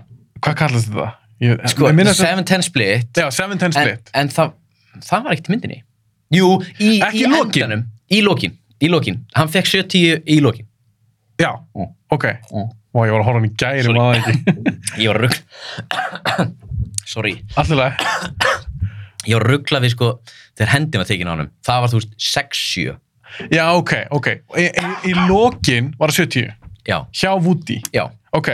Speaker 2: hvað kallast þetta? Ég,
Speaker 1: sko,
Speaker 2: ég minna sem-
Speaker 1: 7-10 split,
Speaker 2: Já, 7-10
Speaker 1: en,
Speaker 2: split.
Speaker 1: en það, það var ekkert í myndinni jú, í,
Speaker 2: Ekki
Speaker 1: í
Speaker 2: í lokin.
Speaker 1: endanum í lokin, í lokin, hann fekk 70 í lokin
Speaker 2: Já,
Speaker 1: Mm.
Speaker 2: ok.
Speaker 1: Mm.
Speaker 2: Vá, ég var að horfa hann í gæri,
Speaker 1: Sorry.
Speaker 2: maður það ekki.
Speaker 1: ég var rugg sorry
Speaker 2: Allirlega.
Speaker 1: ég var rugglað við sko þegar hendin var tekin á hann það var þú veist 6-7
Speaker 2: Já, ok, ok. Í, í, í lokin var það 70.
Speaker 1: já,
Speaker 2: Hjá Woody.
Speaker 1: já,
Speaker 2: Ok,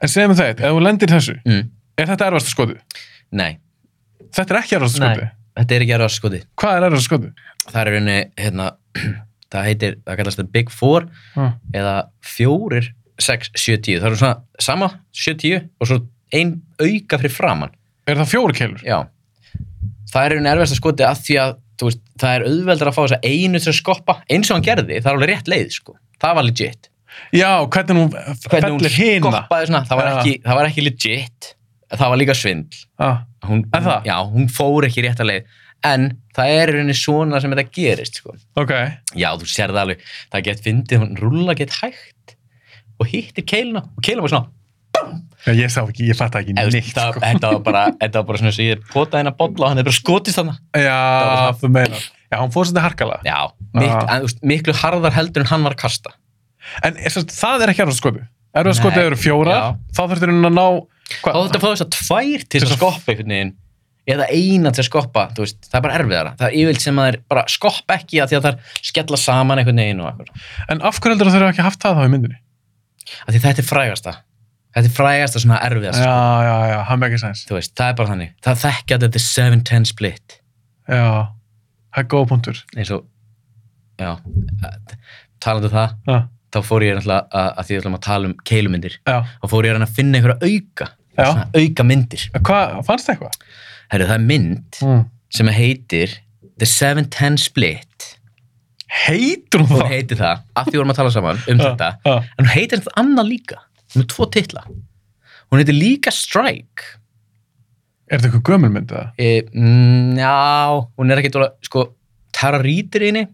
Speaker 2: en segjum við þetta, ef þú lendir í þessu,
Speaker 1: mm,
Speaker 2: er þetta erfasta skotið?
Speaker 1: nei,
Speaker 2: Þetta er ekki erfasta skotið.
Speaker 1: nei þetta er ekki aðra skoti
Speaker 2: Hvað er erfasta skotið?
Speaker 1: það er raunni, hérna *clears throat* það heitir, það kallast það Big Four
Speaker 2: Ah.
Speaker 1: eða fjórir 6-7-10, það eru svona sama 7-10 og svo ein auka fyrir framann,
Speaker 2: Er það fjóru keilur?
Speaker 1: já það er raunni erfasta skoti að því að þú veist, það er auðveldar að fá þess að einu til að skoppa eins og hann gerði, það er alveg rétt leið sko það það var legit
Speaker 2: já, hvernig hún
Speaker 1: hvernig hún
Speaker 2: fellir hina
Speaker 1: skoppaði svona, það var,
Speaker 2: Já.
Speaker 1: ekki, það var ekki legit það var líka svindl
Speaker 2: ah,
Speaker 1: hún,
Speaker 2: Er það?
Speaker 1: já, hún fór ekki rétt að leið en það er í rauninni svona sem þetta gerist sko.
Speaker 2: ok,
Speaker 1: já, þú sér það alveg, það get fyndið hún rúlla get hægt og hittir keiluna og keilum var svona
Speaker 2: já, ég sá ekki, ég fatt ekki
Speaker 1: eða,
Speaker 2: neitt
Speaker 1: það,
Speaker 2: sko.
Speaker 1: þetta, var *laughs* bara, þetta var bara svona sem ég er potað hennar bolla og hann er bara skotist þannig
Speaker 2: já,
Speaker 1: var
Speaker 2: þú meinar já, hún fór svolítið harkala
Speaker 1: já, mik,
Speaker 2: Já.
Speaker 1: en, þú veist, miklu harðar heldur en hann var að kasta
Speaker 2: en sem sagt, það er ekki erfast skotu erfast
Speaker 1: Nei.
Speaker 2: skotu eru fjóra,
Speaker 1: Já.
Speaker 2: þá þurftur hún að ná
Speaker 1: þá
Speaker 2: hvað,
Speaker 1: þetta fá þess að tvær til þess að skoppa einhvern veginn eða eina til að skoppa, þú veist, það er bara erfiðara það er yfirlt sem að þeir bara skoppa ekki að því að það skella saman einhvern veginn og eitthvað
Speaker 2: en af hverju heldur þurftur ekki haft það þá í myndinni
Speaker 1: að því þetta er frægasta þetta er frægasta svona erfiðasta
Speaker 2: já, já, já, hann með ekki sæns
Speaker 1: þú veist, það er bara þannig, það þekkja að þetta er 7-10 split
Speaker 2: já, það er góð punktur
Speaker 1: eins og, já að- talandi um það,
Speaker 2: já,
Speaker 1: þá fór ég náttúrulega að, að því við ætlum að tala um keilumyndir
Speaker 2: já,
Speaker 1: þá fór ég að reyna að finna einhverja auka
Speaker 2: Já.
Speaker 1: svona auka myndir,
Speaker 2: hvað, fannst það eitthvað?
Speaker 1: herru það er mynd
Speaker 2: Mm.
Speaker 1: sem heitir The 7-10 Split
Speaker 2: heitur hún
Speaker 1: hún
Speaker 2: það?
Speaker 1: heitir það, af því vorum að tala saman um þetta,
Speaker 2: já,
Speaker 1: en hún heitir þetta annað líka hún er tvo titla hún heitir líka Strike
Speaker 2: er þetta eitthvað gömul mynd eða?
Speaker 1: e, mm, já, hún er ekki dóla, sko, Tara Reid er í henni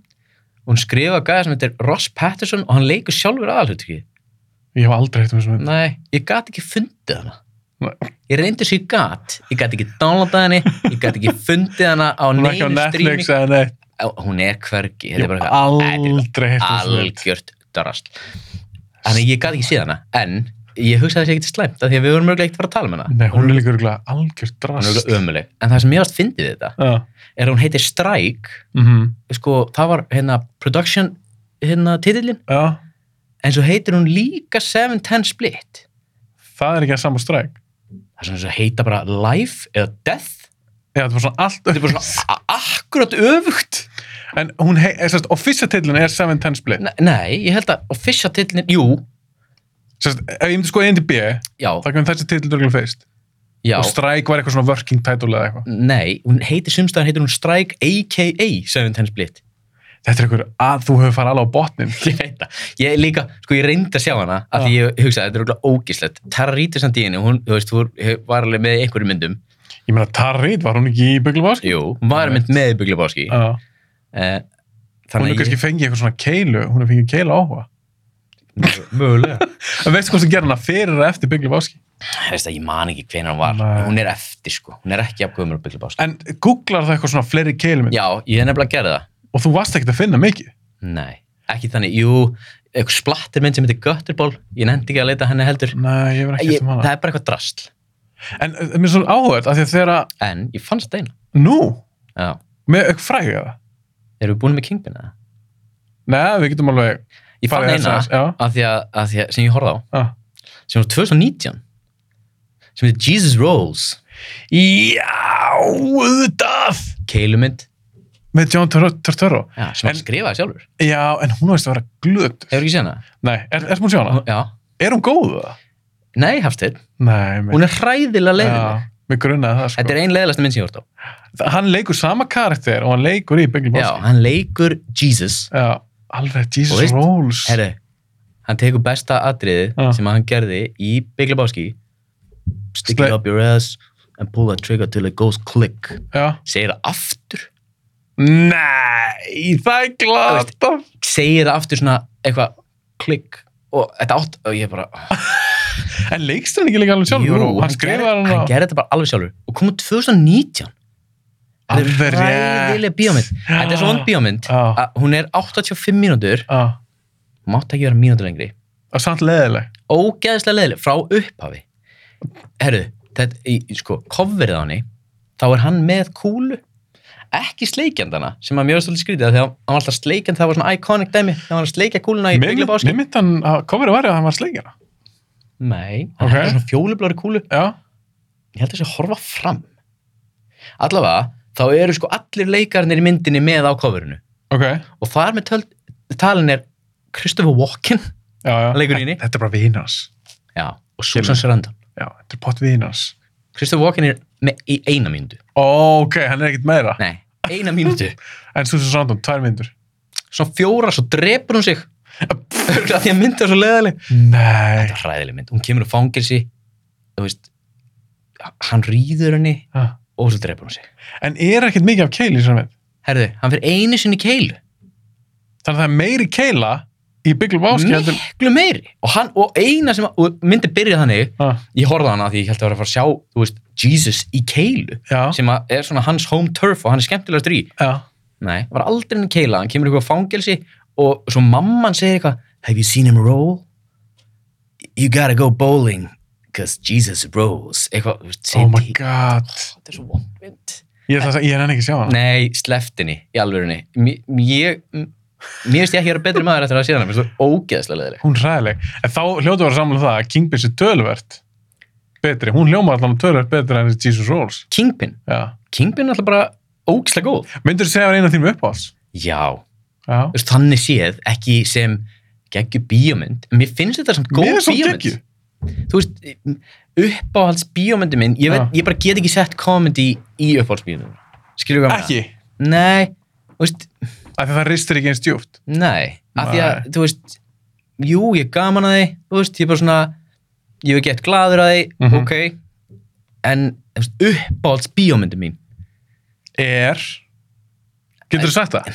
Speaker 1: hún skrifa gæða sem heitir Ross Patterson og hann leikur sjálfur aðalhuttrykki
Speaker 2: ég hef aldrei heitt um þessu mynd
Speaker 1: nei, ég gat ekki fundið hana
Speaker 2: Nei.
Speaker 1: ég reyndi svo ég gat ég gat ekki downloadað henni, ég gat ekki fundið hana á
Speaker 2: hún er ekki á
Speaker 1: neinu streaming
Speaker 2: Netflix eða neitt
Speaker 1: Á- hún er hvergi,
Speaker 2: ég
Speaker 1: þetta er
Speaker 2: hef
Speaker 1: bara eitthvað-
Speaker 2: aldrei heitt um þessu mynd
Speaker 1: algjört drast þannig að ég gat ekki séð hana en ég hugsaði þessi ekkert slæmt af því að við vorum mörgulega ekkert að fara að tala um hana
Speaker 2: nei, hún er líka örugglega
Speaker 1: hún er
Speaker 2: algjör
Speaker 1: um.
Speaker 2: drast
Speaker 1: mörgulega ömuleg en það sem ég varst fyndið við þetta
Speaker 2: já,
Speaker 1: er að hún heitir Strike
Speaker 2: mhm,
Speaker 1: sko það var hérna production hérna titillin
Speaker 2: já
Speaker 1: en svo heitir hún líka 710 Split
Speaker 2: það er ekki að sama stræk
Speaker 1: það er svona svo heita bara Life eða Death
Speaker 2: já, þetta var svona allt
Speaker 1: þetta er bara svona a- akkurat öfugt
Speaker 2: en hún hei, er sérst, official titlun er 710 split
Speaker 1: Ne- nei, ég held að official titillin, jú
Speaker 2: sérst, ef ég myndi sko einn til B þá
Speaker 1: já,
Speaker 2: kemur þessi titlun örgulega fyrst
Speaker 1: já,
Speaker 2: og strike var eitthvað svona working title eða eitthvað
Speaker 1: nei hún heitir sumstæðan heitir hún Strike aka 710 Split
Speaker 2: þetta er eitthvað að þú hefur farið alveg á botnin
Speaker 1: ég veit það, ég líka, sko ég reyndi að sjá hana af því ég hugsaði, þetta er okkur ógíslegt Tara Rítis hann díðinu, hún, þú veist, hún var alveg með í einhverjum myndum,
Speaker 2: ég meina Tarit, var hún ekki í Bygglubás
Speaker 1: jú, hún var mynd með í Buglebáski uh,
Speaker 2: uh, hún
Speaker 1: þannig
Speaker 2: hefur
Speaker 1: að
Speaker 2: *laughs* kannski fengið eitthvað svona keilu hún hefur fengið keilu áhuga
Speaker 1: ég, mögulega
Speaker 2: *laughs* en veistu hvað sem gerði hana fyrir eða eftir Bygglubáski
Speaker 1: veist að ég man ekki hvenær hún var,
Speaker 2: Nei.
Speaker 1: Nei. hún er eftir sko hún er ekki af gömur á Buglebáski
Speaker 2: en googlar það eitthvað svona fleiri keilum hérna.
Speaker 1: já, ég er nefnilega að gera það,
Speaker 2: og þú varst ekkert að finna mikið
Speaker 1: nei, ekki þannig jú, eitthvað splattir mynd sem heitir Götterball ég nefndi ekki að leita að henni heldur
Speaker 2: nei, ég verð ekki
Speaker 1: ég,
Speaker 2: eftir
Speaker 1: það
Speaker 2: hana
Speaker 1: er bara eitthvað drasl,
Speaker 2: en uh, mér er svona áhugað af því að þegar að
Speaker 1: en ég fannst eina
Speaker 2: nú,
Speaker 1: já,
Speaker 2: með auk fræg eða
Speaker 1: erum við búin með Kingpin eða?
Speaker 2: nei, við getum alveg
Speaker 1: ég fann
Speaker 2: farið
Speaker 1: eina,
Speaker 2: aðeins- já,
Speaker 1: af því að, að því að, sem ég horfði á
Speaker 2: já.
Speaker 1: sem var 2019 sem heitir Jesus Rolls
Speaker 2: Já, auðvitað!
Speaker 1: keilumynd
Speaker 2: Með John Tur- Turturro.
Speaker 1: já, sem
Speaker 2: En-
Speaker 1: hann skrifaði sjálfur
Speaker 2: Já, en hún veist að vera glöð.
Speaker 1: hefur ekki séð hana?
Speaker 2: Nei, er, er hún sjá hana?
Speaker 1: Hún- já,
Speaker 2: Er hún góð það?
Speaker 1: nei Hafsteinn
Speaker 2: Nei, mér,
Speaker 1: hún er hræðilega leiðileg
Speaker 2: mér grunnaði það sko.
Speaker 1: þetta er ein leiðilegsta mynd sem ég hort á
Speaker 2: Þa- Hann leikur sama karakter og hann leikur í Biggie
Speaker 1: já,
Speaker 2: Boss.
Speaker 1: hann leikur Jesus
Speaker 2: Já, alveg Jesus
Speaker 1: Og veist-
Speaker 2: Rolls.
Speaker 1: herri, hann tekur besta atriði
Speaker 2: Já.
Speaker 1: sem hann gerði í Big Lebowski stick it
Speaker 2: Slay-
Speaker 1: up your ass and pull that trigger till it goes click
Speaker 2: Já.
Speaker 1: segir það aftur
Speaker 2: Nei, það er glata.
Speaker 1: segir það aftur svona eitthvað click og þetta átt og ég bara
Speaker 2: En leikst hann ekki líka alveg sjálfur?
Speaker 1: Jú,
Speaker 2: hann skrifaði
Speaker 1: gerði-
Speaker 2: hann á...
Speaker 1: hann gerði þetta bara alveg sjálfur og kom út 2019 Þetta er
Speaker 2: Alveg rétt.
Speaker 1: ræðileg bíómynd þetta er svo vond bíómynd
Speaker 2: Já.
Speaker 1: að hún er 85 mínútur
Speaker 2: Já,
Speaker 1: mátt ekki vera mínútur lengri
Speaker 2: og samt leðileg.
Speaker 1: ógeðslega leiðileg frá upphafi herru, þetta, í, í- sko, coverið á henni þá er hann með kúlu ekki sleikjandana sem að mjög stóli skrítið af því að hann var alltaf sleikjand það var svona iconic dæmi þegar hann var að sleikja kúluna í
Speaker 2: Mér
Speaker 1: bygglega báskip
Speaker 2: myndi hann að komur að verja að hann var sleikjana.
Speaker 1: nei, hann
Speaker 2: Ok.
Speaker 1: okay. er svona fjólublári kúlu
Speaker 2: Já,
Speaker 1: ég held að þessi horfa fram allavega þá eru sko allir leikarnir í myndinni með á coverinu
Speaker 2: ok.
Speaker 1: og þar með töl, talin er Christopher Walken
Speaker 2: Já, já.
Speaker 1: Hann leikur í henni.
Speaker 2: Þetta er bara vinnars.
Speaker 1: já, og Susan Sarandon
Speaker 2: Já, þetta er pott vinnars.
Speaker 1: Christopher Walken er með, í eina mínútu
Speaker 2: Ok, hann er ekkert meira.
Speaker 1: nei, eina mínútu
Speaker 2: En Susan Sarandon, tvær myndur.
Speaker 1: svona fjóra, svo drepur hún sig Örugglega því að myndi var svo leðaleg
Speaker 2: Nei.
Speaker 1: þetta var hræðileg mynd, hún kemur úr fangelsi þú veist hann rýður henni
Speaker 2: Ha.
Speaker 1: og svo drefur hún sig
Speaker 2: En er ekkert mikið af keili sem við.
Speaker 1: herðu, hann fyrir einu sinni í keilu
Speaker 2: Þannig að það er meiri keila í bygglum áskjöldur.
Speaker 1: miklu meiri og, hann, og eina sem, og myndi byrja þannig ég horfði á hana því ég held að vera að fara að sjá þú veist, Jesus í keilu
Speaker 2: Já.
Speaker 1: sem að er svona hans home turf og hann er skemmtilegast í
Speaker 2: Já.
Speaker 1: nei, var aldrei henni keila, hann kemur í eitthvað fangelsi og svo mamman segir eitthvað have you seen him roll? you gotta go bowling cause Jesus rolls eitthvað, þú veist,
Speaker 2: Oh
Speaker 1: segir
Speaker 2: my
Speaker 1: til-
Speaker 2: god.
Speaker 1: þetta er svo vondvind
Speaker 2: Ég ætla að segja, ég er enn ekki að sjá hana.
Speaker 1: nei, sleftinni, í alvörunni Mér- ég, m- mér veist ég ekki að vera betri maður eftir að sé hana, mér finnst þú ógeðslega leðileg
Speaker 2: Hún er hræðileg. En þá hljótu var samanlega það að King Bitch er tölvert betri. Hún hljóma allan tölvert betri en Jesus Rolls.
Speaker 1: Kingpin,
Speaker 2: Já.
Speaker 1: Kingpin er alltaf bara ógeðslega góð
Speaker 2: Myndur þú segja að vera einu af þínum uppáhalds?
Speaker 1: já,
Speaker 2: Já.
Speaker 1: þú veist, þannig séð ekki sem geggju bíómynd en mér finnst þetta samt góð
Speaker 2: Mér er svo
Speaker 1: bíómynd
Speaker 2: geggjuð.
Speaker 1: þú veist, uppáhalds bíómyndi minn, ég, veit,
Speaker 2: Já.
Speaker 1: ég bara get ekki sett komedi í uppáhalds bíómyndi skilur við
Speaker 2: Ekki.
Speaker 1: Nei, þú veist,
Speaker 2: Af því það ristir ekki eins djúpt.
Speaker 1: nei af því að,
Speaker 2: Nei.
Speaker 1: þú veist jú, ég er gaman að því, þú veist, ég er bara svona ég er gett gladur að því,
Speaker 2: Mhm.
Speaker 1: ok en þú veist, uppáhalds bíómyndi mín
Speaker 2: Er. Getur þú sagt það?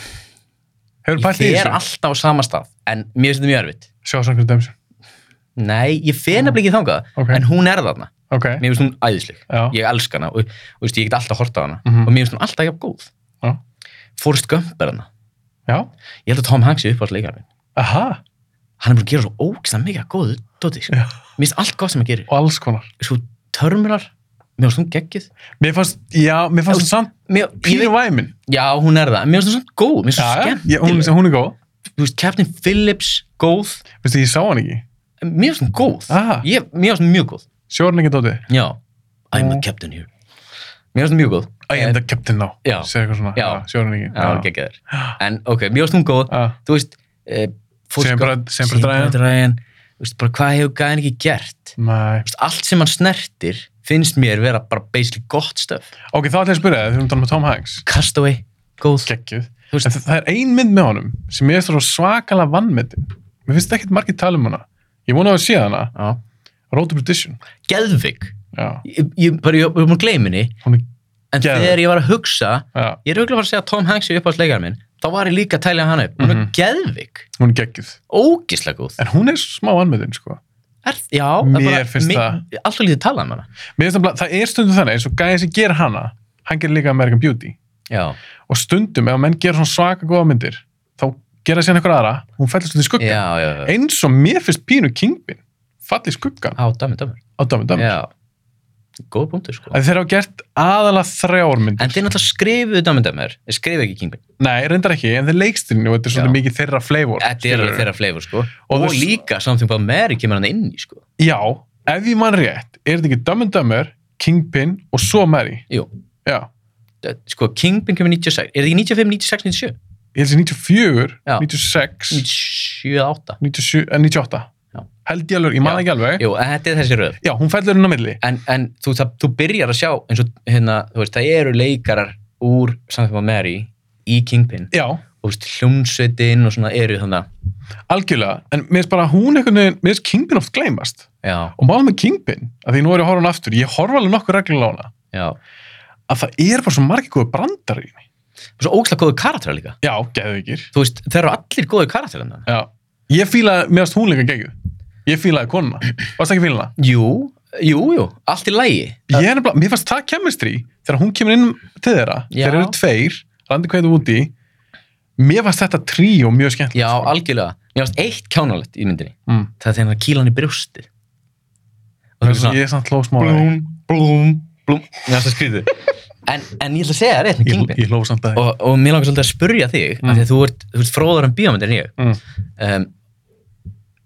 Speaker 2: Hefur
Speaker 1: ég
Speaker 2: pælt í
Speaker 1: fer
Speaker 2: þessu?
Speaker 1: alltaf á sama stað, en mér finnst þetta mjög erfitt
Speaker 2: Sjá samkvæmt dæmis.
Speaker 1: nei, ég fer nefnilega ekki þangað
Speaker 2: Ok.
Speaker 1: en hún er þarna
Speaker 2: Ok.
Speaker 1: mér finnst hún æðisleg
Speaker 2: Já.
Speaker 1: ég elska hana og, og veist, ég get alltaf horta á hana
Speaker 2: Mhm.
Speaker 1: og mér finnst hún alltaf jafn góð
Speaker 2: Já.
Speaker 1: Forrest Gump er hana
Speaker 2: Já.
Speaker 1: ég held að Tom Hanks er uppáhaldsleikarinn minn.
Speaker 2: Aha. hann
Speaker 1: hann er búin að gera svo ógæslega mikið góð dóti sko.
Speaker 2: Já.
Speaker 1: mér finnst allt gott sem hann gerir
Speaker 2: og alls konar.
Speaker 1: svo Terminal mér finnst hún geggið
Speaker 2: Mér fannst, já, mér fannst hún samt
Speaker 1: mér, ég
Speaker 2: pínu
Speaker 1: veit-
Speaker 2: væmin.
Speaker 1: já hún er það mér finnst hún samt góð mér finnst hún
Speaker 2: Já,
Speaker 1: skemmt
Speaker 2: já, hún, hún er góð.
Speaker 1: þú veist Captain Phillips góð
Speaker 2: Veistu, ég sá hann ekki.
Speaker 1: mér finnst hún góð
Speaker 2: Ah.
Speaker 1: ég, mér finnst hún mjög góð
Speaker 2: Sjórn ekki dótið.
Speaker 1: já I'm the
Speaker 2: Mm.
Speaker 1: captain here mér finnst hún mjög góð
Speaker 2: I am the captain now.
Speaker 1: Já.
Speaker 2: Segir eitthvað svona.
Speaker 1: Já.
Speaker 2: Sjórn ekki.
Speaker 1: Já, hún er geggjaður. en ok mér finnst hún góð
Speaker 2: Já.
Speaker 1: þú veist eh, fólk-
Speaker 2: Sem bara- sem bara
Speaker 1: Sem
Speaker 2: Ryan.
Speaker 1: Ryan. Þú veist, bara hvað hefur gæðin ekki gert Þú
Speaker 2: Nei.
Speaker 1: veist, allt sem hann snertir finnst mér vera bara basically gott stöf
Speaker 2: Ok, þá ætla ég að spyrja það, þegar við talað með Tom Hanks.
Speaker 1: Castaway, góð
Speaker 2: Gekkið.
Speaker 1: Þú veist-
Speaker 2: En það, það er ein mynd með honum sem ég er svo svakalega vannmetin. Mér finnst ekkert margir tala um hana. Ég vona að sé hana. Road to Perdition.
Speaker 1: Geðvig
Speaker 2: Já.
Speaker 1: ég, ég, bara, ég, ég var múin að gleyma henni
Speaker 2: Hún er,
Speaker 1: en
Speaker 2: Geðveik.
Speaker 1: þegar ég var að hugsa
Speaker 2: já,
Speaker 1: ég er auðvitað að segja að Tom Hanks er uppáhaldsleikar minn þá var ég líka að tælja hann upp hún er
Speaker 2: Mhm.
Speaker 1: geðvig,
Speaker 2: hún er gekkið.
Speaker 1: ógislega góð
Speaker 2: En hún er smá vannmetin, sko.
Speaker 1: er, já, það er
Speaker 2: Mér finnst
Speaker 1: mi-
Speaker 2: það-
Speaker 1: alltaf lítið talað um hana
Speaker 2: Mér finnst nefnilega- það er stundum þannig, eins og gæði sem ger hana, hann ger líka American Beauty.
Speaker 1: já,
Speaker 2: og stundum ef menn gera svona svaka góða myndir þá gera síðan einhver aðra hún fellur stundum í
Speaker 1: já,
Speaker 2: skugga
Speaker 1: já, já.
Speaker 2: eins og mér finnst pínu Kingpin falli í skuggan
Speaker 1: á, dæmi, dæmi,
Speaker 2: á Dumb and Dumber
Speaker 1: já góð punktur sko
Speaker 2: að þeir hafa gert aðalega þrjár
Speaker 1: en
Speaker 2: myndir
Speaker 1: þeir náttúrulega skrifuðu dæmi, dæmi, þeir skrifu ekki Kingpin
Speaker 2: nei, reyndar ekki, en þeir leikstyrinu og þetta er svolítið
Speaker 1: Já.
Speaker 2: mikið þeirra flavor
Speaker 1: Þetta er alveg
Speaker 2: skilurðu.
Speaker 1: þeirra fleifur sko
Speaker 2: Og
Speaker 1: Og,
Speaker 2: þess-
Speaker 1: líka Something About Mary kemur hann inn í sko
Speaker 2: já, ef ég mann rétt er þetta ekki Dumb and Dumber, Kingpin og svo Mary
Speaker 1: Jú,
Speaker 2: já,
Speaker 1: það- sko Kingpin kemur 96 Er það ekki 95, 96, 97?
Speaker 2: ég held þessi 94
Speaker 1: Já.
Speaker 2: 96,
Speaker 1: 97, 8
Speaker 2: 97, eh, 98
Speaker 1: Já.
Speaker 2: held ég alveg, ég
Speaker 1: Já.
Speaker 2: man ekki alveg
Speaker 1: Jú, en þetta er þessi röð
Speaker 2: já, hún fellur inn á milli
Speaker 1: En, en þú, það, þú byrjar að sjá eins og hérna, þú veist, það eru leikarar úr Something About Mary í Kingpin
Speaker 2: já,
Speaker 1: og þú veist, hljómsveitin og svona eru þannig
Speaker 2: algjörlega, en mér finnst bara hún einhvern veginn, mér finnst Kingpin oft gleymast
Speaker 1: Já,
Speaker 2: og málum með Kingpin, að því nú er ég að horfa á hann aftur ég horfa alveg nokkur reglulega á hana
Speaker 1: já
Speaker 2: að það er bara svo margir góðu brandar í henni
Speaker 1: Og Svo ógslag góðu karakterar líka
Speaker 2: já, geðvikir
Speaker 1: Þú veist, þeir eru allir góðu karakterar þannig
Speaker 2: já. ég fílaði, mér finnst hún líka gegjuð ég fílaði konuna, varst ekki fílana
Speaker 1: Jú, jú, jú, allt í lægi
Speaker 2: ég er nefnilega, mér fannst það kemistri þegar hún kemur inn til þeirra
Speaker 1: Já.
Speaker 2: þeir eru tveir, randi hvað þú úti mér fannst þetta tríó mjög skemmt
Speaker 1: Já, algjörlega Mér varst eitt kjánalegt í myndinni
Speaker 2: mm.
Speaker 1: það er þegar hann kýla hann í brjóstið og það er svona
Speaker 2: ég er samt hló smá að því.
Speaker 1: blúm, blúm, blúm mér finnst það skrítið *laughs* en, en ég ætla að segja það rétt með
Speaker 2: ég,
Speaker 1: Kingpin
Speaker 2: ég hló samt að því.
Speaker 1: og, og mér langar svolítið að spurja þig
Speaker 2: Mm.
Speaker 1: af því að þú ert, þú ert fróðar um bíómyndir en ég
Speaker 2: Mm.
Speaker 1: um,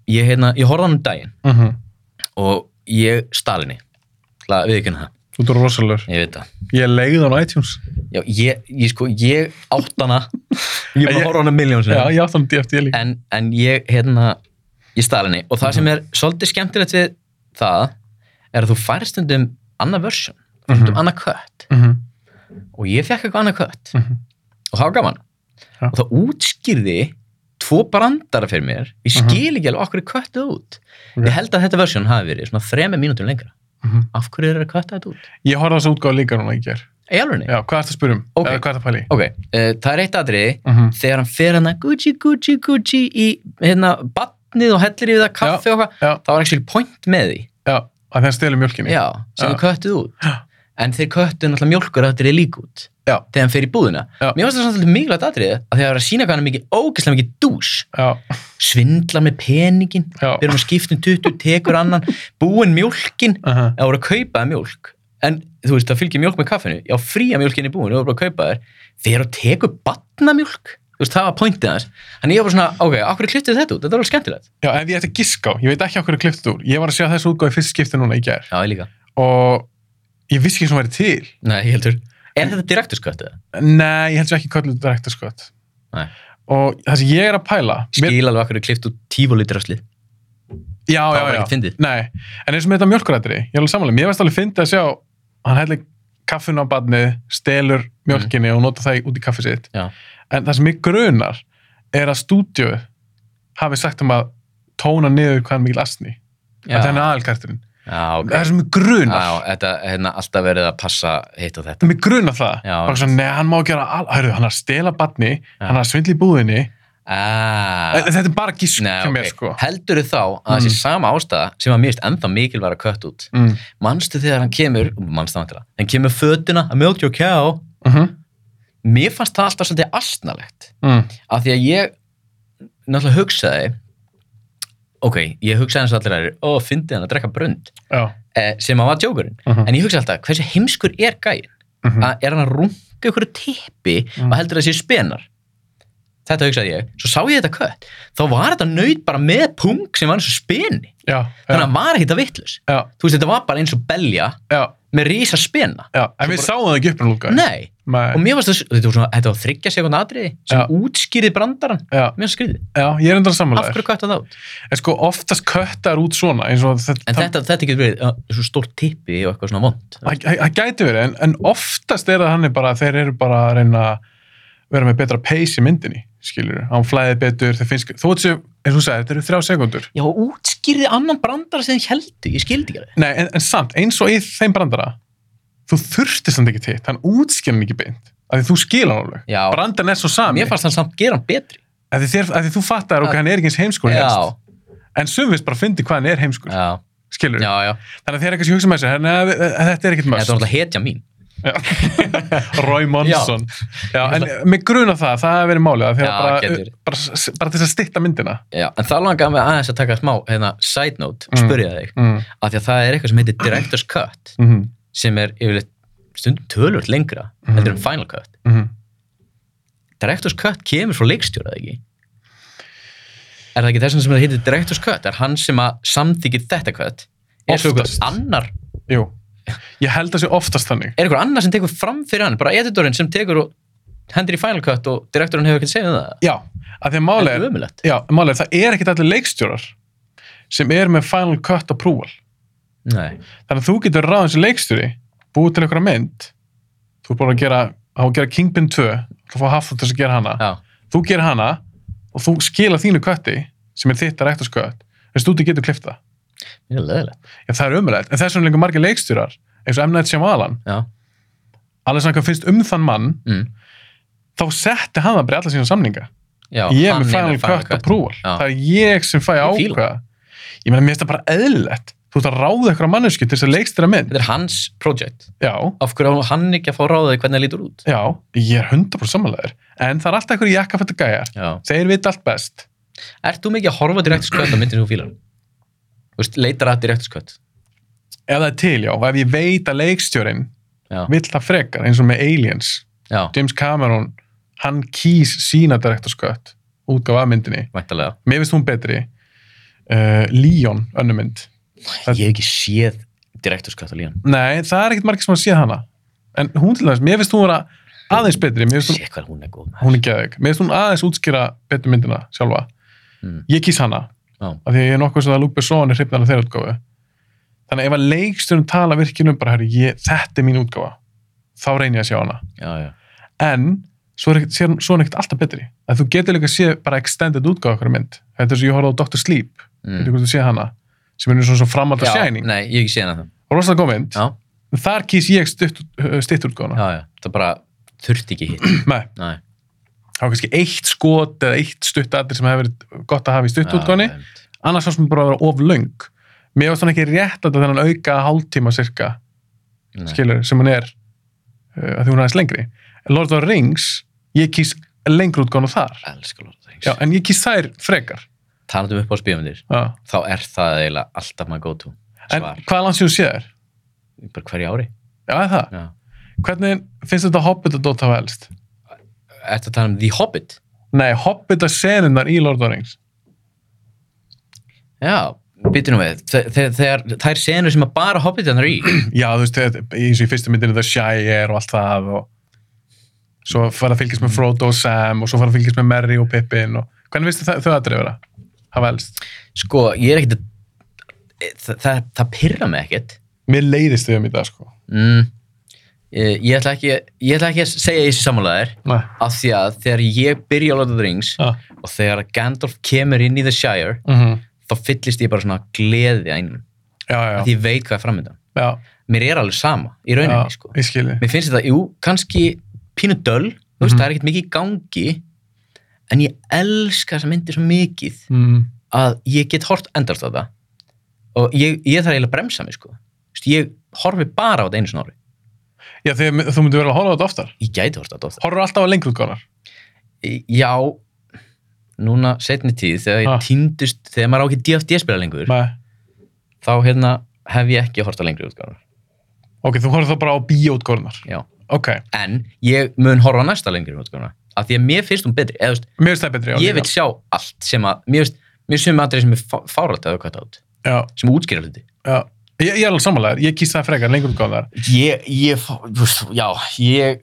Speaker 1: ég, hérna, ég horfði á hann um daginn
Speaker 2: Mhm.
Speaker 1: og ég stal henni til að viðkynna það,
Speaker 2: þú ert rosalur,
Speaker 1: ég veit það
Speaker 2: ég leiði hann á iTunes
Speaker 1: Já, ég, ég, sko, ég átt hana ég er bara
Speaker 2: Ég-
Speaker 1: að horfa á hana miljón
Speaker 2: já,
Speaker 1: sinni
Speaker 2: ég átti hann DFT líka
Speaker 1: en, en ég hérna ég stal henni og það sem
Speaker 2: Mhm.
Speaker 1: er svolítið skemmtilegt við það er að þú færst stundum annað versjón, stundum
Speaker 2: Mhm.
Speaker 1: annað kött
Speaker 2: Mhm.
Speaker 1: og ég fekk eitthvað annað kött
Speaker 2: Mhm.
Speaker 1: og það var gaman
Speaker 2: Já.
Speaker 1: og það útskýrði tvo brandara fyrir mér ég skil ekki alveg okkur er köttuð út
Speaker 2: Mhm. Ok.
Speaker 1: ég held að þetta versjón hafi verið svona þremur mínútur lengra
Speaker 2: Mhm.
Speaker 1: af hverju er það köttað þetta út?
Speaker 2: Ég horfði á þessu útgáð líka núna í ger.
Speaker 1: í alveg
Speaker 2: Já, hvað ertu að spyrja um?
Speaker 1: Ok.
Speaker 2: Eða hvað ertu að pæli?
Speaker 1: ok, uh, það er eitt atriði
Speaker 2: Mm -hmm.
Speaker 1: þegar hann fer hann að Gucci, Gucci, Gucci í hérna batnið og hellir yfir það kaffi og
Speaker 2: já.
Speaker 1: eitthvað, það var actually point með því
Speaker 2: Já, að þeir stelu mjölkinni.
Speaker 1: já, sem
Speaker 2: Já.
Speaker 1: við köttuð út
Speaker 2: Já.
Speaker 1: en þeir köttuð náttúrulega mjólkur að þetta er lík út
Speaker 2: Já.
Speaker 1: þegar hann fer í búðina
Speaker 2: Já.
Speaker 1: mér finnst það svolítið mikilvægt atriði að þegar það er að sína hvað hann er mikið ógeðslega mikið dús
Speaker 2: Já,
Speaker 1: svindlar með peningin
Speaker 2: já.
Speaker 1: byrjum að skipta um 20, tekur annan búin mjólkin,
Speaker 2: Aha,
Speaker 1: eða voru að kaupa þér mjólk en þú veist, það fylgir mjólk með kaffinu já, fría mjólkin er búin, þú voru bara að kaupa þér þegar þú tekur batnamjólk þú veist, það var pointið hans en ég var bara svona, ok, akkur kliftið þetta út, þetta var alveg skemmtilegt
Speaker 2: já, ef ég ætti að giska á, ég veit ekki á hverju kliftið úr. Ég var að sjá þessu útgáð í fyrst skipti núna í ger
Speaker 1: já, ég líka,
Speaker 2: og ég vissi ekki sem væri til.
Speaker 1: nei, ég heldur er þetta direkturskött eða?
Speaker 2: Nei, ég heldur ekki kallið direkta skott.
Speaker 1: Nei.
Speaker 2: Og það sem ég er að pæla... mér-
Speaker 1: skil alveg akkur klift út tífólítraslið
Speaker 2: Já,
Speaker 1: það
Speaker 2: já,
Speaker 1: var
Speaker 2: já.
Speaker 1: ekki fyndið
Speaker 2: Nei, en eins og með þetta mjölkurættri, ég er alveg samanlega, mér varst alveg fyndið að sjá, hann hellir kaffinu á badnið, stelur mjölkinni og nota það í- út í kaffið sitt.
Speaker 1: Mm. Já.
Speaker 2: En það sem mig grunar er að stúdíu hafi sagt um að tóna niður hvað er mikil asni.
Speaker 1: já,
Speaker 2: Þetta er aðalkarturinn.
Speaker 1: já, ok
Speaker 2: Það
Speaker 1: já,
Speaker 2: er sem mig grunar.
Speaker 1: þetta, hérna, alltaf verið að passa hitt og þetta
Speaker 2: Það er mig grunar það.
Speaker 1: Já,
Speaker 2: Bara svona, nei, hann má gera, al... Hæru, hann er að stela badni,
Speaker 1: Já.
Speaker 2: hann er að svindla í búðinni.
Speaker 1: ah.
Speaker 2: Þetta er bara gísk
Speaker 1: Nei,
Speaker 2: hjá
Speaker 1: okay.
Speaker 2: mér, sko.
Speaker 1: heldur þá að þessi sama ástæða sem að mér erist ennþá mikilværa kött út
Speaker 2: Mm.
Speaker 1: manstu þegar hann kemur, manstu það vantilega hann kemur fötuna að milk your cow
Speaker 2: Uh
Speaker 1: mér fannst það alltaf svolítið astnalegt
Speaker 2: mm.
Speaker 1: af því að ég náttúrulega hugsaði ok, ég hugsaði eins og allir aðrir ó, fyndi hann að drekka brund
Speaker 2: Já.
Speaker 1: eh, sem að var djókurinn,
Speaker 2: Uh
Speaker 1: en ég hugsaði alltaf hversu heimskur er gæinn, að er hann að runga ykkur tippi
Speaker 2: Mhm.
Speaker 1: og heldur að sé spenar þetta hugsaði ég, svo sá ég þetta kött þá var þetta nöyt bara með pung sem var eins og speni,
Speaker 2: Já.
Speaker 1: þannig að
Speaker 2: Já.
Speaker 1: hann var ekkit að vittlus
Speaker 2: Já.
Speaker 1: þú veist, þetta var bara eins og belja
Speaker 2: Já.
Speaker 1: með rísa spena
Speaker 2: Já. En við sáum það ekki upp en lúka.
Speaker 1: Nei,
Speaker 2: Nei.
Speaker 1: og mér varst það, þetta var svona, þetta var þryggja sekund atriði sem
Speaker 2: Já.
Speaker 1: útskýrði brandaran,
Speaker 2: Já,
Speaker 1: mér skriði,
Speaker 2: já, ég er endur að
Speaker 1: af
Speaker 2: samanlega
Speaker 1: hverju kvætt það út?
Speaker 2: En sko, oftast köttar út svona eins og þetta,
Speaker 1: En þetta, þetta getur verið uh, svo stórt tippi og eitthvað svona vond.
Speaker 2: það- það það gæti verið, en, en oftast er það hannig bara að þeir eru bara að reyna að vera með betra pace í myndinni, skilur hann flæði betur, þeir finnst þú veit sem, eins og þú sagði, þetta eru þrjá sekundur
Speaker 1: Já, og útskýrði annan brandara sem þeir heldu, ég skildi ekki það.
Speaker 2: Nei, en, en samt, eins og í þeim brandara þú þurftist hann ekki til hann útskilur hann ekki beint, af því þú skilur hann alveg
Speaker 1: Já,
Speaker 2: brandarinn er svo sami,
Speaker 1: mér fannst hann samt gera hann betri.
Speaker 2: af því, þér, af því þú fattar ok,
Speaker 1: Að-
Speaker 2: hann er ekki eins heimskur
Speaker 1: já,
Speaker 2: en sumvist bara fyndi hvað hann er heimskur,
Speaker 1: já,
Speaker 2: skilur
Speaker 1: já, já.
Speaker 2: þannig að þeir eru kannski hugsa með þessu, "Nei, þetta er ekkit
Speaker 1: Þetta
Speaker 2: mörst
Speaker 1: var alltaf hetja mín.
Speaker 2: *laughs* Roy Monson já, en mig gruna það, það hefur verið málið að því að
Speaker 1: Já,
Speaker 2: bara,
Speaker 1: getur.
Speaker 2: bara, bara til þess að stitta myndina
Speaker 1: Já, en þá langaði mig aðeins að taka smá, hérna, side note,
Speaker 2: Mm.
Speaker 1: spurja þig,
Speaker 2: mm.
Speaker 1: af því að það er eitthvað sem heitir director's cut,
Speaker 2: Mm.
Speaker 1: sem er yfirleitt stundum tölvöld lengra,
Speaker 2: Mm.
Speaker 1: heldur en final cut.
Speaker 2: Mm.
Speaker 1: Directors Cut kemur frá leikstjóra, eða ekki? Er það ekki þess vegna sem það heitir Directors Cut? Er hann sem að samþykir þetta cut? Er svo einhver
Speaker 2: Oftast.
Speaker 1: annar,
Speaker 2: Jú, ég held að sé oftast þannig
Speaker 1: er einhver annar sem tekur fram fyrir hann? Bara editorinn sem tekur og hendur í Final Cut og direktorinn hefur ekkert segjað um það?
Speaker 2: já, að því að
Speaker 1: Það
Speaker 2: málið
Speaker 1: er
Speaker 2: er,
Speaker 1: ömulegt.
Speaker 2: já, málið er, það er ekkit allir leikstjórar sem er með final cut approval
Speaker 1: Nei.
Speaker 2: þannig að þú getur ráðin sem leikstjóri búið til einhverja mynd þú er búin að gera, á að gera Kingpin 2 þú fá haft þess að gera hana
Speaker 1: Já.
Speaker 2: þú gerir hana og þú skila þínu cutti sem er þitt að rekta skött en stúti getur klifta
Speaker 1: Mjög leðilegt.
Speaker 2: Já, það er umræðilegt, en þess vegna lengur margir leikstjórar eins og M. Night Shyamalan,
Speaker 1: Já.
Speaker 2: alveg svona hvað finnst um þann mann
Speaker 1: Mm.
Speaker 2: þá setti hann það bara í alla sína samninga
Speaker 1: Já.
Speaker 2: ég er
Speaker 1: hann
Speaker 2: með
Speaker 1: er
Speaker 2: Final Cut að prúval
Speaker 1: Já.
Speaker 2: það er ég sem fæ
Speaker 1: Ég fíla
Speaker 2: ákvæða ég meina, mér finnst það bara eðlilegt þú ert að ráða ykkur á mannesku til þess að leikstjóra mynd
Speaker 1: Þetta er hans project.
Speaker 2: já,
Speaker 1: Af hverju á hann ekki að fá ráðið hvernig það lítur út?
Speaker 2: já, ég er 100% samanlegaður en það er alltaf ykkur jakkafættu gæjar
Speaker 1: Já.
Speaker 2: þeir vita allt best
Speaker 1: Ert þú mikið að horfa á Directors Cut á myndir sem þú fílar? Þú veist, leitar að Directors Cut?
Speaker 2: ef það er til, já, og ef ég veit að leikstjórin
Speaker 1: Já.
Speaker 2: vill það frekar eins og með Aliens
Speaker 1: Já,
Speaker 2: James Cameron, hann kýs sína direktorskött útgáfa af myndinni
Speaker 1: væntalega.
Speaker 2: mér finnst hún betri uh, Leon, önnur mynd
Speaker 1: Ég hef ekki séð direktorskatt á líðan.
Speaker 2: nei, það er ekkert margir sem að sé hana en hún til dæmis, mér finnst hún vera aðeins betri mér finnst hún,
Speaker 1: Sér hvað hún er góð maður.
Speaker 2: hún er geðveik mér finnst hún aðeins útskýra betur myndina sjálfa
Speaker 1: Mm.
Speaker 2: ég kýs hana,
Speaker 1: Já.
Speaker 2: af því að ég er nokkuð sem að Luke Besson er hreifnar af þeirra útgáfu þannig að ef að leikstjórn tala virkinum bara, herri, ég, þetta er mín útgáfa þá reyni ég að sjá hana
Speaker 1: Já, já.
Speaker 2: en svo er ekkert, sér, svo er ekkert alltaf betri að þú getur líka að sé bara extended útgáð okkur mynd, þetta er svo ég horfði á Dr. Sleep mm.
Speaker 1: mm.
Speaker 2: veitir hvort þú sé hana sem er nú svona svo framhald að
Speaker 1: já,
Speaker 2: Shining
Speaker 1: nei, ég hef ekki séð hana það
Speaker 2: og rosalega góð mynd,
Speaker 1: já,
Speaker 2: en þar kýs ég stutt, stutt útgáðuna,
Speaker 1: já, já, það bara þurfti ekki hitt
Speaker 2: með
Speaker 1: nei,
Speaker 2: þá er kannski eitt skot eða eitt stutt aðri sem hefur verið gott að hafa í stutt útgáðunni
Speaker 1: einmitt.
Speaker 2: annars var sem bara að vera of löng mér var svona ekki rétt að þennan auka hálftíma cirka,
Speaker 1: Nei.
Speaker 2: skilur, sem hún er uh, að því hún er aðeins lengri Lord of the Rings, ég kýs lengur útgáðuna þar,
Speaker 1: elskar Lord of the
Speaker 2: já,
Speaker 1: Rings
Speaker 2: en ég kýs þær frekar
Speaker 1: talandum upp á spíumundir,
Speaker 2: já.
Speaker 1: þá er það eiginlega alltaf maður go to
Speaker 2: en
Speaker 1: svar,
Speaker 2: hvað lands ég hún sé þær?
Speaker 1: bara hverju ári
Speaker 2: Já, er það.
Speaker 1: já.
Speaker 2: Hvernig finnst þetta Hobbit að Dota hafa elst?
Speaker 1: Ertu að tala um The Hobbit?
Speaker 2: Nei, Hobbit að senunar í Lord of the Rings. *clears throat*
Speaker 1: Já, býtum við. Þe- þe- Þegar þær senur sem að bara Hobbitan eru í.
Speaker 2: Já, þú veist, þetta- eins og í fyrstu myndinu The Shire og allt það og svo fara að fylgjast með Frodo og Sam og svo fara að fylgjast með Merry og Pippin og hvernig finnst þau að vera? Hafa elst.
Speaker 1: Sko, ég er ekkert að... Það, það, það pyrra mig ekkert.
Speaker 2: Mér leiðist þau um í dag, sko.
Speaker 1: Mm. Ég, ég, ætla ekki, ég ætla ekki að segja þessi samanlegaðir
Speaker 2: Nei.
Speaker 1: af því að þegar ég byrja á Lord of the Rings
Speaker 2: Já.
Speaker 1: og þegar Gandalf kemur inn í The Shire
Speaker 2: Mhm.
Speaker 1: þá fyllist ég bara svona gleði að innum
Speaker 2: Já, já,
Speaker 1: að ég veit hvað er framöndan.
Speaker 2: já.
Speaker 1: Mér er alveg sama í rauninni,
Speaker 2: já,
Speaker 1: sko.
Speaker 2: Ég skilji.
Speaker 1: Mér finnst þetta, jú, kannski pínu döl, þú veist,
Speaker 2: Mhm.
Speaker 1: það er ekkert mikið í gangi en ég elska þessa myndir svo mikið
Speaker 2: Mm.
Speaker 1: að ég get hort endast á það og ég, ég þarf eiginlega að bremsa mig sko. Þú veist, ég horfi bara á þetta einu snári
Speaker 2: Já, þegar þú myndir vera að horfa á þetta oftar.
Speaker 1: ég gæti hort á þetta oftar.
Speaker 2: Horfur alltaf á lengur útgáðar.
Speaker 1: já, núna setni tíð þegar ég
Speaker 2: Ha.
Speaker 1: týndist, þegar maður á ekki DFD spila lengur
Speaker 2: Nei.
Speaker 1: þá hérna hef ég ekki hort á lengri útgáðan
Speaker 2: Ok, þú horfur þá bara á bíóutgáðunar.
Speaker 1: Já.
Speaker 2: Ok,
Speaker 1: en ég mun horfa á næsta lengri útgáðan af því að mér finnst hún betri Eða, þú veist,
Speaker 2: mér finnst það betri. já,
Speaker 1: ég
Speaker 2: líka.
Speaker 1: vil sjá allt sem að mér finnst, mér finnst sem aðrið sem er fá- fáralt að auðvitað át,
Speaker 2: Já,
Speaker 1: sem útskýra hluti
Speaker 2: já. Ég, ég er alveg samanlega, ég kýst það frekar lengur útgáðunar.
Speaker 1: ég, ég, fó- þú veist, já, ég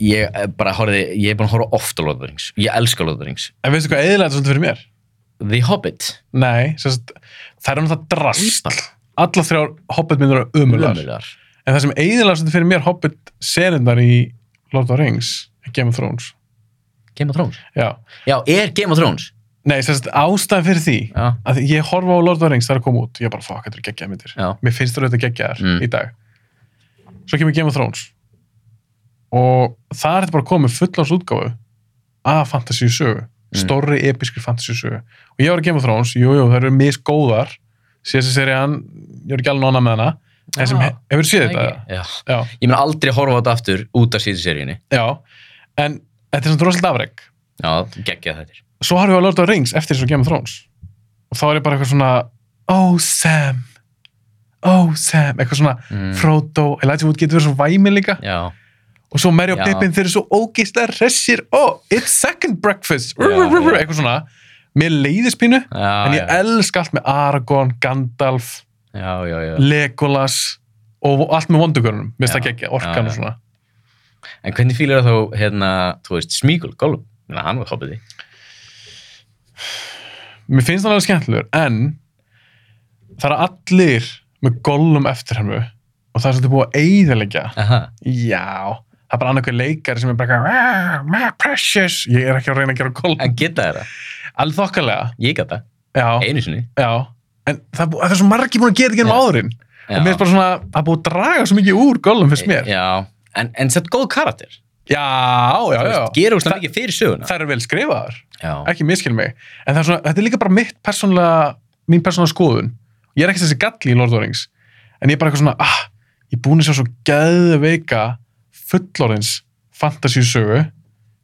Speaker 1: ég eh, bara horfði, ég er búin að horfa oft á Lord of the Rings, ég elska Lord of the Rings
Speaker 2: En veistu hvað eðilega þetta svolítið fyrir mér?
Speaker 1: The Hobbit,
Speaker 2: Nei, sem sagt, það er náttúrulega drast. Alla þrjár Hobbit-myndur eru umular.
Speaker 1: lömulegar
Speaker 2: En það sem eðilega svolítið fyrir mér Hobbit-serindar í Lord of the Rings er Game of Thrones.
Speaker 1: Game of Thrones,
Speaker 2: Já.
Speaker 1: já, er Game of Thrones
Speaker 2: Nei, sem sagt, ástæðan fyrir því
Speaker 1: já,
Speaker 2: að ég horfa á Lord of the Rings þar að koma út. Ég er bara, fuck, þetta eru geggjaðar myndir.
Speaker 1: já,
Speaker 2: Mér finnst það auðvitað geggjaðar
Speaker 1: Mm.
Speaker 2: í dag. Svo kemur Game of Thrones. Og það er þetta bara komið fullans útgáfu af fantasíu sögu.
Speaker 1: Mm.
Speaker 2: Stórri, episkri fantasíu sögu. Og ég var að Game of Thrones, jú, jú, það eru misgóðar. Síðast að serían, ég er ekki alveg nána með hana. En sem,
Speaker 1: Já,
Speaker 2: hefur séð þetta?
Speaker 1: ekki. já.
Speaker 2: Já.
Speaker 1: ég mun aldrei horfa á þetta aftur út af síðu seríunni
Speaker 2: Já, en þetta er svona rosalega afreg.
Speaker 1: já, geggja þetta
Speaker 2: Svo har ég á Lord of the Rings eftir þessu Game of Thrones. Og þá er ég bara eitthvað svona, oh Sam, oh Sam, eitthvað svona
Speaker 1: mm,
Speaker 2: Frodo, Elijah Wood getur verið svo væmi líka.
Speaker 1: já,
Speaker 2: Og svo Mary og
Speaker 1: Já.
Speaker 2: Pippin þeir eru svo ógeislega hressir, oh, it's second breakfast,
Speaker 1: Já, já.
Speaker 2: eitthvað svona. Mér leiðis pínu,
Speaker 1: já,
Speaker 2: en ég
Speaker 1: já,
Speaker 2: elska allt með Aragorn, Gandalf,
Speaker 1: já, já, já.
Speaker 2: Legolas og allt með vondugörunum. Mér finnst
Speaker 1: Já,
Speaker 2: það ekki,
Speaker 1: já,
Speaker 2: orkan
Speaker 1: já.
Speaker 2: og svona.
Speaker 1: en hvernig fýlar það þá hérna, þú veist, Smíkul, Gollum Menna, hann var Hobbiti,
Speaker 2: mér finnst hann alveg skemmtilegur en það eru allir með gollum eftir hann og það er svolítið búið að eyðilegja
Speaker 1: aha,
Speaker 2: já, það er bara annað hver leikari sem er bara eitthvað, my precious ég er ekki að reyna að gera gollum
Speaker 1: en geta þeirra
Speaker 2: alveg þokkalega,
Speaker 1: ég geta,
Speaker 2: já,
Speaker 1: einu sinni
Speaker 2: já en það er, búið, það er svo margi búin að gera þetta genum
Speaker 1: Já.
Speaker 2: áðurinn
Speaker 1: Já.
Speaker 2: og mér finnst bara svona, það er búið að draga svo mikið úr gollum fyrst mér, já,
Speaker 1: já, en, en sett góð karakter
Speaker 2: já, já,
Speaker 1: gerur úrslega mikið fyrir söguna
Speaker 2: það er vel skrifaðar
Speaker 1: já,
Speaker 2: ekki miskil mig, en það er svona, þetta er líka bara mitt persónlega, mín persónlega skoðun ég er ekki þessi galli í Lord of the Rings en ég er bara eitthvað svona, ah, ég er búin að sjá svo geðveika fullorins fantasíusögu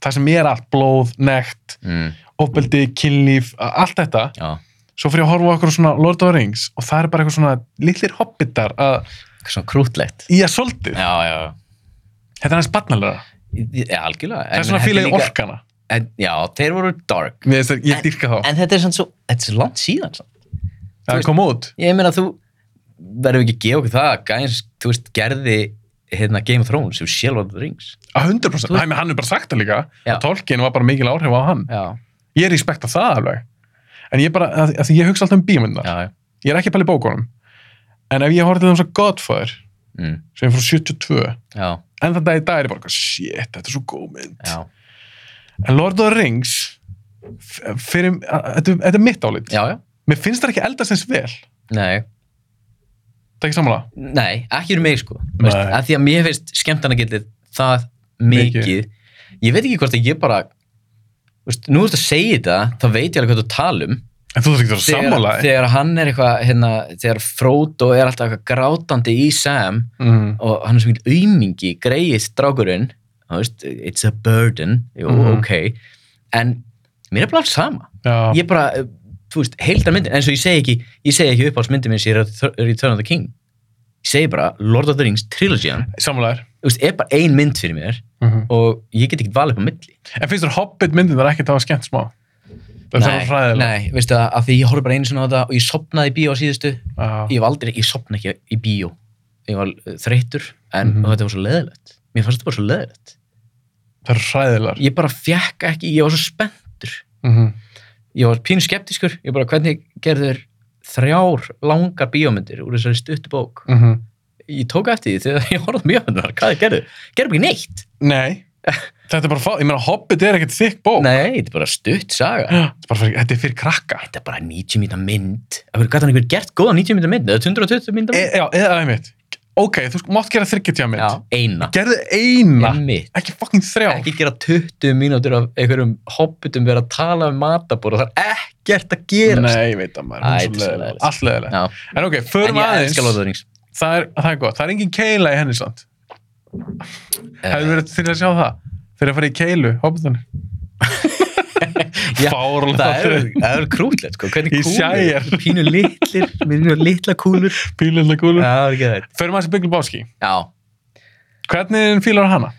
Speaker 2: það sem er allt, blóð, nekt
Speaker 1: mm,
Speaker 2: opeldi, kynlíf, a- allt þetta
Speaker 1: já.
Speaker 2: svo fyrir ég að horfa okkur svona Lord of the Rings og það er bara eitthvað svona litlir hobbitar að,
Speaker 1: Eitthvað svona krútlegt
Speaker 2: í að soldið,
Speaker 1: já, já,
Speaker 2: þetta er aðeins barnalega
Speaker 1: já algjörlega
Speaker 2: það er svona fílega í orkana
Speaker 1: en, já, þeir voru dark
Speaker 2: Mér finnst það- ég dýrka þá,
Speaker 1: en þetta er svona svo, þetta er svo langt síðan svona.
Speaker 2: það
Speaker 1: veist-
Speaker 2: kom út
Speaker 1: ég meina þú verðum ekki að gefa okkur það gæns, þú veist, gerði hérna Game of Thrones sem sjálf of the Rings
Speaker 2: að 100%
Speaker 1: Þú-
Speaker 2: Æ, menn, hann er bara sagt það líka
Speaker 1: Já.
Speaker 2: að Tolkien var bara mikil áhrif á hann
Speaker 1: já,
Speaker 2: ég er í spekt að það alveg en ég bara, að, að því ég hugsa alltaf um bímundar
Speaker 1: já, já.
Speaker 2: ég er ekki að pæla í bókunum en ef ég horfði til þess að Godfather
Speaker 1: mm,
Speaker 2: sem er frá 72
Speaker 1: já.
Speaker 2: en þannig að í dag er ég bara, eitthvað, shit, þetta er svo góð mynd
Speaker 1: já,
Speaker 2: en Lord of the Rings f- fyrir, að- þetta er- þetta er mitt álít
Speaker 1: já, já.
Speaker 2: mér finnst það ekki eldast eins vel það
Speaker 1: Nei,
Speaker 2: er ekki samanlega
Speaker 1: nei, ekki um mig sko Veist,
Speaker 2: Nei.
Speaker 1: að Því að mér finnst skemmtanagildið það mikið. Ég veit ekki hvort að ég bara veist, Nú ertu að segja þetta þá veit ég alveg hvað þú tala um
Speaker 2: en þú þarf ekki að vera eh?
Speaker 1: þegar,
Speaker 2: samanlega
Speaker 1: þegar hann er eitthvað hérna, þegar Frodo er alltaf eitthvað grátandi í Sam
Speaker 2: mm.
Speaker 1: og hann er svo mikil aumingi greið strákurinn þú veist, it's a burden, jú,
Speaker 2: Mhm.
Speaker 1: ok en mér er bara alls sama
Speaker 2: já,
Speaker 1: ég bara, eh, þú veist, heildar myndin eins og ég segi ekki, ég segi ekki uppáhaldsmyndin minn sér Return of the King ég segi bara Lord of the Rings trilogían
Speaker 2: samanlega er
Speaker 1: þú veist, er bara ein mynd fyrir mér
Speaker 2: Mhm.
Speaker 1: og ég get ekki valið upp á milli
Speaker 2: en finnst þér Hobbit myndin það er ekki það skemmt smá það er það fræðilega
Speaker 1: nei, veistu það, af því ég horfði bara einu sinna á þetta og ég sopnaði í bíó á síðustu
Speaker 2: Já.
Speaker 1: ég var aldrei, ég sopna ekki í bíó ég var eh, þreyttur, en
Speaker 2: Mhm.
Speaker 1: þetta var svo leðilegt mér fannst þetta bara svo leðilegt
Speaker 2: það er fræðilegar
Speaker 1: ég bara fjekk ekki, ég var svo spenntur
Speaker 2: Mhm.
Speaker 1: ég var pínu skeptiskur, ég bara hvernig gerður þrjár langar bíómyndir úr þessari stuttu bók
Speaker 2: Mhm.
Speaker 1: ég tók eftir því þegar ég horfði mjöfundar hvað þið gerðu, gerðu ekki neitt
Speaker 2: nei þetta er bara fá- ég meina Hobbit er ekkert þykk bók
Speaker 1: nei, þetta er bara stutt saga
Speaker 2: Já, þetta er bara fyrir- þetta er fyrir krakka
Speaker 1: þetta er bara 90 mínúta mynd af hverju gæti hann einhver gert góða 90 mínúta mynd eða 220 mínúta
Speaker 2: e,
Speaker 1: mynd
Speaker 2: já, eða einmitt ok, þú sko- mátt gera 30 mynd
Speaker 1: já, eina,
Speaker 2: gerðu eina
Speaker 1: einmitt
Speaker 2: ekki fucking þrjá
Speaker 1: ekki gera 20 mínútur af einhverjum hopputum vera að tala um matabóra það er ekkert að gera
Speaker 2: Nei, ég veit að maður, hún
Speaker 1: Æ,
Speaker 2: er
Speaker 1: þetta er
Speaker 2: svo
Speaker 1: svo
Speaker 2: leiðileg.
Speaker 1: leiðilegt.
Speaker 2: allt leðilega.
Speaker 1: Já,
Speaker 2: En ok,
Speaker 1: en
Speaker 2: förum
Speaker 1: ég
Speaker 2: aðeins,
Speaker 1: elska Lord of the Rings
Speaker 2: það er, það er gott, það er engin keila í henni samt.
Speaker 1: Eh.
Speaker 2: Hefur verið til að sjá það? Fyrir að fara í keilu, hoppuðan.
Speaker 1: Já,
Speaker 2: Fárlega
Speaker 1: það er, það er krútlegt sko. hvernig
Speaker 2: Í Shire.
Speaker 1: kúlur, pínu litlir pínu litla kúlur já,
Speaker 2: Pílinlega
Speaker 1: það
Speaker 2: kúlur.
Speaker 1: er ekki það
Speaker 2: Förum aðeins í Bygglu Báski.
Speaker 1: já,
Speaker 2: Hvernig fílar hana?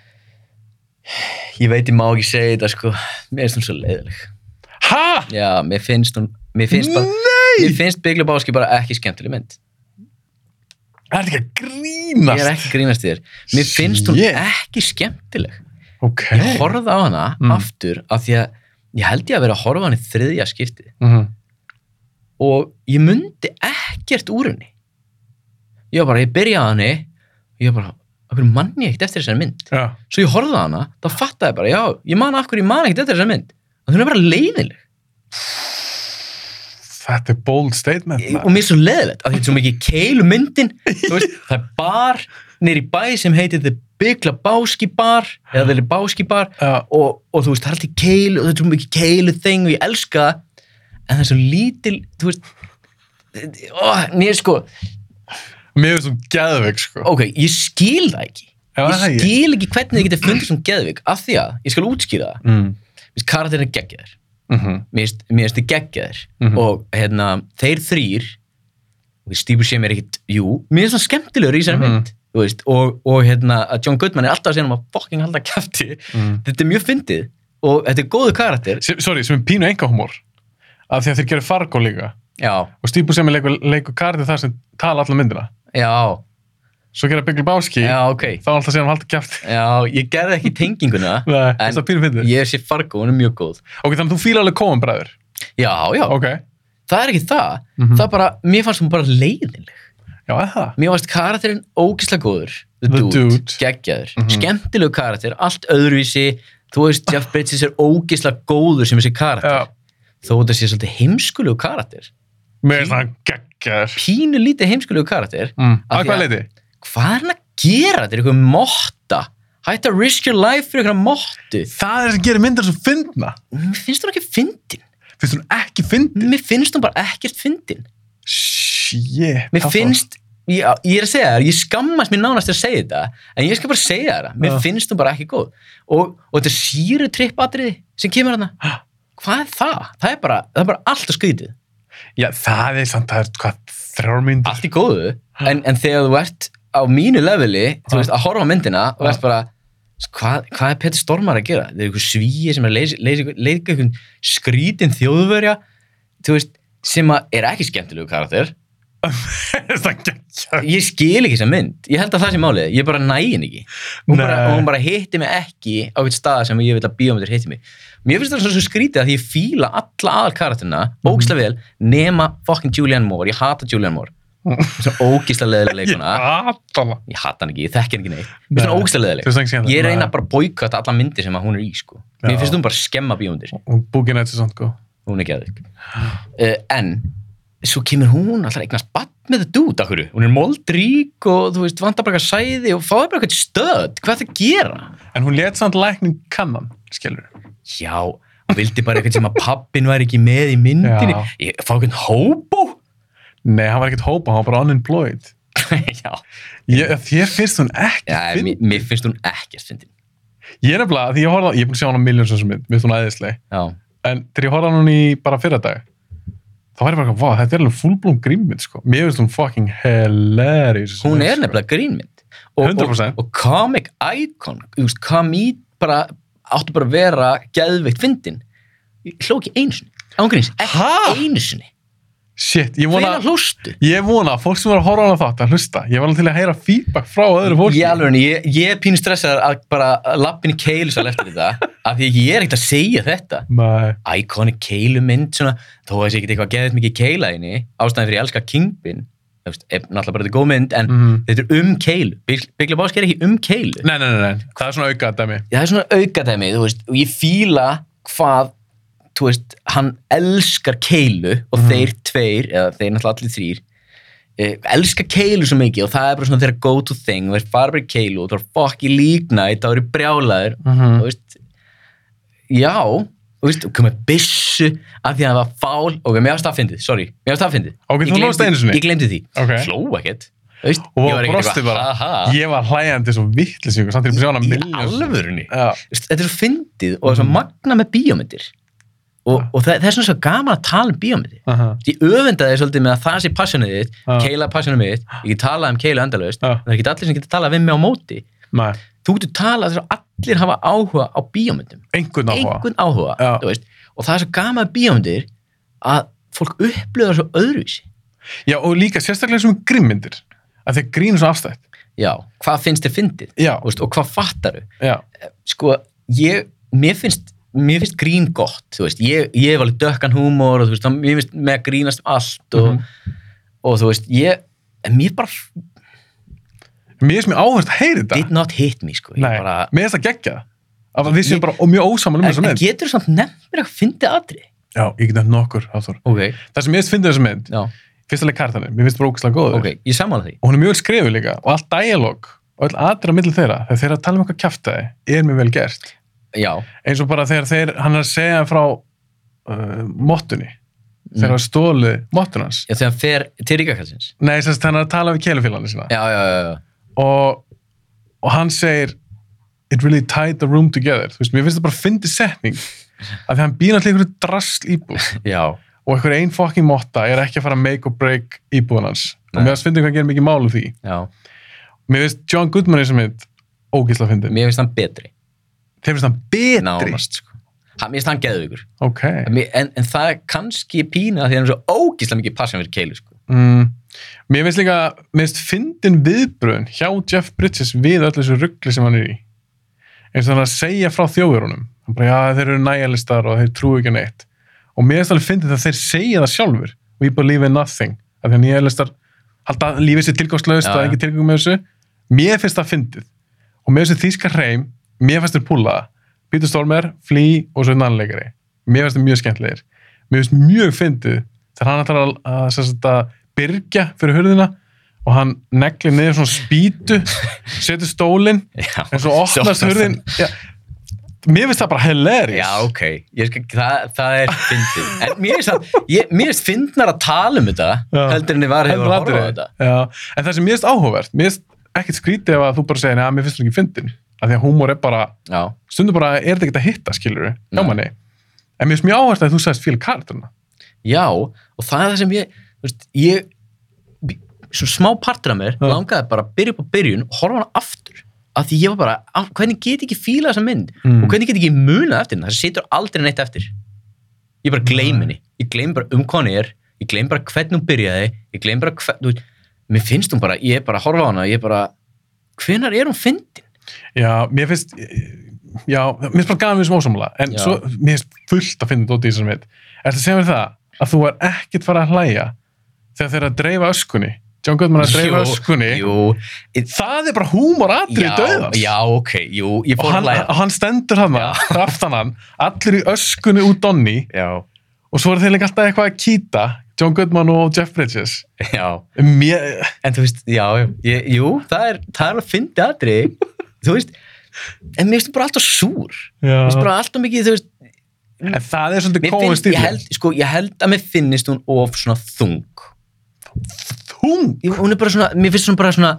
Speaker 1: ég veit ég má ekki segja þetta sko mér finnst hún svo leiðileg
Speaker 2: Ha?
Speaker 1: já, mér finnst hún mér finnst bara
Speaker 2: Nei!
Speaker 1: Mér finnst Bygglu Báski bara ekki skemmtileg mynd.
Speaker 2: Það er ekki
Speaker 1: Ég
Speaker 2: að
Speaker 1: er
Speaker 2: grínast.
Speaker 1: ekki að grínast í þér. Mér finnst hún
Speaker 2: Shit.
Speaker 1: ekki skemmtileg.
Speaker 2: Ok.
Speaker 1: Ég horfði á hana
Speaker 2: Mm.
Speaker 1: aftur af því að ég held ég að vera að horfa á hana í þriðja skipti.
Speaker 2: Mhm.
Speaker 1: og ég mundi ekkert úr henni ég var bara, ég byrjaði á henni og ég var bara, okkur mann ég ekkert eftir þessari mynd
Speaker 2: Já.
Speaker 1: svo ég horfði á hana, þá fattaði ég bara já, ég man af hverju ég man ekkert eftir þessari mynd og hún er bara leiðileg
Speaker 2: Þetta er bold statement.
Speaker 1: og mér er svo leiðilegt, af því þetta er svo mikið keilu myndin, þú veist, það er bar nýri bæ sem heitir The Big Lebowski Bar, eða The Lebowski Bar
Speaker 2: Já.
Speaker 1: og, og þú veist, það er alltaf keil og þetta er svo mikið keilu þing og ég elska það en það er svo lítil, þú veist ó, mér sko
Speaker 2: Mér finnst hún geðveik, sko.
Speaker 1: ok, ég skil það ekki
Speaker 2: Já, það er
Speaker 1: ég
Speaker 2: ég.
Speaker 1: skil ekki hvernig þið getur fundið svona geðvik af því að, ég skal útskýra það
Speaker 2: Mm.
Speaker 1: mér finnst karakterin geggjaðir
Speaker 2: Mhm.
Speaker 1: mér finnst- mér finnst þið geggjaðir
Speaker 2: Mhm.
Speaker 1: og hérna, þeir þrýr og stípur sem er ekkit, jú mér finnst það skemmtilegur í þessari
Speaker 2: Mhm.
Speaker 1: mynd þú veist, og, og hérna, að John Goodman er alltaf að segja um að fucking halda kæfti
Speaker 2: Mm.
Speaker 1: þetta er mjög fyndið og þetta er góðu karakter
Speaker 2: Sem- Sorry, sem er pínu engahumor. Af því að þeir gerir Fargo líka.
Speaker 1: já,
Speaker 2: og Steve Buscemi leikur, leikur kardið þar sem tala alla myndina
Speaker 1: já,
Speaker 2: svo gera Big Lebowski
Speaker 1: já, ok
Speaker 2: þá er alltaf síðan hann haldi kjátt
Speaker 1: já, ég gerði ekki tenginguna
Speaker 2: *laughs* Nei,
Speaker 1: En-
Speaker 2: það pýrum fyndið
Speaker 1: ég sé Fargo, hún er mjög góð
Speaker 2: ok, þannig að þú fíla alveg Coen bræður
Speaker 1: já, já,
Speaker 2: ok,
Speaker 1: það er ekki það
Speaker 2: Mhm.
Speaker 1: það bara, mér fannst hún bara leiðinleg
Speaker 2: já, eða það
Speaker 1: mér fannst karakterinn ógislega góður the,
Speaker 2: The
Speaker 1: dude,
Speaker 2: Dude.
Speaker 1: geggjaður,
Speaker 2: Mhm.
Speaker 1: skemmtilegu karakter allt öðruvísi, þú
Speaker 2: *laughs*
Speaker 1: veist Jeff Bridges er ógislega góður sem þessi karakter
Speaker 2: já,
Speaker 1: þó þetta sé svolítið heimskulegu karakter
Speaker 2: mér finnst það geggjaður
Speaker 1: pínu lítið heimskulegu karakter
Speaker 2: mm.
Speaker 1: Af
Speaker 2: að
Speaker 1: því
Speaker 2: hvað
Speaker 1: að-
Speaker 2: leiti?
Speaker 1: hvað er hann að gera, þetta er eitthvað motta hætt að risk your life fyrir eitthvað mottu
Speaker 2: það er sem gerir myndar svo fyndna
Speaker 1: mér finnst hún ekki fyndin
Speaker 2: finnst hún ekki fyndið?
Speaker 1: mér finnst hún bara ekkert fyndin
Speaker 2: shit
Speaker 1: mér
Speaker 2: það
Speaker 1: finnst ég, ég er að segja það, ég skammast mér nánast að segja þetta en ég skal bara segja það, mér
Speaker 2: Já.
Speaker 1: finnst hún bara ekki góð og, og þetta síru trippatriði sem kemur hana
Speaker 2: Ha.
Speaker 1: hvað er það? Það er bara, það er bara allt að skrítið
Speaker 2: var- *gasps* já, það er samt, það er hvað þrjár myndir
Speaker 1: allt í góðu, en, en þegar þú ert á mínu leveli,
Speaker 2: Ha.
Speaker 1: þú veist, að horfa á myndina og
Speaker 2: Ha.
Speaker 1: ert bara hvað, hvað er Petur Stormar að gera? Það er einhver svíi sem er að leysa- leysa einhver- leika einhvern skrítin þjóðverja þú veist, sem að er ekki skemmtilegu karakter
Speaker 2: *laughs* það er geggjaður
Speaker 1: ég skil ekki þessa mynd, ég held að það sé málið ég bara nægin ekki hún bara,
Speaker 2: Nei.
Speaker 1: og hún bara hitti mig ekki á eitthvað stað sem ég vil að bíómyndir hitti mig mér finnst það svona svo skrítið að ég
Speaker 2: Mhm.
Speaker 1: fíla alla aðal karakterina, ógislega vel nema fucking Julianne Moore, ég hata Julianne Moore svona ógísla leðilega
Speaker 2: *laughs*
Speaker 1: leikuna
Speaker 2: Atala
Speaker 1: ég hata hann ekki, ég þekki hann ekki neitt Mér finnst hann ógísla leðileg ég reyna bara að boykata alla myndir sem að hún er í sko. mér
Speaker 2: Já.
Speaker 1: finnst hún bara skemma bíómyndir
Speaker 2: og Boogie Nights er samt sko. góð
Speaker 1: hún er geðvik uh, en svo kemur hún alltaf að eignast bann með þetta út af hverju hún er moldrík og þú veist vantar bara eitthvað sæði og fáið bara eitthvað stöð hvað er það að gera
Speaker 2: en hún let samt lækning kannan skilur
Speaker 1: já, hún vildi bara eitthvað sem að pappin væri ekki með í myndinni
Speaker 2: Já.
Speaker 1: ég, fá eitthvað hóbó *laughs*
Speaker 2: nei, hann var ekkert hópa, hann var bara unemployed
Speaker 1: já,
Speaker 2: ég, þér finnst hún ekki
Speaker 1: já
Speaker 2: finn-
Speaker 1: mér, mér finnst hún ekkert fyndin
Speaker 2: ég er nefnilega, því ég horfði á- ég er búin að sjá hann á miljóns þessum mynd, mér finnst hún æðisleg
Speaker 1: já,
Speaker 2: en þegar ég horfði á hann í bara fyrra dag þá var ég bara eitthvað, "Vá, þetta er alveg fullblóm grímmynd sko. mér finnst hún fucking hilarious
Speaker 1: hún er nefnilega grínmynd og, og,
Speaker 2: 100%.
Speaker 1: og comic icon þú veist, komið bara áttu bara að vera geðveikt fyndin hló ekki einsinni ángríns,
Speaker 2: Ha?
Speaker 1: ekki einsinni
Speaker 2: shit, ég
Speaker 1: þeirra
Speaker 2: vona
Speaker 1: hlóstu
Speaker 2: Ég vona að fólk sem var að horfa á hana þátt að hlusta. Ég var alveg til að heyra feedback frá öðru fólki.
Speaker 1: ég, alveg, ég, ég er pínu stressaður að bara lappin í keilusal eftir
Speaker 2: *laughs*
Speaker 1: þetta af því ég er ekkert að segja þetta
Speaker 2: Nei.
Speaker 1: iconic keilumynd svona, þó að það sé ekkert eitthvað geðið mikið keila inni ástæðan fyrir ég elska Kingpin þú veist, er náttúrulega bara þetta er góð mynd en
Speaker 2: Mhm.
Speaker 1: þetta er um keilu, byggla básk er ekki um keilu
Speaker 2: Nei, nei, nei, nei. Það er svona aukað dæmi.
Speaker 1: það er svona aukadæmi, þú veist, og ég fíla hvað, þú veist, hann elskar keilu og
Speaker 2: Mhm.
Speaker 1: þeir tveir, eða þeir náttúrulega allir þrýr, eh, elska keilu svo mikið og það er bara svona þeirra go to thing og þeir fara bara í keilu og það er fokki líknætt, það eru brjálaður,
Speaker 2: Mm
Speaker 1: þú veist, já, þú veist, og komið byssu af því að það var fál, ok, mér varst aðfindið, sorry, mér varst aðfindið.
Speaker 2: Ok,
Speaker 1: Ég
Speaker 2: þú
Speaker 1: gleymdi-
Speaker 2: hlóst einu sinni.
Speaker 1: Ég glemdi því,
Speaker 2: Ok.
Speaker 1: hló ekkert, þú veist,
Speaker 2: Og
Speaker 1: ég var ekkert
Speaker 2: brosti bara.
Speaker 1: haha,
Speaker 2: Ég var hlægjandi svo vittlis ykkur, samt er ég búin að sjá hana
Speaker 1: í
Speaker 2: miljón.
Speaker 1: alvörunni.
Speaker 2: Já.
Speaker 1: Veist, þetta er svo fyndið og það er svo magna með bíómyndir og,
Speaker 2: Ja.
Speaker 1: og það, það er svona svo gaman að tala um bíómyndir
Speaker 2: Aha.
Speaker 1: ég öfundaði svolítið með að það sé passionið þitt
Speaker 2: Ja.
Speaker 1: keila passionið mitt, ég get talað um keila endalaust
Speaker 2: Ja.
Speaker 1: en það er ekki allir sem getur talað við mig á móti
Speaker 2: Nei,
Speaker 1: þú getur talað þess að allir hafa áhuga á bíómyndum,
Speaker 2: einhvern áhuga.
Speaker 1: einhvern áhuga
Speaker 2: Ja.
Speaker 1: þú veist, og það er svo gaman að bíómyndir að fólk upplöða svo öðruvísi
Speaker 2: Já, og líka sérstaklega sem grímmyndir. Að þeir grínu svo afstætt.
Speaker 1: já, hvað finnst þér fyndið
Speaker 2: Já,
Speaker 1: Þú veist, og hvað fattaru
Speaker 2: já.
Speaker 1: sko, ég, mér finnst mér finnst grín gott, þú veist ég, ég hef alveg dökkan húmor og þú veist þá- mér finnst með að grínast um allt og,
Speaker 2: Mhm.
Speaker 1: og þú veist, ég en mér bara,
Speaker 2: Mér er sem ég áherslu að heyri þetta.
Speaker 1: did not hit me sko, ég
Speaker 2: Nei,
Speaker 1: bara,
Speaker 2: mér er þetta geggja. Af að við séum
Speaker 1: Ég-
Speaker 2: bara og mjög ósamal um þessa
Speaker 1: en, en
Speaker 2: mynd.
Speaker 1: getur samt nefnt mér að fyndi aðri
Speaker 2: Já, ég get nefnt nokkur, Hafþór.
Speaker 1: ok,
Speaker 2: Það sem ég finnst þessa mynd,
Speaker 1: já,
Speaker 2: fyrst alveg kartanir, mér finnst bara ógustlega góður.
Speaker 1: ok, ég saman því
Speaker 2: og hún er mjög vel skrifuð líka og allt dialog og all aðra millir þeirra þegar þeirra tala um eitthvað kjaftaði er mjög vel gert
Speaker 1: já,
Speaker 2: eins og bara þegar þeir, hann er að segja frá uh, mottunni þegar
Speaker 1: Mm.
Speaker 2: hann stólu mottun hans
Speaker 1: já þegar hann fer til ríkakallsins
Speaker 2: nei, sem sagt hann er að tala við keilufélagana sína
Speaker 1: já, já, já, já,
Speaker 2: og, og hann segir it really tied the room together þú veist, mér finnst það bara fyndi setning að því hann býr allir einhverju drast íbúð
Speaker 1: já
Speaker 2: og einhver ein fucking motta er ekki að fara að make or break íbúðan hans og
Speaker 1: Nei.
Speaker 2: mér finnst fyndi hvað gerir mikið málu því
Speaker 1: já,
Speaker 2: mér finnst John Goodman eins og mitt ógísla fyndin
Speaker 1: mér finnst hann betri
Speaker 2: þeir finnst hann betri
Speaker 1: nánast, sko Ha, mér finnst hann geðvíkur
Speaker 2: ok
Speaker 1: en, en en það er kannski pína því að hann er svo ógíslega mikið passjón fyrir keilu sko.
Speaker 2: mm. mér finnst líka mér finnst fyndin viðbröðun hjá Jeff Bridges við öllu þessu ruggli sem hann er í eins og hann er að segja frá þjóðurunum hann bara já þeir eru nægjalistar og þeir trúi ekki á neitt og mér finnst alveg fyndin það þeir segja það sjálfur we believe in nothing að þeir nægjalistar halda lífið sér tilgangslaust
Speaker 1: Já,
Speaker 2: það er
Speaker 1: já.
Speaker 2: ekki tilgang með þessu mér finnst það fyndið og með þessu þýska hreim mér finnst þeir púla það Peter Stormer, Flea og svo einn annan leikari mér finnst þeir mjög skemmtilegir mér finnst mjög fyndið þegar hann ætlar að, að, sem sagt, að byrgja fyrir hurðina og hann neglir niður svona spýtu
Speaker 1: *laughs*
Speaker 2: setur stólinn
Speaker 1: Já.
Speaker 2: en svo opnast
Speaker 1: Svo
Speaker 2: hurðin já, mér finnst það bara hilarious
Speaker 1: Já, ok, ég skal, það, það er fyndið. En mér finnst að, ég, mér finnst fyndnar að tala um þetta,
Speaker 2: Já.
Speaker 1: heldur en ég var hefur
Speaker 2: Heldur
Speaker 1: að horfa á
Speaker 2: atriði.
Speaker 1: þetta.
Speaker 2: já, en það sem mér finnst áhugavert mér finnst ekkert skrítið ef að þú bara segir neða, mér finnst það ekki fyndin af því að húmor er bara
Speaker 1: Já,
Speaker 2: stundum bara er þetta ekki að hitta skilur hjá
Speaker 1: Nei.
Speaker 2: manni en mér finnst mjög áherslu að þú sagðist fíl karakterna
Speaker 1: já, og það er það sem ég, þú veist, ég, svona smá partur af mér
Speaker 2: Já.
Speaker 1: langaði bara að byrja upp á byrjun og horfa á hana aftur. Af því ég var bara, af, hvernig get ég ekki fíla þessa mynd?
Speaker 2: Mm.
Speaker 1: Og hvernig get ég ekki muna eftir henni? Það situr aldrei neitt eftir. Ég bara gleym
Speaker 2: Nei.
Speaker 1: henni. Ég gleym bara um hvað hann er, ég gleym bara hvernig hún byrjaði, ég gleym bara hvernig, þú veist, mér finnst hún bara, ég er bara að horfa á hana, ég er bara, hvenar er hún fyndin?
Speaker 2: já, mér finnst já, mér finnst bara gaman við sem ósamlega en
Speaker 1: Já.
Speaker 2: svo, mér finnst fullt að finna dótt í þessum mitt er það að segja mér það að þú er ekkert fara að hlæja þegar þeir eru að dreifa öskunni John Goodman að dreifa
Speaker 1: Jú,
Speaker 2: öskunni
Speaker 1: Jú,
Speaker 2: það er bara húmor atrið
Speaker 1: já,
Speaker 2: döðans
Speaker 1: já, ok, jú, ég
Speaker 2: og
Speaker 1: fór
Speaker 2: hann,
Speaker 1: að læra
Speaker 2: hann stendur hann
Speaker 1: *laughs*
Speaker 2: aftan hann, allir í öskunni út donni
Speaker 1: Já,
Speaker 2: og svo eru þeir líka alltaf eitthvað að kýta John Goodman og Jeff Bridges
Speaker 1: já,
Speaker 2: Mér,
Speaker 1: en þú veist, já, já, ég, jú, það er, það er að fyndi aðri,
Speaker 2: *laughs*
Speaker 1: þú veist, en mér finnst þú bara alltaf súr, mér
Speaker 2: já.
Speaker 1: finnst bara alltaf mikið, þú veist,
Speaker 2: en það er svolítið
Speaker 1: mér
Speaker 2: kóið
Speaker 1: finnst,
Speaker 2: stíl
Speaker 1: ég held, sko, ég held að mér finnist hún of svona þung,
Speaker 2: hún
Speaker 1: Jú, hún er bara svona, mér finnst hún bara svona,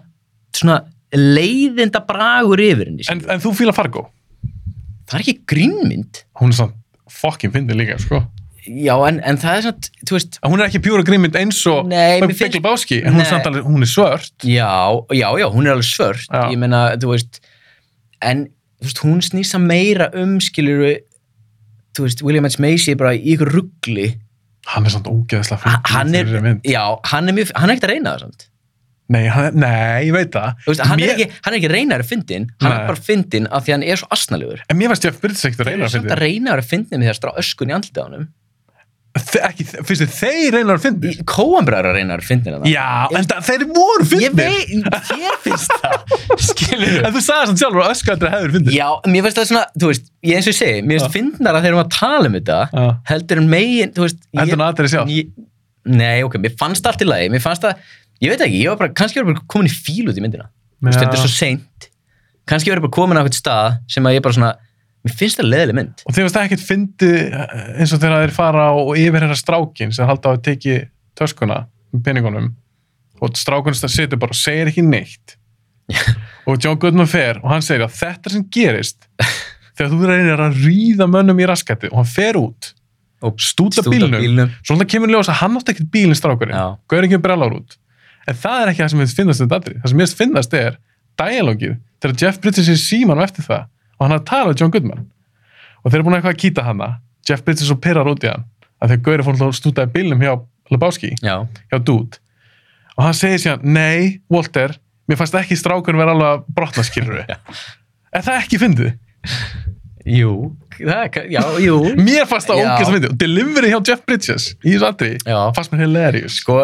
Speaker 1: svona leiðinda bragur yfir henni,
Speaker 2: en,
Speaker 1: en,
Speaker 2: en þú fíla Fargo
Speaker 1: það er ekki grínmynd,
Speaker 2: hún er svona fokkin fyndið líka sko.
Speaker 1: já, en, en það er svona, þú veist,
Speaker 2: En hún er ekki pjúra grímynd eins og
Speaker 1: Nei, mér
Speaker 2: Big
Speaker 1: finnst-
Speaker 2: Lebowski en hún er,
Speaker 1: Nei.
Speaker 2: samt alveg, hún er svört
Speaker 1: Já, já, já, hún er alveg svört
Speaker 2: Já.
Speaker 1: ég meina, þú veist en þú veist, hún snýsa meira um skilur þú veist, William H. Macy er bara í ykkur ruggli
Speaker 2: hann er svona ógeðslega
Speaker 1: Ha-
Speaker 2: fyndið
Speaker 1: hann er,
Speaker 2: fyrir þessa mynd.
Speaker 1: já, hann er mjög hann er ekkert að reyna það samt
Speaker 2: nei, hann, nei, ég veit það
Speaker 1: Þú veist, hann,
Speaker 2: mér,
Speaker 1: er ekki, hann er ekki reynar að fyndin hann
Speaker 2: Nei.
Speaker 1: er bara fyndin af því að hann er svo asnalegur
Speaker 2: en mér varst Jeff Bridges ekkert að
Speaker 1: hann er
Speaker 2: reyna að
Speaker 1: samt að
Speaker 2: fyndið
Speaker 1: reynar að fyndin með því að strá öskun í andlita á honum
Speaker 2: Þe- ekki, finnst þið þeir reyna að fyndið
Speaker 1: Kóambrar að reynar að fyndin að það
Speaker 2: já, en það, þeir voru
Speaker 1: ég
Speaker 2: fyndið
Speaker 1: veit, þér finnst það skilur
Speaker 2: *laughs* en þú sagði svona sjálfur að öskualdri hefur fyndið
Speaker 1: Já, mér finnst það svona, þú veist, ég eins og ég segi, mér finnst fyndnara þegar við erum að tala um þetta,
Speaker 2: Já.
Speaker 1: heldur en megin, þú veist,
Speaker 2: Heldur en atriðið sjálft?
Speaker 1: ég, nei, ok, mér fannst allt í lagi, mér fannst það, ég veit ekki, ég var bara, kannski var ég bara komin í fíl út í myndina, þú veist,
Speaker 2: Já.
Speaker 1: þetta er svo seint, kannski var ég bara komin á eitthvað stað sem að ég bara svona, mér finnst það leðileg mynd,
Speaker 2: og þeir varst ekkert fyndið eh, eins og þegar þeir fara og yfir hérna strákin sem halda á að teki töskuna með peningunum og strákun situr bara og segir ekki
Speaker 1: *laughs*
Speaker 2: neitt og John Goodman fer og hann segir að þetta sem
Speaker 1: *laughs*
Speaker 2: gerist þegar þú reynir að ríða mönnum í raskati og hann fer út
Speaker 1: Og
Speaker 2: stúta
Speaker 1: stúta
Speaker 2: bílnum,
Speaker 1: bílnum.
Speaker 2: svo hann kemur í ljós að hann átti ekkert bílinn
Speaker 1: Já.
Speaker 2: strákurinn gauður ekki um brellar út en það er ekki það sem mér finnast þetta aldrei það sem mér finnast er dialogið þegar Jeff Bridges er síman og eftir það og hann er að tala við John Goodman og þeir eru búin að eitthvað að kýta hana Jeff Bridges og pirrar út í hann að þegar Gauri fór náttúrulega að stúta í bílnum hjá Lebowski,
Speaker 1: já,
Speaker 2: hjá Dude og hann segir síðan, nei, Walter mér fannst ekki strákurinn vera alveg að brotna
Speaker 1: *laughs*
Speaker 2: skilur við er það ekki fyndið?
Speaker 1: jú, það, er ka- já, jú,
Speaker 2: *laughs* Mér fannst það
Speaker 1: Já.
Speaker 2: ógeðslega fyndið og delivery hjá Jeff Bridges í þessu andri
Speaker 1: Já.
Speaker 2: fannst mér hilarious
Speaker 1: sko,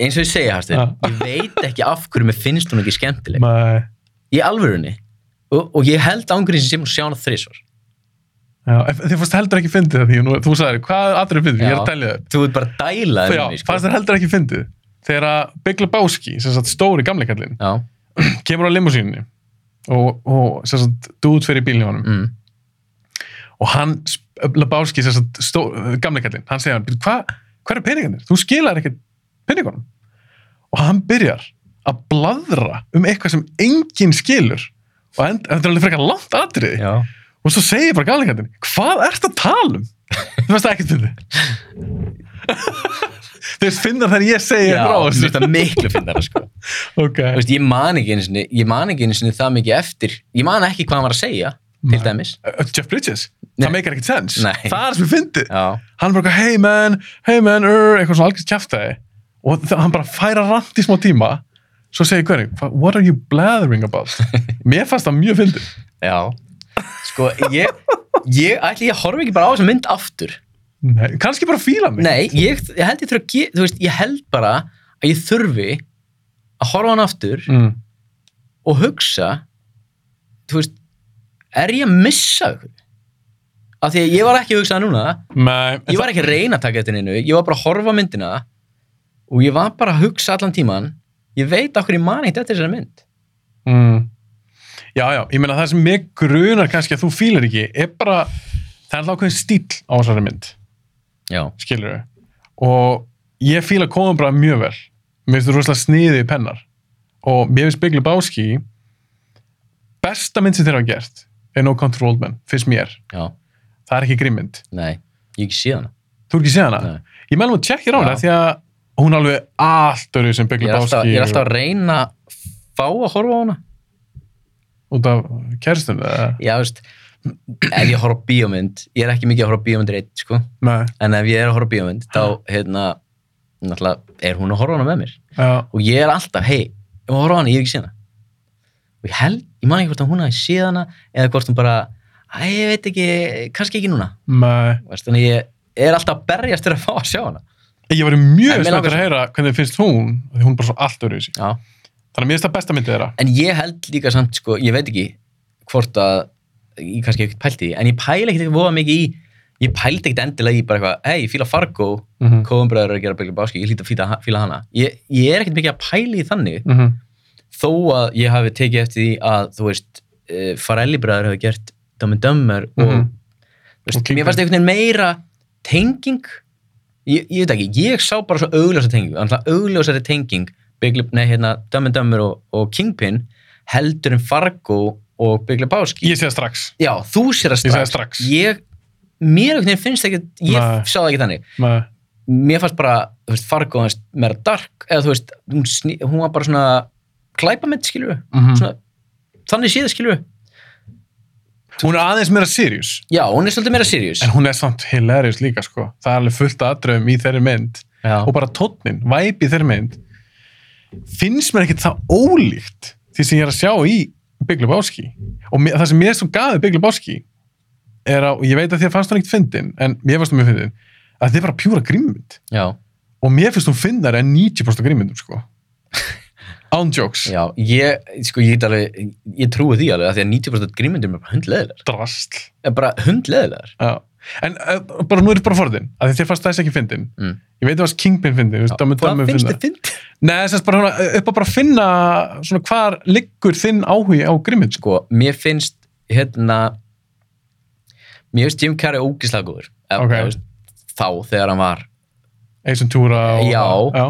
Speaker 1: eins og ég segi, Hastur,
Speaker 2: Já.
Speaker 1: ég veit ekki af hverju mér finnst hún ekki skemmtileg.
Speaker 2: Nei.
Speaker 1: í alvörunni og, og ég held ángurinn sem sé hún að sjá hana þrísvar
Speaker 2: Já, en þið fannst heldur ekki fyndið það því að nú, þú sagði, hvað aðrið fyndið, ég er að
Speaker 1: Já.
Speaker 2: tellja það upp.
Speaker 1: þú ert bara að dæla
Speaker 2: Já,
Speaker 1: henni, sko.
Speaker 2: fannst þér heldur ekki fyndið þegar að Big Lebowski, sem sagt stóri gamleikallin,
Speaker 1: já,
Speaker 2: kemur á limmusínunni og, og sem sagt dút fyrir bílnum honum
Speaker 1: mm.
Speaker 2: og hann, Lebowski, sem sagt stó, gamleikallin, hann segir hann, "Bíddu, hvað hva er peningarnir? Þú skilar ekkert peningunum. Og hann byrjar að bladra um eitthvað sem enginn skilur og end, þetta er alveg frekar langt atriði
Speaker 1: já.
Speaker 2: og svo segir bara galingandinn hvað ert að tala um? *laughs* þú veist það ekkert *laughs* fyndið þú veist finnar þegar ég segi
Speaker 1: já
Speaker 2: frá
Speaker 1: mér
Speaker 2: þessu
Speaker 1: finnst það miklu finnara sko.
Speaker 2: ok,
Speaker 1: Þú veist, ég man ekki einu sinni ég man ekki einu sinni það mikið eftir ég man ekki hvað hann var að segja til
Speaker 2: Nei.
Speaker 1: dæmis
Speaker 2: Uh, Jeff Bridges
Speaker 1: Nei.
Speaker 2: það meikar ekkert sens,
Speaker 1: Nei.
Speaker 2: það er sem við fyndið
Speaker 1: já,
Speaker 2: hann bara hey man, hey man er, eitthvað svona algjörst kjaftaði og það, hann bara færa rand í smá tíma svo segir hvernig, what are you blathering
Speaker 1: *laughs*
Speaker 2: about mér fannst það mjög fyndið
Speaker 1: já sko, ég, ég ætli ég horfi ekki bara á þessa mynd aftur
Speaker 2: Nei, kannski bara fíla mig
Speaker 1: nei, ég, ég held ég þurfa að ge- þú veist, ég held bara að ég þurfi að horfa á hann aftur
Speaker 2: mm.
Speaker 1: og hugsa þú veist, er ég að missa ykkur? af því að ég var ekki að hugsa það núna
Speaker 2: Nei, en
Speaker 1: ég var ekki að reyna að taka eftir neinu ég var bara að horfa á myndina og ég var bara að hugsa allan tíman ég veit okkur ég man eitt eftir þessari mynd
Speaker 2: Mm. Já, já, ég meina það sem mig grunar kannski að þú fílar ekki er bara, það er alltaf ákveðin stíl á þessari mynd,
Speaker 1: já,
Speaker 2: skilur við og ég fíla komum bara mjög vel mér finnst þú rosalega sniðið pennar og mér finnst Big Lebowski besta mynd sem þeir hafa gert er No Country for Old Men, finnst mér
Speaker 1: já,
Speaker 2: það er ekki grimmynd,
Speaker 1: nei, ég hef ekki síðan
Speaker 2: þú er ekki séð hana
Speaker 1: Nei.
Speaker 2: ég meðlum að tjekkja rána
Speaker 1: Já.
Speaker 2: því að hún er alveg allt öru sem Big
Speaker 1: ég er, alltaf,
Speaker 2: Lebowski
Speaker 1: ég er alltaf að reyna að fá að horfa á hana
Speaker 2: út af kæristunum eða-
Speaker 1: já, þú veist, ef ég horfa á bíómynd ég er ekki mikið að horfa á bíómyndir eitt sko.
Speaker 2: Nei,
Speaker 1: en ef ég er að horfa á bíómynd þá, hérna, náttúrulega er hún að horfa á hana með mér
Speaker 2: já,
Speaker 1: og ég er alltaf, hei, ef maður horfa á hana, ég hef ekki séð hana og ég held, ég man ekki hvort að hún hafi séð hana eða hvort hún bara, að ég veit ekki kannski ekki núna,
Speaker 2: nei
Speaker 1: Þú veist, þannig ég er alltaf að berjast til að fá að sjá hana
Speaker 2: Ég var mjög
Speaker 1: En mig
Speaker 2: spennt
Speaker 1: langar
Speaker 2: að
Speaker 1: svo-
Speaker 2: heyra hvernig finnst hún, af því hún er bara svo allt öðru í sig.
Speaker 1: já.
Speaker 2: Þannig að mér finnst það besta myndið þeirra.
Speaker 1: en ég held líka samt sko, ég veit ekki hvort að ég kannski ekkert pælti í því, en ég pæla ekkert ekki voða mikið í ég pældi ekkert endilega í bara eitthvað hei, ég fíla Fargo,
Speaker 2: Mm -hmm.
Speaker 1: Coen bræður er að gera Billy Báski, ég hlýt að fíla, fíla hana ég, ég er ekkert mikið að pæla í þannig
Speaker 2: Mm -hmm.
Speaker 1: þó að ég hafi tekið eftir því að þú veist, uh, Farelli bræður hafi gert Dumb and Dumber og
Speaker 2: Mhm.
Speaker 1: þú veist,
Speaker 2: Og King
Speaker 1: mér fannst einhvern veginn meira tenging ég, ég veit ekki, ég sá bara svo augljósa tengingu, þannig að augljósari tenging Big Lip, nei hérna, Dumb and Dumber og, og Kingpin heldur en Fargo og Big Lebowski
Speaker 2: Ég sé það strax.
Speaker 1: já, þú sér það
Speaker 2: Ég sé það
Speaker 1: strax,
Speaker 2: strax.
Speaker 1: ég mér einhvern veginn finnst ekki, ég
Speaker 2: Nei.
Speaker 1: sá það ekki þannig
Speaker 2: Með,
Speaker 1: mér fannst bara, þú veist, Fargo hans meira dark, eða þú veist, hún, sný, hún var bara svona klæpamönd, skilur við
Speaker 2: mm -hmm.
Speaker 1: svona, þannig séð skilur við
Speaker 2: Hún er aðeins meira serious.
Speaker 1: já, hún er svolítið meira serious
Speaker 2: En hún er samt hilarious líka, sko. Það er alveg fullt af aðdrafum í þeirri mynd.
Speaker 1: Já.
Speaker 2: Og bara tónnin, væp í þeirri mynd. Finnst mér ekkert það ólíkt því sem ég er að sjá í Big Lebowski. Og mér, það sem mér er svo gaðið Big Lebowski er að, og ég veit að þér fannst hún ekkert fyndin, en mér fannst hún mjög fyndin, að þið er bara pjúra grímmynd.
Speaker 1: já,
Speaker 2: Og mér finnst hún fyndar en 90%
Speaker 1: *laughs*
Speaker 2: grímmyndum, sko. Án jokes.
Speaker 1: já, ég sko, ég get alveg, ég trúi því alveg af því að 90% grímyndum er bara hundleðilegar
Speaker 2: Drasl.
Speaker 1: er bara hundleðilegar
Speaker 2: Já. En uh, bara nú er ég bara forðin, að þið fannst þess ekki fyndin.
Speaker 1: Mm.
Speaker 2: Ég veit að það varst Kingpin fyndin, þú veist, Dumb and Dumber
Speaker 1: finnst
Speaker 2: fyndin.
Speaker 1: þið fynd?
Speaker 2: Nei, þess að bara svona, eh, upp að bara finna svona hvar liggur þinn áhugi á grimmins sko.
Speaker 1: sko, mér finnst hérna mér finnst Jim Carrey ógislega góður Eða,
Speaker 2: Ok.
Speaker 1: þú veist, þá þegar hann var
Speaker 2: Eisen Túra og...
Speaker 1: Já.
Speaker 2: já.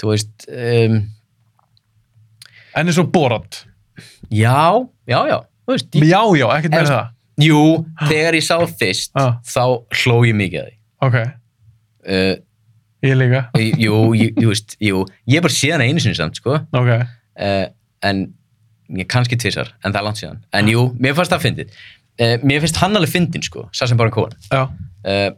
Speaker 1: þú veist, um,
Speaker 2: En eins og Borat.
Speaker 1: já, já, já þú veist, ég,
Speaker 2: Já, já, ekkert með
Speaker 1: Eða-
Speaker 2: það.
Speaker 1: jú, þegar ég sá fyrst
Speaker 2: Já.
Speaker 1: þá hló ég mikið að því
Speaker 2: Ok,
Speaker 1: uh,
Speaker 2: ég líka.
Speaker 1: jú, jú, jú, veist, jú, ég hef bara séð hana einu sinni samt, sko,
Speaker 2: Ok,
Speaker 1: uh, en ég kannski tvisar, en það er langt síðan, en jú, mér fannst það fyndið, uh, mér finnst hann alveg fyndin, sko, sá sem bara kóan,
Speaker 2: já.
Speaker 1: uh,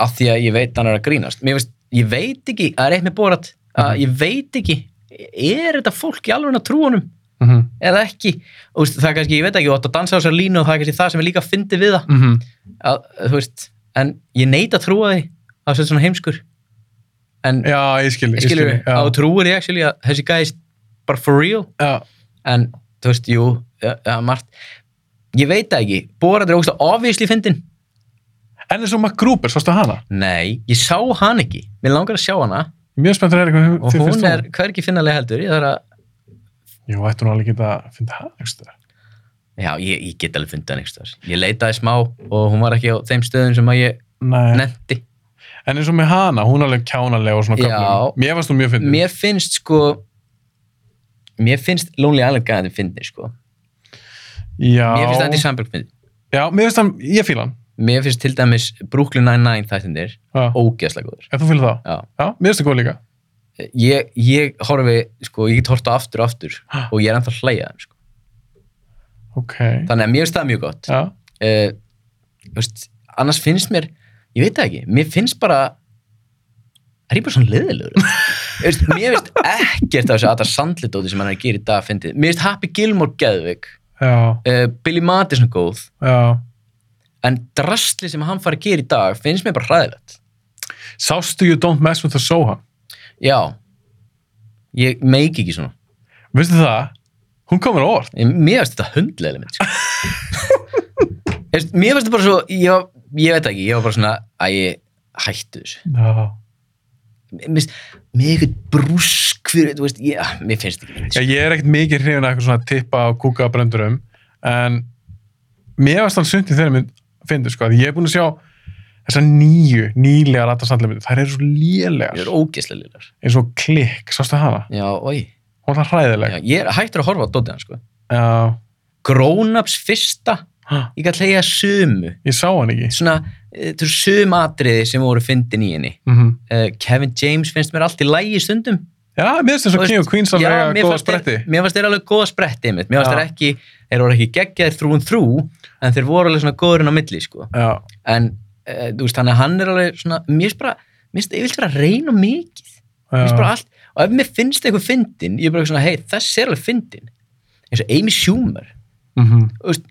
Speaker 1: af því að ég veit hann er að grínast, mér finnst, ég veit ekki, það er eitt með borat, að ég veit ekki, er þetta fólk í alveg að trú honum,
Speaker 2: Mm -hmm.
Speaker 1: eða ekki, Þú veist, það er kannski, ég veit ekki, þú átt að dansa á sér línu og það er kannski það sem er líka fyndið við það,
Speaker 2: Mm -hmm.
Speaker 1: að, þú veist, en ég neita að trúa því, að það er svona heimskur, en
Speaker 2: Já, ég skil, ég skil.
Speaker 1: skilur við, á
Speaker 2: Eh, já.
Speaker 1: trúir ég actually að þessi gæðis bara for real
Speaker 2: Já,
Speaker 1: en þú veist, jú, ja, ja, margt ég veit það ekki, Borat er ógst obviously fyndin,
Speaker 2: en eins og MacGruber, sástu hana?
Speaker 1: nei, ég sá hann ekki mér langar að sjá hana
Speaker 2: Mjög spennt að heyra hvað
Speaker 1: og
Speaker 2: þið
Speaker 1: hún
Speaker 2: finnst um
Speaker 1: er hvergi finnalega heldur ég þarf að,
Speaker 2: Jú, ættu nú alveg geta að finna hana, ekki það?
Speaker 1: já, ég, ég get alveg fundið hann einhverstaðar, ég leitaði smá og hún var ekki á þeim stöðum sem að ég
Speaker 2: Nei.
Speaker 1: nefndi,
Speaker 2: En eins og með hana, hún er alveg kjánalega og svona
Speaker 1: Já.
Speaker 2: köflum. Mér varst hún mjög fyndin.
Speaker 1: mér finnst sko mér finnst Lonely Island gæðin fyndin sko,
Speaker 2: Já.
Speaker 1: mér finnst Andy Samberg fyndin
Speaker 2: Já, mér finnst hann, ég fíla hann.
Speaker 1: mér finnst til dæmis Brooklyn Nine-Nine þættindir
Speaker 2: Já.
Speaker 1: ógeðslega góður
Speaker 2: Ef þú fílar þá.
Speaker 1: Já.
Speaker 2: Já, mér finnst það góð líka.
Speaker 1: ég, ég horfi, sko, ég get horta aftur og aftur
Speaker 2: Ha.
Speaker 1: og ég er ennþá að hlæja þeim sko.
Speaker 2: Ok.
Speaker 1: þannig að mér finnst það mjög gott
Speaker 2: Já.
Speaker 1: uh, veist, annars finnst mér ég veit það ekki, mér finnst bara er ég bara svona liðilegur veist, mér finnst ekkert af þessu Adam Sandler dóti sem hann er að gera í dag fyndið. mér finnst Happy Gilmore geðvik
Speaker 2: Já,
Speaker 1: uh, Billy Madison góð
Speaker 2: já.
Speaker 1: en drastli sem hann fari að gera í dag finnst mér bara hræðilegt
Speaker 2: Sástu You Don't Mess With The Soha?
Speaker 1: já, ég meiki ekki svona
Speaker 2: Vistu það? Hún komur á orð.
Speaker 1: Ég- Mér finnst þetta hundlega mynd sko. Veist, Mér finnst þetta bara svo ég, var, ég veit ekki, ég var bara svona að ég hættu þessu
Speaker 2: Já.
Speaker 1: Mér finnst, mér er eitthvað brúsk fyrir, þú veist, ég, ah, mér finnst þetta ekki mynd sko.
Speaker 2: Ég er ekkert mikið hrifin að eitthvað svona tippa og kúka á brendurum, en mér varst hann sumt í þeirra mynd fyndu, sko, því ég er búin að sjá þessar nýju, nýlega rattarsandlega myndir. Þær eru svo
Speaker 1: Ég er
Speaker 2: lélegar.
Speaker 1: ógeðslega liðlar
Speaker 2: Eins og klikk, sástu hana?
Speaker 1: Já, oi,
Speaker 2: Hún var það
Speaker 1: já,
Speaker 2: hræðileg.
Speaker 1: ég er hættur að horfa á dótið hann sko.
Speaker 2: Já.
Speaker 1: Grownups fyrsta
Speaker 2: Ha,
Speaker 1: ég gæti hleyja sömu
Speaker 2: Ég sá hann ekki.
Speaker 1: svona, eh, þú eru sömu atriði sem voru fyndin í henni
Speaker 2: Mm
Speaker 1: uh, Kevin James finnst mér allt í lægi stundum
Speaker 2: Já, mér finnst
Speaker 1: Þú
Speaker 2: eins og King
Speaker 1: veist,
Speaker 2: og Queens alveg
Speaker 1: Já,
Speaker 2: að
Speaker 1: mér
Speaker 2: góða
Speaker 1: fannst þeir-
Speaker 2: spretti.
Speaker 1: Mér fannst þeir alveg góða spretti einmitt. Mér fannst
Speaker 2: Já.
Speaker 1: þeir ekki, þeir voru ekki geggjaðir þrú en þrú en þeir voru alveg svona góðurinn á milli sko.
Speaker 2: Já.
Speaker 1: en e, þú veist, þannig að hann er alveg svona, mér finnst bara, mér finnst yfirlega vera reyn og mikið, mér finnst bara
Speaker 2: Já.
Speaker 1: allt og ef mér finnst eitthvað fyndin, ég er bara svona hei, þessi er alveg fyndin eins og Amy Schumer,
Speaker 2: Mhm,
Speaker 1: þú veist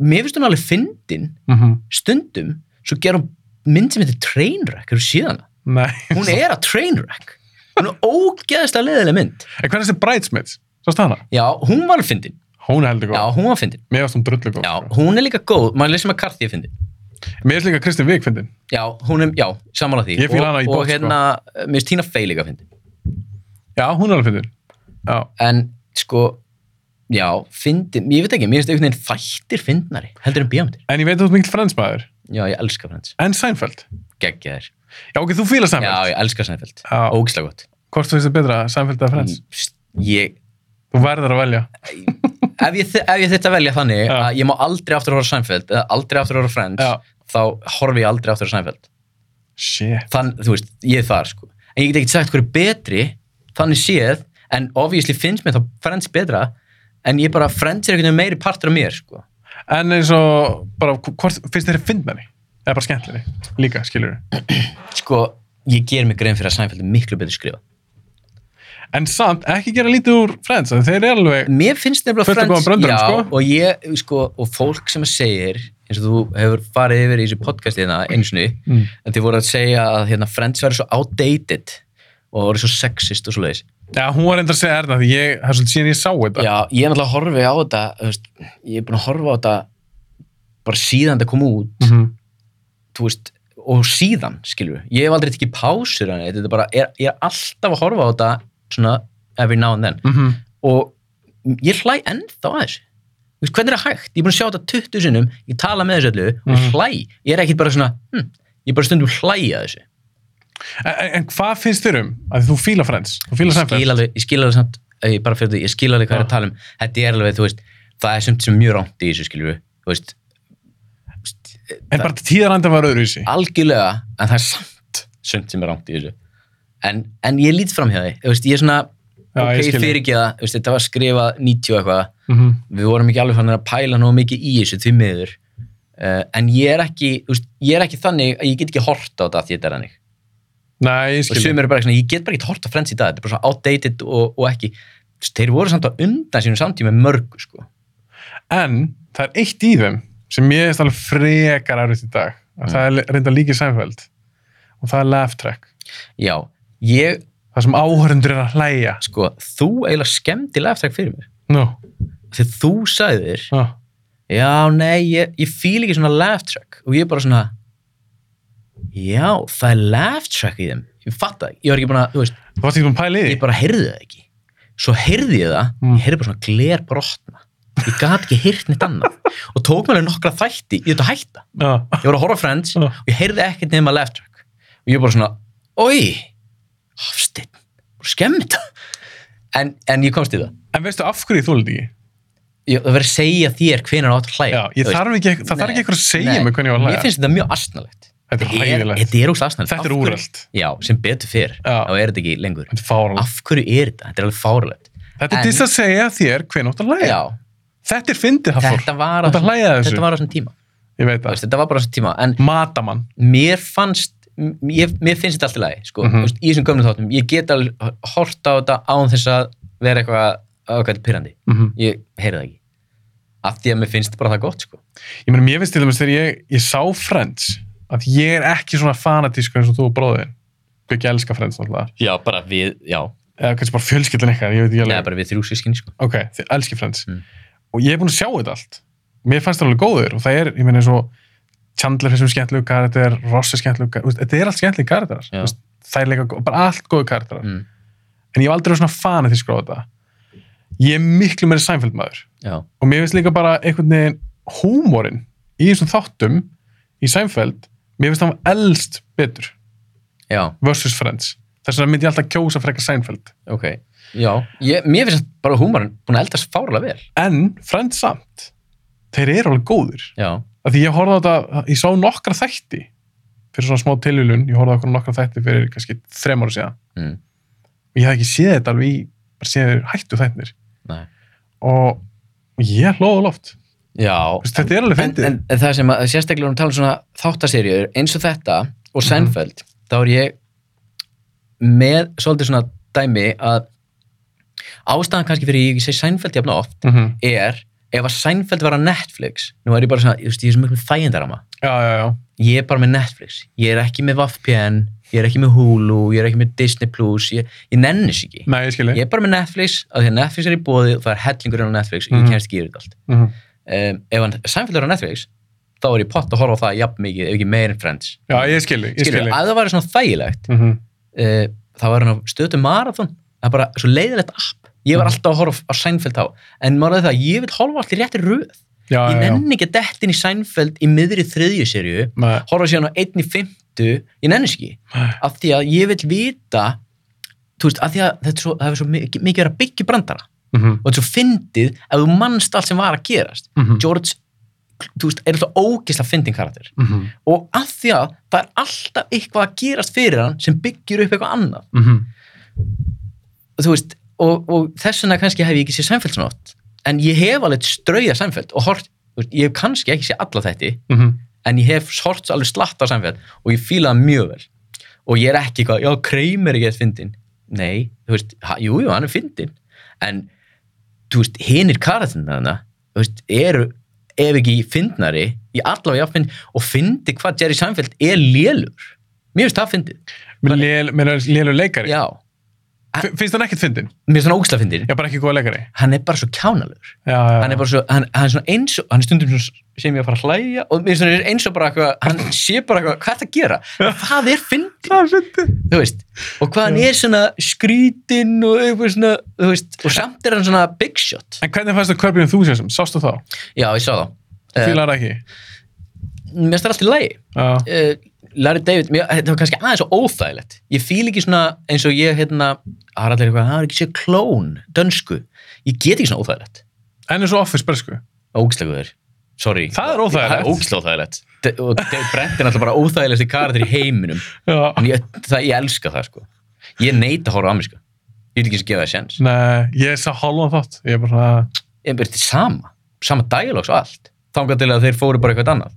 Speaker 1: mér finnst hún alveg fyndin
Speaker 2: mhm.
Speaker 1: stundum, svo ger hún mynd sem heitir Trainwreck, eru síðan
Speaker 2: Nei.
Speaker 1: hún er að trainwreck hún er ógeðslega leðileg mynd
Speaker 2: En hvernig er þessi Bridesmaids? Svo stað hana?
Speaker 1: já, hún var fyndin,
Speaker 2: Hún er heldur
Speaker 1: já,
Speaker 2: góð.
Speaker 1: hún var fyndin
Speaker 2: Mér varst hún drullu góð.
Speaker 1: já, hún er líka góð, maður lýsir með karti ég fyndin
Speaker 2: Mér er líka Kristinn Vík fyndin.
Speaker 1: já, hún er, já, samanlega því
Speaker 2: Ég fíla hana
Speaker 1: og,
Speaker 2: í botn,
Speaker 1: og
Speaker 2: sko.
Speaker 1: hérna, mér finnst Tina Fey líka fyndin
Speaker 2: Já, hún er alveg fyndin. Já.
Speaker 1: en sko já, fyndin, ég veit ekki, mér finnst einhvern veginn þættir fyndnari, heldur en bíómyndir
Speaker 2: En ég veit að þú ert mikill frensmaður.
Speaker 1: já, ég elska Friends,
Speaker 2: En Seinfeld.
Speaker 1: geggja þér
Speaker 2: Já, ok, þú fílar
Speaker 1: já,
Speaker 2: Seinfeld.
Speaker 1: ég elska Seinfeld,
Speaker 2: Já.
Speaker 1: ógeðslega gott
Speaker 2: Hvort þú finnst þér betra, Seinfeld
Speaker 1: Mm.
Speaker 2: eða Friends?
Speaker 1: ég,
Speaker 2: Þú verður að velja.
Speaker 1: ef ég, þy- ef ég þetta velja þannig
Speaker 2: Já.
Speaker 1: að ég má aldrei aftur að horfa á Seinfeld eða aldrei aftur að horfa á Friends
Speaker 2: Já.
Speaker 1: þá horfi ég aldrei aftur á Seinfeld
Speaker 2: Shit.
Speaker 1: þann, þú veist, ég er þar sko en ég get ekki sagt hverju betri þannig séð, en obviously finnst mér þá Friends betra, en ég bara Friends er einhvern veginn meiri partur af mér sko
Speaker 2: En eins og, bara, hvort finnst þér fyndnari? Eða bara skemmtleri? Líka, skilur
Speaker 1: sko, ég ger mig grein fyrir að Seinfeld er miklu betur skrifa
Speaker 2: En samt, ekki gera lítið úr Friends, að þeir eru alveg...
Speaker 1: mér finnst nefnilega
Speaker 2: Fullt af góðum bröndurum,
Speaker 1: já,
Speaker 2: sko.
Speaker 1: og ég, sko, og fólk sem segir eins og þú hefur farið yfir í þessu podcasti hérna einu sinni,
Speaker 2: Mm.
Speaker 1: en þið voru að segja að hérna, Friends verður svo outdated og voru svo sexist og svo leiðis
Speaker 2: Já, hún var reyndar að segja erna, því ég, það er svolítið síðan ég sá þetta.
Speaker 1: já, ég er náttúrulega horfi á þetta þú veist, ég er búin að horfa á þetta bara síðan þetta kom út
Speaker 2: Mm
Speaker 1: þú veist, og síðan, skilur við ég hef aldrei tekið pásur hann þetta er bara, er, ég er alltaf að horfa á þetta svona every now and then
Speaker 2: -hmm.
Speaker 1: og ég hlæ ennþá að þessu Þú veist, hvernig er það hægt? Ég er búin að sjá þetta 20 sinnum, ég tala með þessu öllu og
Speaker 2: Mhm.
Speaker 1: hlæ, ég er ekkert bara svona hm, ég er bara stundum hlæja þessu
Speaker 2: En, en- en hvað finnst þér um að þú fíla Friends? Þú fíla
Speaker 1: ég skil,
Speaker 2: Seinfeld?
Speaker 1: alveg, ég skil alveg samt, eh, ég bara fyrir því, ég skil alveg hvað ég
Speaker 2: Já.
Speaker 1: er að tala um þetta er alveg, þú veist, það er sumt sem er mjög rámt í þessu skilur við, þú veist,
Speaker 2: En bara tíðarandi var öðruvísi.
Speaker 1: algjörlega en það er samt sumt sem er rámt í þessu en, en ég lít fram hjá því þú veist, ég er svona,
Speaker 2: Já,
Speaker 1: ok,
Speaker 2: ég
Speaker 1: ég
Speaker 2: skil þig.
Speaker 1: fyrir ekki það þú veist, þetta var skrifað 90 og eitthvað
Speaker 2: Mm -hmm.
Speaker 1: við vorum ekki alveg fannig að pæla nógu mikið í þessu því miður uh, en ég er ekki þú veist, ég er ekki þannig að ég get ekki hort á þetta því þetta er þannig
Speaker 2: Nei, ég
Speaker 1: og
Speaker 2: skil.
Speaker 1: sumir eru bara svona, ég get bara ekki hort á Friends í dag þetta er bara svona outdated og, og ekki Þú veist, þeir voru samt á undan sínum samtíma mörgu sko.
Speaker 2: En það er eitt í þeim sem ég veist alveg frekar erfitt í dag. Mm. Það er reynda líki Seinfeld. Og það er laugh track.
Speaker 1: já, ég,
Speaker 2: Það sem áhörundur er að hlæja.
Speaker 1: sko, þú eiginlega skemmtilega eftir fyrir mér
Speaker 2: Nú,
Speaker 1: þegar þú sagðir,
Speaker 2: no.
Speaker 1: já, nei ég, ég fíl ekki svona laugh track og ég er bara svona já, það er laugh track í þeim ég fatt það, ekki. ég var ekki búin að, þú veist
Speaker 2: þú varst ekki búin að pæla í því.
Speaker 1: ég bara heyrði það ekki svo heyrði ég það,
Speaker 2: Mm.
Speaker 1: ég heyrði bara svona gler brotna ég gat ekki heyrt neitt annað og tók mér alveg nokkra þætti í þetta hætta
Speaker 2: Já.
Speaker 1: ég var að horfa á Friends
Speaker 2: Já.
Speaker 1: og ég heyrði ekkert nema left track og ég bara svona, oi Hafsteinn, bara skemmi þetta en, en ég komst í það
Speaker 2: En veistu af hverju þú lítið ekki?
Speaker 1: ég, það verið að segja þér hvenær átt að hlæja
Speaker 2: Já, ég
Speaker 1: Þú veist,
Speaker 2: þarf ekki, það þarf
Speaker 1: nei,
Speaker 2: ekki eitthvað að segja
Speaker 1: nei.
Speaker 2: mig hvernig ég var að
Speaker 1: mér
Speaker 2: hlæja.
Speaker 1: finnst þetta mjög astnalegt
Speaker 2: Þetta er hlægilegt.
Speaker 1: þetta er óslega astnalegt
Speaker 2: Þetta er úrelt.
Speaker 1: já, sem betur fyrr,
Speaker 2: Já.
Speaker 1: þá er þetta ekki lengur
Speaker 2: Þetta er fáralegt.
Speaker 1: af hverju er þetta, þetta er alveg fáralegt
Speaker 2: Þetta er
Speaker 1: En-
Speaker 2: til að segja þér hver nótt að hlæja.
Speaker 1: já,
Speaker 2: Þetta er fyndið, Hafþór.
Speaker 1: þetta var á
Speaker 2: Þetta hlæja
Speaker 1: þessum-
Speaker 2: þessu.
Speaker 1: þetta var á þessum tíma
Speaker 2: Ég veit
Speaker 1: Þú
Speaker 2: það.
Speaker 1: veist, þetta var bara á þessum tíma en
Speaker 2: Matamann.
Speaker 1: mér fannst mér, mér finnst þetta allt í lagi sko. mm
Speaker 2: Mhm.
Speaker 1: veist, í þessum gömlu þáttum, ég get alveg hort á þetta án þess að vera eitthvað ákvæmt pyrrandi,
Speaker 2: Mhm.
Speaker 1: ég heyri það ekki af því að mér finnst bara það gott sko.
Speaker 2: Ég meina, mér finnst til dæmis þegar ég, ég sá Friends að ég er ekki svona fanatísku eins og þú og bróðin. Byggja elska Friends náttúrulega.
Speaker 1: já, bara við, já,
Speaker 2: Eða kannski bara fjölskyldin eitthvað, ég veit ekki
Speaker 1: neða
Speaker 2: alveg.
Speaker 1: bara við þrjú sískinni sko.
Speaker 2: Ok, þið elski Friends.
Speaker 1: Mm.
Speaker 2: Og ég er búin að sjá þetta allt. Mér fannst það alveg góður og það er, ég meina, eins og Chandler þessum skemmtlegu karakter, Ross er skemmtlegu karakter, þetta er allt skemmtlegu karakterar.
Speaker 1: Já.
Speaker 2: Þú veist, Það er leika, gó- bara allt góðu karakterar.
Speaker 1: mm.
Speaker 2: En ég hef aldrei verið svona fanatískur á þetta. Ég er miklu meiri Seinfeld maður.
Speaker 1: já,
Speaker 2: og mér finnst líka bara einhvern veginn húmórin í þessum þáttum í Seinfeld, mér finnst hann elst betur
Speaker 1: já,
Speaker 2: versus Friends þess vegna myndi ég alltaf kjósa frekar Seinfeld
Speaker 1: ok já, ég, mér finnst bara húmarinn búin að eldast fárlega vel
Speaker 2: en Friends samt þeir eru alveg góðir
Speaker 1: já,
Speaker 2: af því ég horfði á þetta, ég sá nokkra þætti fyrir svona smá tilvílun, ég horfði á okkur nokkra þætti fyrir kannski þrem ára síðan
Speaker 1: mm.
Speaker 2: og ég hef ekki séð þetta alveg í bara séð þeir hættu þættir
Speaker 1: Nei.
Speaker 2: og ég hlóði loft
Speaker 1: já
Speaker 2: þetta er alveg
Speaker 1: en,
Speaker 2: fyndið
Speaker 1: en, en það sem að sérstaklega erum að tala um svona þáttaserjur eins og þetta og Seinfeld þá er ég með svolítið svona dæmi að ástæðan kannski fyrir ég segi Seinfeld jafn oft
Speaker 2: Mhm.
Speaker 1: er ef að Seinfeld var að Netflix nú er ég bara svona, ég, veist, ég er sem miklu þægindarama
Speaker 2: já, já, já,
Speaker 1: ég er bara með Netflix, ég er ekki með VPN ég er ekki með Hulu, ég er ekki með Disney Plus ég, ég nennis ekki,
Speaker 2: Nei, ég skilji.
Speaker 1: ég er bara með Netflix af því að Netflix er í bóði og það er hellingur á Netflix og
Speaker 2: Mhm.
Speaker 1: ég kennst ekki yfir þetta allt
Speaker 2: Mm -hmm.
Speaker 1: um, ef hann samfélgur á Netflix þá er ég pott að horfa á það jafn mikið ef ekki meir en Friends
Speaker 2: Já, ég skilji. Ég
Speaker 1: Skilur,
Speaker 2: skilji.
Speaker 1: að það væri svona þægilegt
Speaker 2: Mm -hmm.
Speaker 1: uh, þá var hann á stötu marathon það er bara svo leiðilegt app ég var
Speaker 2: Mhm.
Speaker 1: alltaf að horfa á Seinfeld þá en maður er það að ég vil horfa allt í rétti röð
Speaker 2: Já,
Speaker 1: ég
Speaker 2: já, já.
Speaker 1: nenni ekki að detta inn í Seinfeld í miðri þriðju serju
Speaker 2: Nei.
Speaker 1: horfa síðan á einn í fymtu ég nenni þess ekki
Speaker 2: Nei.
Speaker 1: af því að ég vil vita þú veist, af því að þetta er svo, það hefur svo mikið, mikið verið að byggja brandara
Speaker 2: Mhm.
Speaker 1: og þetta er svo fyndið að þú manst allt sem var að gerast
Speaker 2: Mhm.
Speaker 1: George, þú veist, er alltaf ógisla fyndin karakter
Speaker 2: Mhm.
Speaker 1: og af því að það er alltaf eitthvað að gerast fyrir hann sem byggir upp eitthvað annað
Speaker 2: Mhm.
Speaker 1: og þú veist, og, og þess vegna kannski hef ég ekki séð Seinfeld svona oft en ég hef alveg strauja Seinfeld og hort þú veist, ég hef kannski ekki séð alla þætti
Speaker 2: Mhm.
Speaker 1: en ég hef hort alveg slatta Seinfeld og ég fíla það mjög vel og ég er ekki eitthvað, já, Kramer er ekki að fyndin nei, þú veist, ha, jú, jú, hann er fyndin en, þú veist, hinir karatina þarna, þú veist, eru ef ekki fyndnari í allavega jáfnfinn og fyndi hvað Jerry Seinfeld er lélur, mér finnst það fyndið
Speaker 2: Mér lél- Mér er lélur leikari.
Speaker 1: já,
Speaker 2: F- Finnst hann ekkert fyndin?
Speaker 1: mér finnst hann ógslag fyndið
Speaker 2: Já, bara ekki góða leikari.
Speaker 1: hann er bara svo kjánalur
Speaker 2: Já, já, já.
Speaker 1: hann er bara svo, hann, hann er svona eins og hann er stundum svona, sem ég að fara að hlæja og mér finnst hann eins og bara eitthvað, hann sé bara eitthvað hvað er það að gera, En það er fyndið
Speaker 2: Það er fyndin.
Speaker 1: þú veist, og hvað hann er svona skrítinn og eitthvað svona þú veist, og samt er hann svona big shot
Speaker 2: En hvernig fannst þú Kirby Enthusiasm? Sástu þá?
Speaker 1: já, ég sá það,
Speaker 2: Fýlar það ekki?
Speaker 1: mér finnst það allt í lagi uh,
Speaker 2: Já.
Speaker 1: Larry David, mér, þetta var kannski aðeins og óþægilegt ég fíl ekki svona eins og ég hérna, það er allir eitthvað, það er ekki sér klón dönsku, ég get ekki svona óþægilegt
Speaker 2: En eins og Office sko. bresku.
Speaker 1: ógslagur sorry
Speaker 2: Það er óþægilegt.
Speaker 1: það er ógislega óþægilegt De- og Dave Brent er náttúrulega bara óþægilegasti karakter í heiminum
Speaker 2: Já.
Speaker 1: en ég, það, ég elska það sko ég neita að horfa á ameríska ég vil ekki eins og gefa það sjens
Speaker 2: Nei, ég sá hálfan þátt. Ég er bara svona...
Speaker 1: en þetta er sama sama dialogs og allt þangað til að þeir fóru bara eitthvað annað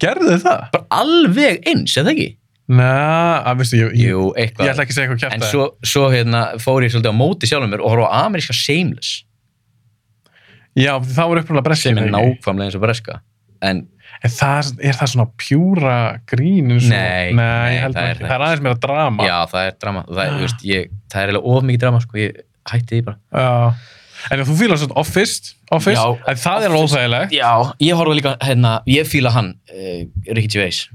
Speaker 2: Gerðu þið það?
Speaker 1: bara alveg eins, eða ekki?
Speaker 2: Nei, að veistu, ég, ég,
Speaker 1: Jú,
Speaker 2: ég
Speaker 1: eitthvað
Speaker 2: ætla ekki að segja eitthvað kjæft
Speaker 1: en svo, svo hérna, fór ég svolítið á móti sjálfum mér og horfa á ameríska Shameless
Speaker 2: Já, það voru uppræðlega breskið.
Speaker 1: sem er nákvæmlega eins og breska en
Speaker 2: En það, er það svona pjúra grín? eins og-
Speaker 1: Nei,
Speaker 2: nei,
Speaker 1: nei,
Speaker 2: ég held
Speaker 1: það
Speaker 2: það
Speaker 1: er
Speaker 2: ekki.
Speaker 1: það
Speaker 2: Það er aðeins meira drama.
Speaker 1: já, það er drama það er,
Speaker 2: Ah.
Speaker 1: þú veist, ég, það er eiginlega of mikið drama sko, ég hætti því bara
Speaker 2: Já. En þú fýlar svona Office, Office,
Speaker 1: Já,
Speaker 2: en það er
Speaker 1: Office.
Speaker 2: óþægilegt.
Speaker 1: Já, ég horfa líka, hérna, ég fíla hann, uh, Ricky Gervais,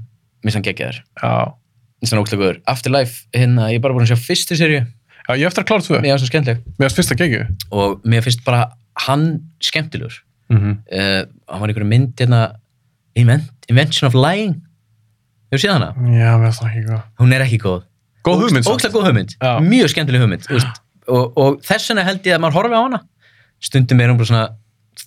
Speaker 1: minnst hann geggjaður,
Speaker 2: Já.
Speaker 1: minnst hann óklagur. Afterlife, hérna, ég er bara búin að sjá fyrstu serju,
Speaker 2: Já, ég á eftir að klára tvö.
Speaker 1: mér finnst hann skemmtileg.
Speaker 2: Mér finnst fyrst að gegju.
Speaker 1: Og mér finnst bara hann skemmtilegur.
Speaker 2: Mm -hmm.
Speaker 1: Uh, hann var í einhverju mynd, hérna, Invent, Invention of Lying. Hefur séð hana?
Speaker 2: Já, mér finnst það ekki góð.
Speaker 1: Hún er ekki góð.
Speaker 2: Góð hugmynd. samt.
Speaker 1: Óklagur góð hugmynd,
Speaker 2: Já.
Speaker 1: mjög skemmtileg hugmynd. þú Veist, og, og þess vegna held ég að maður horfi á hana. Stundum er hún bara svona,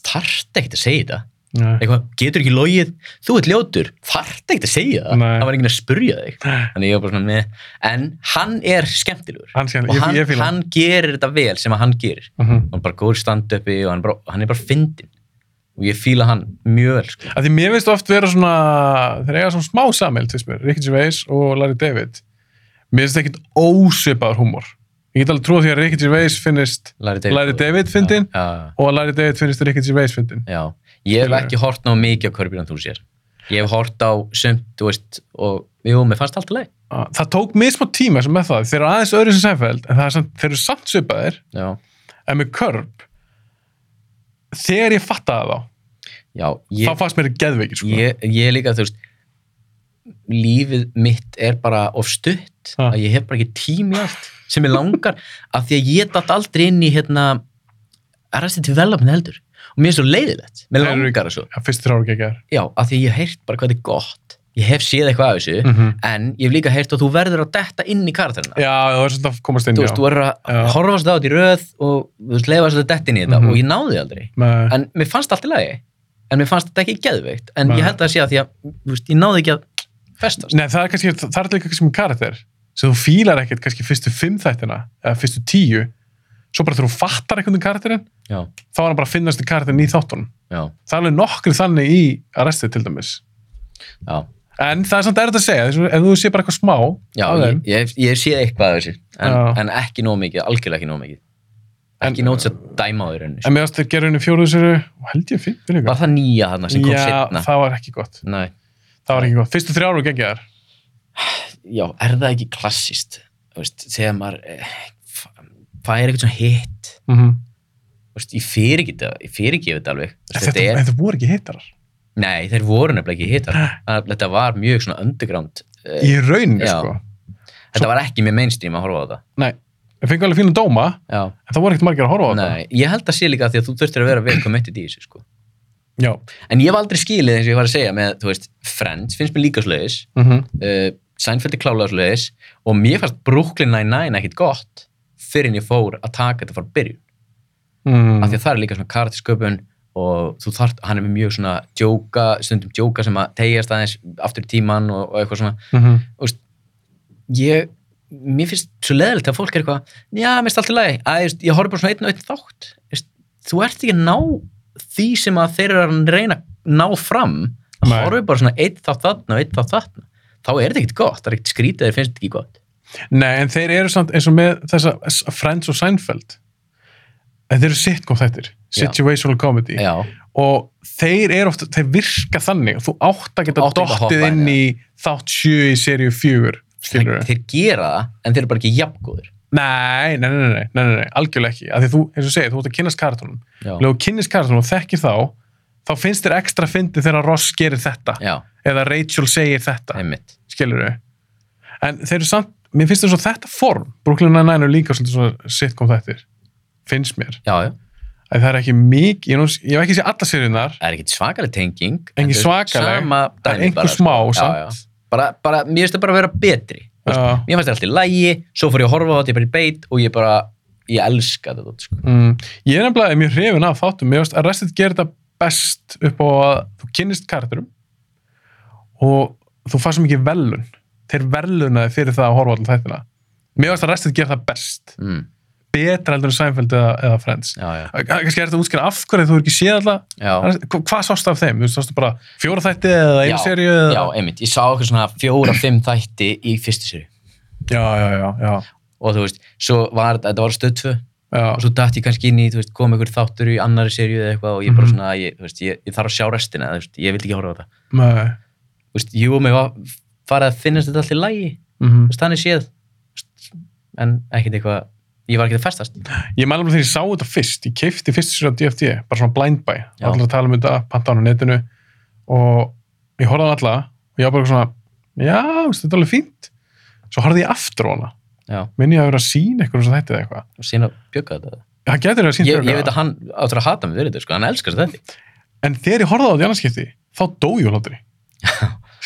Speaker 1: þarft ekkert að segja þetta.
Speaker 2: Nei.
Speaker 1: eitthvað, getur ekki logið, þú ert ljótur þarft ekki að segja það,
Speaker 2: Nei.
Speaker 1: það var enginn að spurja þig
Speaker 2: Nei.
Speaker 1: þannig ég var bara svona með, en hann er skemmtilegur
Speaker 2: Hann skemmtilegur,
Speaker 1: og
Speaker 2: ég-
Speaker 1: hann,
Speaker 2: ég fíla hann.
Speaker 1: hann gerir þetta vel sem að hann gerir
Speaker 2: Mhm.
Speaker 1: hann er bara góður standupi og hann, er bara, hann er bara fyndin og ég fíla hann mjög vel sko.
Speaker 2: Af Því mér finnst oft vera svona, þeir eiga svona smá samild, finnst mér, Ricky Gervais og Larry David. Mér finnst ekkit ósvipaður húmor. Ég get alveg trúið því að Ricky Gervais finnist
Speaker 1: Larry
Speaker 2: Larry David fyndin
Speaker 1: já, já,
Speaker 2: og að Larry David finnist Ricky Gervais fyndin.
Speaker 1: já. ég hef
Speaker 2: Skilurðu?
Speaker 1: ekki hort ná mikið á Körbjörn þú sér ég hef hort á sumt, þú veist og jú, mér fannst allt í leið
Speaker 2: Það tók mjög smá tíma sem með það. Þeir eru aðeins öðru sem sæfæld, en það er samt, þeir eru samt svipaðir,
Speaker 1: já.
Speaker 2: en með körp. Þegar ég fattaði þá,
Speaker 1: Já, ég...
Speaker 2: þá fannst mér geðveikir, sko.
Speaker 1: ég, ég líka þú veist lífið mitt er bara of stutt
Speaker 2: Ha.
Speaker 1: að ég hef bara ekki tími allt sem ég langar *laughs* af því að ég datt aldrei inn í hérna arrestin til velapin heldur og mér er svo leiðilegt, mér
Speaker 2: Þeir eru-
Speaker 1: langar það svo
Speaker 2: Já, fyrst þrjára ekki ekki
Speaker 1: já, af því að ég hef heyrt bara hvað þetta er gott ég hef séð eitthvað af þessu
Speaker 2: þær.
Speaker 1: en ég hef líka heyrt að þú verður að detta inn í karakterina
Speaker 2: Mm. Já, það var svona að komast inn,
Speaker 1: þú
Speaker 2: já.
Speaker 1: veist, þú verður að
Speaker 2: Já.
Speaker 1: horfast á þetta í röð og þú veist, leifa þess að detta inn í þetta
Speaker 2: Mhm.
Speaker 1: og ég náði því aldrei
Speaker 2: Með-
Speaker 1: en mér fannst allt í lagi en mér fannst þetta ekki geðveikt en
Speaker 2: Nei.
Speaker 1: ég held að það sé að því að þú veist, ég náði ekki að festast
Speaker 2: Nei, það er kannski, það er líka kannski með karakter sem þú fílar ekkert kannski fyrstu fimm þættina eða fyrstu tíu svo bara þegar þú fattar einhvern veginn karakterinn
Speaker 1: já,
Speaker 2: þá er hann bara að finnast í karakterinn í þáttunum
Speaker 1: já,
Speaker 2: það er alveg nokkri þannig í arrestið til dæmis
Speaker 1: já,
Speaker 2: en það er samt erfitt að segja þess að ef þú sé bara eitthvað smá
Speaker 1: já
Speaker 2: af
Speaker 1: ég,
Speaker 2: þeim,
Speaker 1: ég, ég sé eitthvað af þessu en,
Speaker 2: Já.
Speaker 1: en ekki nóg mikið, algjörlega ekki nóg mikið ekki
Speaker 2: En-
Speaker 1: nóg til að dæma á þér önnu
Speaker 2: en meðast þeir gerðu henni fjóruðu sér og held ég fínt fyrir
Speaker 1: var það nýja þarna sem kom
Speaker 2: Já,
Speaker 1: setna
Speaker 2: það var ekki gott
Speaker 1: Nei,
Speaker 2: það var ekki gott, fyrstu þrjáru gengið þar
Speaker 1: já, er það ekki klassist þú veist, þegar maður eh, f- fær eitthvað svona hitt
Speaker 2: Mm -hmm.
Speaker 1: þú veist, ég fyrir ekki þetta, ég fyrir ekki þetta alveg Þú veist,
Speaker 2: þetta,
Speaker 1: þetta er,
Speaker 2: þetta voru ekki hittarar
Speaker 1: nei, þeir voru nefnilega ekki hittar Það- þetta var mjög svona underground eh,
Speaker 2: í rauninni
Speaker 1: Já.
Speaker 2: sko
Speaker 1: þetta var ekki mjög mainstream að horfa á það
Speaker 2: Nei, ég fengi alveg fínu dóma
Speaker 1: já,
Speaker 2: en það voru ekkert margir að horfa á
Speaker 1: nei, ég held að sé líka af því að þú þurftir að vera vel committed í þessu sko.
Speaker 2: þetta Já,
Speaker 1: en ég hef aldrei skilið eins og ég var að segja með, þú veist, Friends finnst mér líka slöðis
Speaker 2: mm
Speaker 1: uh, Seinfeld er klálega slöðis og mér fannst Brooklyn Nine-Nine ekkit gott fyrir en ég fór að taka þetta frá byrjun af
Speaker 2: Mm.
Speaker 1: því að það er líka svona karatisköpun og þú þart, hann er með mjög svona djóka, stundum djóka sem að tegjast aðeins aftur í tíman og, og eitthvað svona
Speaker 2: Mm -hmm.
Speaker 1: ég, mér finnst svo leðilegt að fólk er eitthvað, já, mér finnst allt í lagi að, þú veist, ég horf bara svona einn og einn þátt Þú veist, þú ert ekki að ná því sem að þeir eru að reyna að ná fram að
Speaker 2: Nei.
Speaker 1: horfa bara svona einn þátt þarna og einn þátt þarna þá er þetta ekkert gott, það er ekkert skrítið þeir finnst þetta ekki gott
Speaker 2: Nei, en þeir eru samt eins og með þessa S- Friends og Seinfeld en þeir eru sitcom þettir
Speaker 1: Já.
Speaker 2: situational comedy
Speaker 1: já,
Speaker 2: og þeir eru ofta, þeir virka þannig og þú átt að
Speaker 1: Þú átt
Speaker 2: geta
Speaker 1: ekki að
Speaker 2: dottið
Speaker 1: hoppa
Speaker 2: inn
Speaker 1: inn,
Speaker 2: í þátt sjö í seríu fjögur skilur
Speaker 1: þeir, þeir gera það en þeir eru bara ekki jafngóður
Speaker 2: Nei, nei, nei, nei, nei, nei, nei, algjörlega ekki af því þú, eins og segir, þú ert að kynnast karatónum
Speaker 1: já,
Speaker 2: Leðu kynnist karatónum og þekkir þá þá finnst þér ekstra fyndi þegar Ross gerir þetta
Speaker 1: já,
Speaker 2: eða Rachel segir þetta,
Speaker 1: einmitt
Speaker 2: skilur við en þeir eru samt, mér finnst þér svo þetta form Brooklyn Nine-Nine er líka svolítið svona sitcom þettir, finnst mér
Speaker 1: já, já
Speaker 2: að það er ekki mikið, ég, nú- ég hef ekki séð alla seriðnar,
Speaker 1: það er ekkert svakaleg tenging
Speaker 2: Engin
Speaker 1: en þau-
Speaker 2: svakaleg,
Speaker 1: sama
Speaker 2: það er
Speaker 1: dæmi bara,
Speaker 2: einhver smá
Speaker 1: sko. Já,
Speaker 2: samt,
Speaker 1: já. bara, bara, mér finnst það bara að vera betri Þú veist,
Speaker 2: já,
Speaker 1: mér finnst það alltaf í lægi, svo fór ég að horfa á þetta ég bara í beit og ég bara, ég elska þetta dót, sko.
Speaker 2: Mm, ég er nefnilega mjög hrifin af þáttum mér finnst að restið gerir þetta best upp á að þú kynnist karakterum og þú fannst mikið velun þeir velunaði fyrir það að horfa allir þættina mér finnst að restið gerir það best
Speaker 1: mm,
Speaker 2: betra heldur en Seinfeld eða, eða Friends
Speaker 1: já, já,
Speaker 2: Að- að- kannski er þetta útskýra af hverju þú er ekki séð alltaf
Speaker 1: já,
Speaker 2: hvað sást af þeim, þú veist, sástu bara fjóra þætti eða
Speaker 1: Já,
Speaker 2: einu seríu
Speaker 1: já,
Speaker 2: eða...
Speaker 1: einmitt, ég sá eitthvað svona fjóra, fimm þætti í fyrstu séri
Speaker 2: já, já, já, já,
Speaker 1: og þú veist, svo var þetta, þetta var stöð 2 og
Speaker 2: já.
Speaker 1: svo datt ég kannski inn í, þú veist, kom einhver þáttur í annari séri eða eitthvað og ég bara
Speaker 2: Mhm.
Speaker 1: svona, ég, þú veist, ég, ég þarf að sjá restina, þú veist, ég vil ekki horfa á þetta
Speaker 2: Nei.
Speaker 1: Þú veist, jú, mig var farið að finnast þetta alltaf í lægi
Speaker 2: Mhm.
Speaker 1: Þú veist, þannig séð Þú veist, en ekkert eitthvað ég var ekkert að festast
Speaker 2: Ég mælum þegar ég sá þetta fyrst, ég keifti fyrst sér á DFD, bara svona blind buy,
Speaker 1: Já.
Speaker 2: allir að tala um þetta, panta hann á netinu og ég horfði á alla og ég var bara svona, já, veistu, þetta er alveg fínt. Svo horfði ég aftur á hana,
Speaker 1: já,
Speaker 2: minn ég að vera að sína eitthvað sem þetta eða eitthvað.
Speaker 1: og síðan að bjöka þetta
Speaker 2: Það getur verið að sína
Speaker 1: ég, ég veit að hann áttur að hata mig fyrir þetta sko, hann elskar þetta
Speaker 2: En þegar ég horfði á þetta í annarskipti, þá dó ég úr
Speaker 1: *laughs*
Speaker 2: hlátri.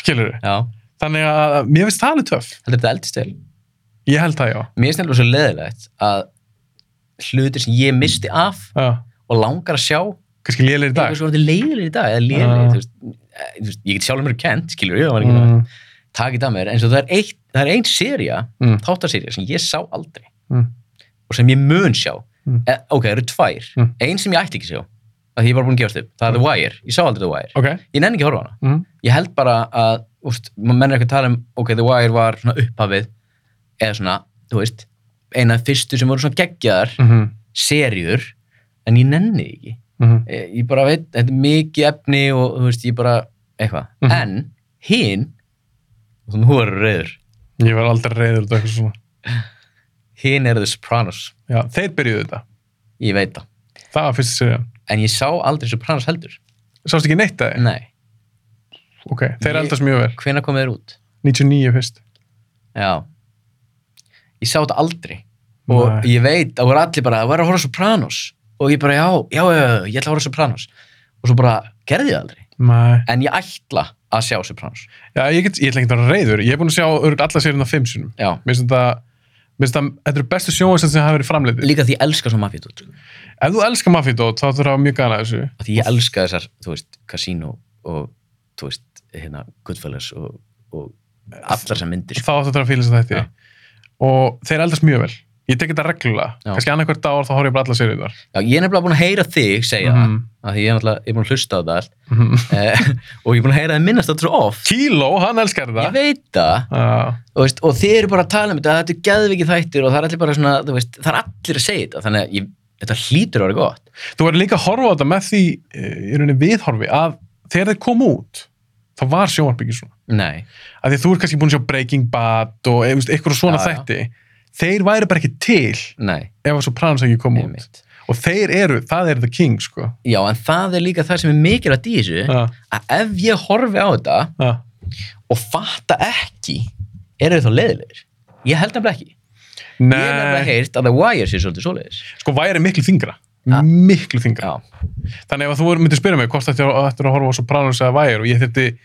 Speaker 2: Skilur þau?
Speaker 1: já,
Speaker 2: Þannig að mér finnst það alveg töff.
Speaker 1: heldur þetta eldist vel
Speaker 2: Ég held það, já.
Speaker 1: mér finnst þetta svo leðilegt að hlutir sem ég misti af
Speaker 2: já.
Speaker 1: og langar að sjá
Speaker 2: Kannski lélir í dag.
Speaker 1: eitthvað svo leiðilegir í dag eða
Speaker 2: Já.
Speaker 1: leiðilegir, þú veist, eh, þú veist ég get sjálfur mér kent, skilur ég, það var ekki mm.
Speaker 2: Mm,
Speaker 1: takit af mér, en svo það er, eitt, það er ein seria,
Speaker 2: Mm.
Speaker 1: þáttaserja sem ég sá aldrei
Speaker 2: Mm.
Speaker 1: og sem ég mun sjá
Speaker 2: Mm.
Speaker 1: e, ok, það eru tvær,
Speaker 2: Mm.
Speaker 1: ein sem ég ætti ekki sjá að því ég var búin að gefast upp, það er The Wire ég sá aldrei The Wire,
Speaker 2: ok.
Speaker 1: ég nenni ekki að horfa á hana
Speaker 2: Mm,
Speaker 1: ég held bara að, úst, menn er ekki að tala um ok, The Wire var svona upphafið eða svona, þú veist eina af fyrstu sem voru svona geggjaðar
Speaker 2: mm -hmm,
Speaker 1: serjur, en ég nenni því ekki
Speaker 2: mm -hmm,
Speaker 1: Eh, ég bara veit, þetta er mikið efni og þú veist, ég bara, eitthvað
Speaker 2: Mhm.
Speaker 1: en hinn og nú er reyður,
Speaker 2: Ég var aldrei reyður út af eitthvað svona.
Speaker 1: hinn er The Sopranos
Speaker 2: Já, þeir byrjuðu þetta.
Speaker 1: ég veit það,
Speaker 2: Það var fyrsta serían.
Speaker 1: en ég sá aldrei Sopranos heldur,
Speaker 2: Sást ekki neitt að þið?
Speaker 1: nei,
Speaker 2: Ok, þeir
Speaker 1: Ég-
Speaker 2: eldast mjög vel.
Speaker 1: hvenær komið þér út
Speaker 2: 99 fyrst.
Speaker 1: já ég sá þetta aldrei og
Speaker 2: Nei.
Speaker 1: ég veit, það voru allir bara, það var að horfa á Sopranos og ég bara, já, já, já, já, ég ætla að horfa á Sopranos og svo bara, gerði ég það aldrei
Speaker 2: Nei.
Speaker 1: en ég ætla að sjá Sopranos
Speaker 2: Já, ég, get, ég ætla ekki að vera reyður. Ég er búin að sjá örg alla sérina fimm sinum.
Speaker 1: já,
Speaker 2: Mér finnst þetta, mér finnst þetta, þetta eru bestu sjónvæsins sem hafa verið framleitið.
Speaker 1: líka því ég elska svo mafið út,
Speaker 2: Ef þú elskar Mafidót, þá þurfa mjög gana þessu.
Speaker 1: því ég elska þessar, þú veist, Casino og, þú veist, hérna Goodfellas og, og allar sem myndir, sko.
Speaker 2: Þá áttu að vera fílis að þetta.
Speaker 1: Já.
Speaker 2: Og þeir eldast mjög vel. Ég tek þetta reglulega.
Speaker 1: Já.
Speaker 2: Kannski annarkvært ár þá horf ég bara alla sérina.
Speaker 1: já, ég er nefnilega búin að heyra þig segja það,
Speaker 2: Mhm.
Speaker 1: af því ég er náttúrulega, ég er búin að hlusta á það allt *laughs* eh, og ég er búin að heyra það minnast þetta svo oft
Speaker 2: Kíló, Mhm. hann elskar
Speaker 1: ég
Speaker 2: það.
Speaker 1: veit það,
Speaker 2: Já,
Speaker 1: og, veist, og þið eru bara að tala um þetta þetta er geðvikið þættir og það er allir bara svona þú veist, það er allir að segja þetta þannig að ég, þetta hlýtur að vera gott
Speaker 2: Þú verður líka að horfa á þetta með því, eh, í rauninni viðhorfi, að þegar þeir kom út, þá var sjónvarp ekki svona
Speaker 1: nei,
Speaker 2: af því að þú ert kannski búin að sjá Breaking Bad og eða, veist, eitthvað svona
Speaker 1: Já, já.
Speaker 2: þætti þeir væri bara ekki til
Speaker 1: nei,
Speaker 2: ef að Sopranos ekki kom út
Speaker 1: einmitt
Speaker 2: og þeir eru, það er the king sko.
Speaker 1: já, en það er líka það sem er mikilvægt í þessu
Speaker 2: ja,
Speaker 1: að ef ég horfi á þetta
Speaker 2: ja.
Speaker 1: og fatta ekki eru þau þá leiðilegir ég held nefnilega ekki ég hef nefnilega
Speaker 2: Nei,
Speaker 1: heyrt að The Wire sé svolítið svoleiðis
Speaker 2: sko væri miklu þingra
Speaker 1: Ja.
Speaker 2: miklu þingra
Speaker 1: já,
Speaker 2: þannig ef að þú myndir spyrja mig hvort þetta er að horfa á Sopranos eða Væri og ég þyrfti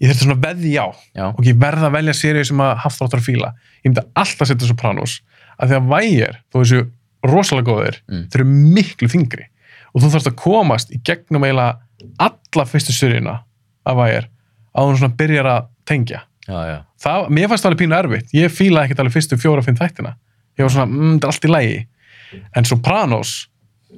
Speaker 2: ég þyrfti svona veðja á
Speaker 1: já,
Speaker 2: og ég verða að velja seríu sem að hafþróttar fíla ég myndi alltaf setja Sopranos að því að Væri, þó þessu rosalega góðir
Speaker 1: Mm.
Speaker 2: þeir eru miklu þingri og þú þarfst að komast í gegnum eiginlega alla fyrstu seríuna af Væri að hún svona byrjar að tengja
Speaker 1: já, já,
Speaker 2: það, mér fannst það alveg pínu erfitt ég fílaði ekkert alveg fyrstu fjóra fimm þættina ég var svona, mm, þetta er allt í lægi en Sopranos,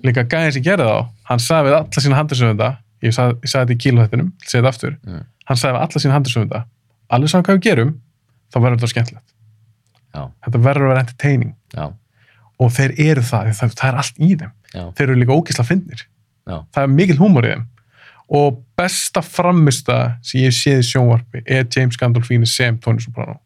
Speaker 2: líka gæðin sem gerði þá hann sagði við alla sína handisöfunda ég sagði, ég sagði þetta í kílóþættinum, segi þetta aftur
Speaker 1: Mm.
Speaker 2: hann sagði við alla sína handisöfunda alveg saman hvað við gerum, þá verður þetta skemmtilegt
Speaker 1: já,
Speaker 2: þetta verður að vera entertaining
Speaker 1: já,
Speaker 2: og þeir eru það, það, það er allt í þeim
Speaker 1: já,
Speaker 2: þeir eru líka ógisla fyndnir
Speaker 1: Já.
Speaker 2: það er mikil húmor í þeim og besta framista sem ég hef séð í sjónvarpi er James Gandolfini sem Tony Soprano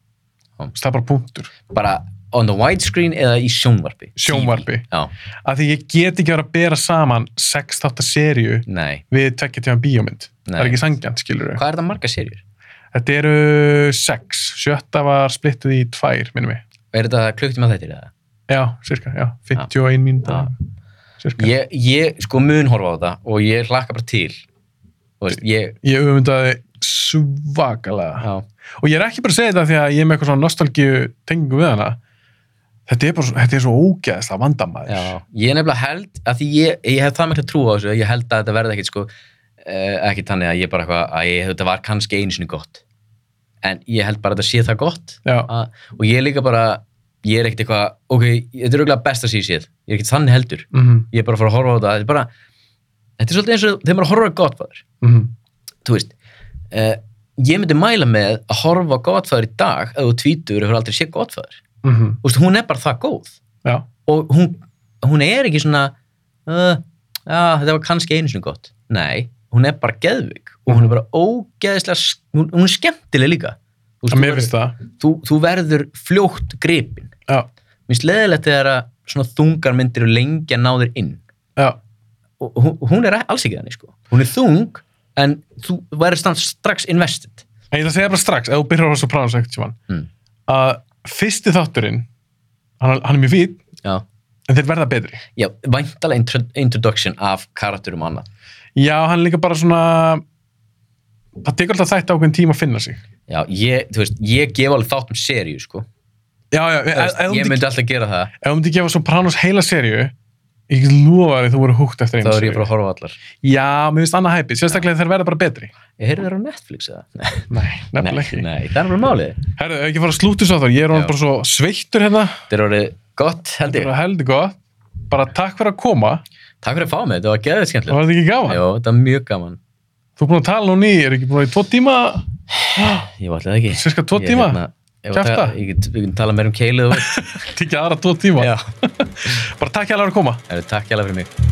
Speaker 1: Já.
Speaker 2: það er bara punktur,
Speaker 1: bara on the widescreen eða í sjónvarpi
Speaker 2: sjónvarpi
Speaker 1: já,
Speaker 2: af því ég get ekki verið að bera saman 6-8 seríu
Speaker 1: nei,
Speaker 2: við tvekja tíma bíómynd
Speaker 1: nei
Speaker 2: það er ekki sangjant, skilur við
Speaker 1: hvað er það marga serjur?
Speaker 2: þetta eru 6, sjötta var splittuð í 2, minnum við
Speaker 1: er þetta klukktíma þættir eða?
Speaker 2: já, cirka, já, 51 mínúta
Speaker 1: Já.
Speaker 2: cirka,
Speaker 1: Ég, ég sko mun horfa á þetta og ég hlakka bara til Þú veist, ég,
Speaker 2: ég öfundaði svakalega
Speaker 1: já,
Speaker 2: og ég er ekki bara að segja þetta því að ég er með eitthvað svona nostalgíu tengingu við hana þetta er bara svo, þetta er svo ógeðslega vandamæður
Speaker 1: já, ég nefnilega held að því ég, ég hef það mikla trú á þessu ég held að þetta verði ekkit sko eh, ekki þannig að ég bara eitthvað að ég, þetta var kannski einu sinni gott en ég held bara að þetta sé það gott
Speaker 2: já,
Speaker 1: að, og ég er líka bara ég er ekkit eitthvað, ok, þetta er auðvitað best að sé séð ég er ekkit þannig heldur,
Speaker 2: mhm,
Speaker 1: ég er bara að fara að horfa á þetta þetta er bara, þetta er svolítið eins og þegar maður horfa á Godfather
Speaker 2: mhm,
Speaker 1: þú veist uh, ég myndi mæla með að horfa á Godfather í dag ef þú tvítur og hefur aldrei séð Godfather
Speaker 2: mhm,
Speaker 1: Þú veist, hún er bara það góð
Speaker 2: já,
Speaker 1: og hún, hún er ekki svona uh, já, þetta var kannski einu sinni gott nei, hún er bara geðvig og hún er bara ógeðislega s- hún, hún er skemmtileg líka þú,
Speaker 2: að
Speaker 1: þú,
Speaker 2: mér finnst
Speaker 1: verður,
Speaker 2: það
Speaker 1: þú, þú verður fljótt gripin
Speaker 2: já,
Speaker 1: mér finnst leðilegt þegar að svona þungar myndir og lengi að ná þér inn
Speaker 2: já,
Speaker 1: og hún, hún er alls ekki þannig sko hún er þung en þú verður samt strax invested
Speaker 2: en ég ætla að segja bara strax ef þú byrjar á Sopranos ekkert tíman
Speaker 1: Mm.
Speaker 2: að fyrsti þátturinn hann, hann er mjög fín,
Speaker 1: já
Speaker 2: en þeir verða betri
Speaker 1: Já, væntalega intro- introduction af karakterum annað.
Speaker 2: já, hann er líka bara svona það tekur alltaf þætti ákveðin tíma að finna sig
Speaker 1: Já, ég, þú veist, ég gef alveg þátt um seríu, sko.
Speaker 2: já, já,
Speaker 1: Þú
Speaker 2: ef
Speaker 1: Veist,
Speaker 2: ef þú
Speaker 1: ég
Speaker 2: myndi-
Speaker 1: myndi alltaf gera það,
Speaker 2: ef þú myndi gefa Sopranos heila seríu ég get lofa þér að þú voru húgt eftir
Speaker 1: þá
Speaker 2: einu
Speaker 1: er ég
Speaker 2: seríu
Speaker 1: bara að horfa á allar.
Speaker 2: já, mér finnst annað hæpið, sérstaklega þeir verða bara betri
Speaker 1: Ég heyrði þér á Netflix eða?
Speaker 2: Nei, nefnilega
Speaker 1: nei,
Speaker 2: ekki.
Speaker 1: nei, það er bara málið.
Speaker 2: Herðu, ekki fara að slúti svo þar, ég er orðinn
Speaker 1: Já.
Speaker 2: bara svo sveittur hérna,
Speaker 1: Þetta er orðið gott, held ég.
Speaker 2: bara heldur gott. Bara takk fyrir að koma,
Speaker 1: Takk fyrir að fá mig, þetta var geðið
Speaker 2: það
Speaker 1: skemmtilegt.
Speaker 2: var þetta ekki gaman.
Speaker 1: Jó, þetta var mjög gaman.
Speaker 2: Þú er búin að tala núna í, er ekki búin að í tvo tíma,
Speaker 1: *laughs* Ég var alltaf ekki.
Speaker 2: cirka tvo
Speaker 1: Ég,
Speaker 2: tíma,
Speaker 1: hérna, ég var að
Speaker 2: Kjafta.
Speaker 1: taka- Ég get- við getum talað meir um keilið og veit.
Speaker 2: tekja aðra tvo tíma.
Speaker 1: Já.
Speaker 2: Bara takk hérna að koma.
Speaker 1: Herru, Takk hjá fyrir mig.